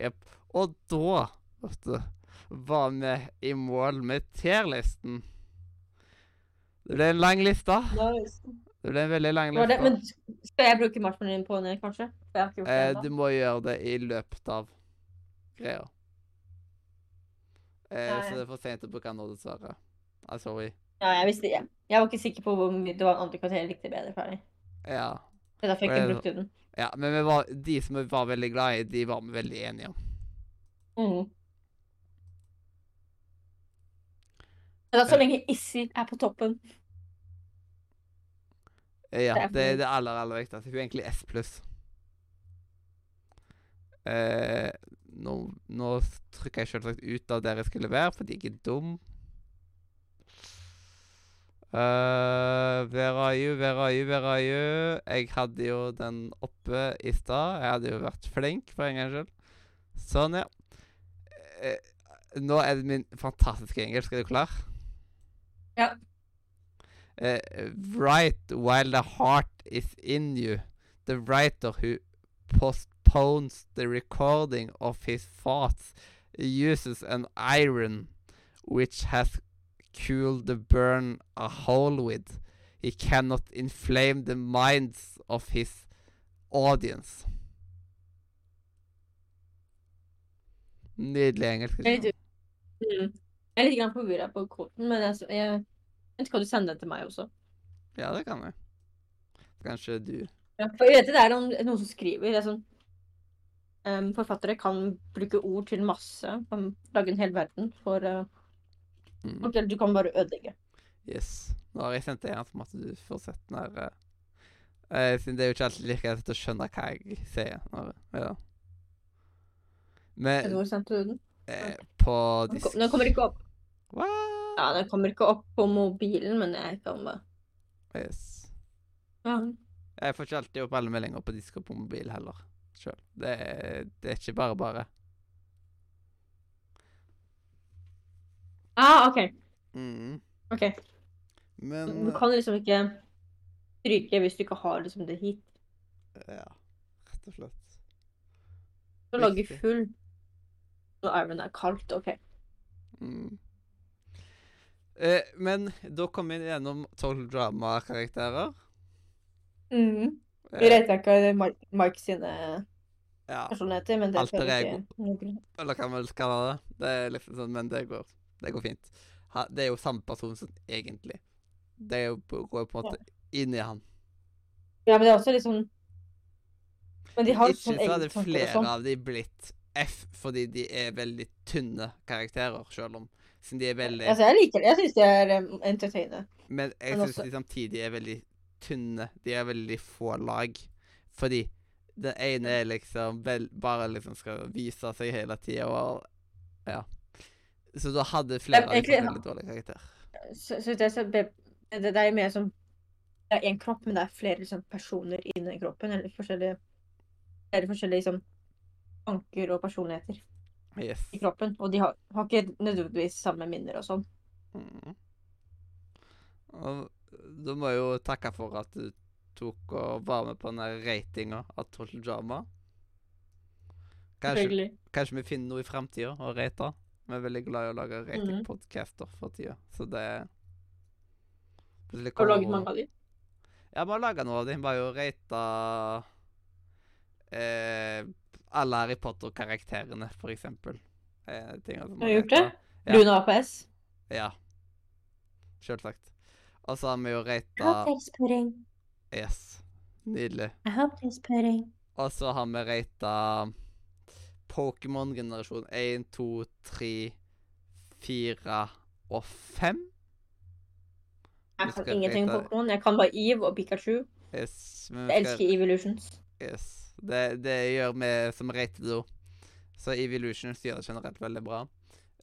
Jepp. altså, Og da, vet du, var vi i mål med tierlisten. Det ble en lang liste. Det Det ble en veldig lang var liste. det. Men skal jeg bruke marshmallowen på henne, kanskje? For jeg har ikke gjort det eh, du ennå. må gjøre det i løpet av greia. Eh, Ja, Så det ja. er for sent å bruke den nå, dessverre. Ah, sorry. Ja, jeg, visste, jeg, jeg var ikke sikker på hvor mye det var en andre karakter jeg likte bedre. Ferdig. Ja. Det er derfor jeg Hva er ikke det- brukte den. ja men vi var, de som vi var veldig glad i, de var vi veldig enige om. Mhm. Men da, så Eh. lenge Issy er på toppen Det Ja, er det er fordi- det aller, aller viktigste. Hun er egentlig S pluss. Eh, nå, nå trykker jeg selvsagt ut av der jeg skulle være, fordi jeg er dum. Eh, where are you, where are you, where are you? Jeg hadde jo den oppe i stad. Jeg hadde jo vært flink, for en gangs skyld. Sånn, ja. Eh, nå er det min fantastiske engelsk. Er du klar? Ja. Eh, right while the heart is in you, the writer who postpones the recording of his thoughts uses an iron which has cooled the burn a hole with. He cannot inflame the minds of his audience. Nydelig engelsk. Jeg er liksom. litt, mm. jeg er litt grann forvirra på kvoten, men jeg, jeg, jeg skal du sende den til meg også? Ja, det kan jeg. Kanskje du Ja, for jeg vet det er noen, noen som skriver det er sånn, em, Forfattere kan bruke ord til masse. Kan lage en hel verden for eh, mm. folk. Eller du kan bare ødelegge. Eh, Yes. Nå har jeg sendt deg en som at du får sett den her eh, eh, Siden det er jo ikke alltid like lett å skjønne hva jeg sier. Når, ja. Men Hvor sendte du den? eh, på Den kom- disk Den kommer ikke opp What? Ja, den kommer ikke opp på mobilen, men jeg kan bare Yes. ja. Jeg får ikke alltid opp alle meldinger på disk og på mobil heller. Selv. Det, er- det er ikke bare bare. Ah, OK. Mm. ok. Men eh, Du kan liksom ikke stryke hvis du ikke har liksom det hit. eh, Ja. Rett og slett. Du kan lage Riktig. full når armen er kaldt. OK. Mm. Eh, men da kom vi gjennom tolv dramakarakterer. Mm. Eh, Vi retter ikke Mike, Mike sine ja. personligheter, men det Alter føler jeg ego. ikke noe grunn. Eller hva man skal kalle det. Det er liksom sånn, Men det går, det går fint. Ha, det er jo samme person som egentlig. Det er jo, på- går på en måte inn i han. Ja, men det er også litt sånn Men de har Ikke sånn så egne hadde tanker og flere sånn. av de blitt F fordi de er veldig tynne karakterer, selv om siden de er veldig Altså, jeg liker det. Jeg syns de er um, entertainende. Men jeg Men syns også- de samtidig er veldig tynne. De er veldig få lag. Fordi den ene er liksom vel, bare liksom skal vise seg hele tida og Ja. Så da hadde flere av de egentlig- fått veldig dårlig karakter. Så, så det, er så be- det, det er mer som Det er én kropp, men det er flere liksom, personer inni kroppen. Eller forskjellige Flere forskjellige liksom, tanker og personligheter Yes. i kroppen. Og de har, har ikke nødvendigvis samme minner og sånn. Mm. Og da må jeg jo takke for at du tok og var med på denne ratinga av Total Drama. Kanskje, Selvfølgelig. kanskje vi finner noe i framtida å rate. Vi er veldig glad i å lage Mhm. ratingpodcaster for tida, så det Plutselig Har du kommer- laget mange av dem? Ja, vi har laga noe av dem. Bare jo rata eh, alle Harry Potter-karakterene, for eksempel. Eh, ting at Har man du gjort det? rater. Ja. Luna APS? Ja. Sjølsagt. Og så har vi jo I have rata taste pudding. Yes. Nydelig. I have taste pudding. Og så har vi rata Pokémon generasjon 1, 2, 3, 4 og 5. Jeg Vi kan skal ingenting om rate- Pokémon. Jeg kan bare Eve og Pikachu. Yes. men vi Jeg skal- elsker Evolutions. Yes. Det, det gjør vi som rater det òg. Så Evolutions gjør det generelt veldig bra.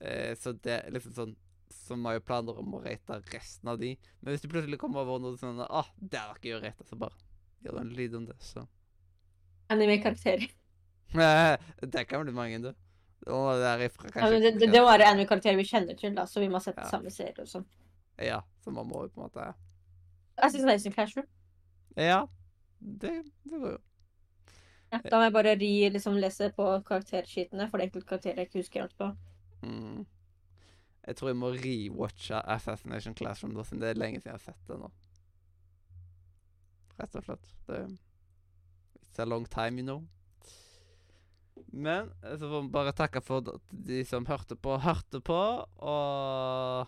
Eh, så det er liksom sånn Som har jo planer om å rate resten av de. Men hvis du plutselig kommer over noe sånn ah, der har ikke jeg rata, så bare gjør du en lyd om det, så Anime-karakterer. Det kan bli mange, du. Det må være ifra Ja, men kanskje det, det, det må være anime-karakterer vi kjenner til, da, så vi må ha sett Ja. samme serie og sånn. Ja, så man må jo på en måte Jeg syns Amazing Classroom. Ja. Det, det går jo. Ja, da må jeg bare ri, liksom, lese på karakterskitene for det enkelte karakterer jeg ikke husker alt på. Mm. Jeg tror jeg må rewatche Assassination Classroom, da, siden det er lenge siden jeg har sett det nå. Rett og slett. Det It's a long time, you know. Men eh, så får vi bare takke for at de som hørte på, hørte på, og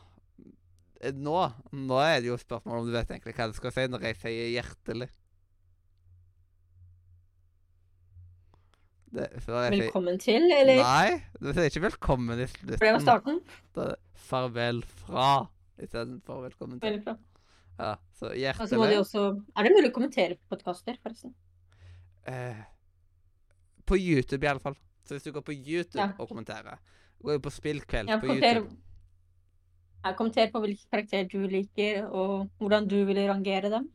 eh, nå, nå er det jo spørsmål om du vet egentlig hva du skal si når jeg sier hjertelig. Det, før jeg sier Velkommen til, eller? Nei, du sier ikke velkommen i For det var slutten. starten. Da er det farvel fra istedenfor velkommen til. Veldig bra. Ja, så Og så må de hjertelig. også Er det mulig å kommentere på podkaster, forresten? Eh, på YouTube, i alle fall. Så hvis du går på YouTube Ja. og kommenterer Går jo på spillkveld Ja, på kommenter- YouTube. her kommenter på hvilke karakterer du liker, og hvordan du vil rangere dem.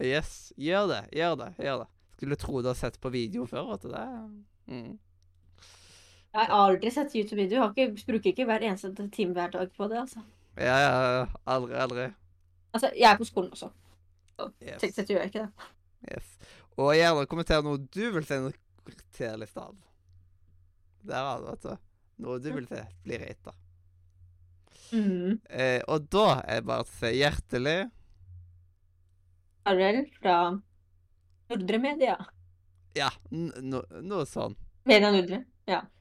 Yes, gjør det, gjør det, gjør det. Skulle tro du har sett på video før, vet du det. Mm. Jeg har aldri sett YouTube-video. Har ikke, bruker ikke hver eneste time hver dag på det. altså. Ja, ja, ja, aldri, aldri. Altså, Jeg er på skolen også. Teknisk Yes, sett gjør jeg ikke det. yes. Og gjerne kommenter noe du vil se en karakterliste av. Der har du, vet du. Noe du vil se blir rata. Mm. Eh, og da er det bare å si hjertelig Ariel fra Nordre Media. Ja, n no, noe sånn. Media Nordre. Ja.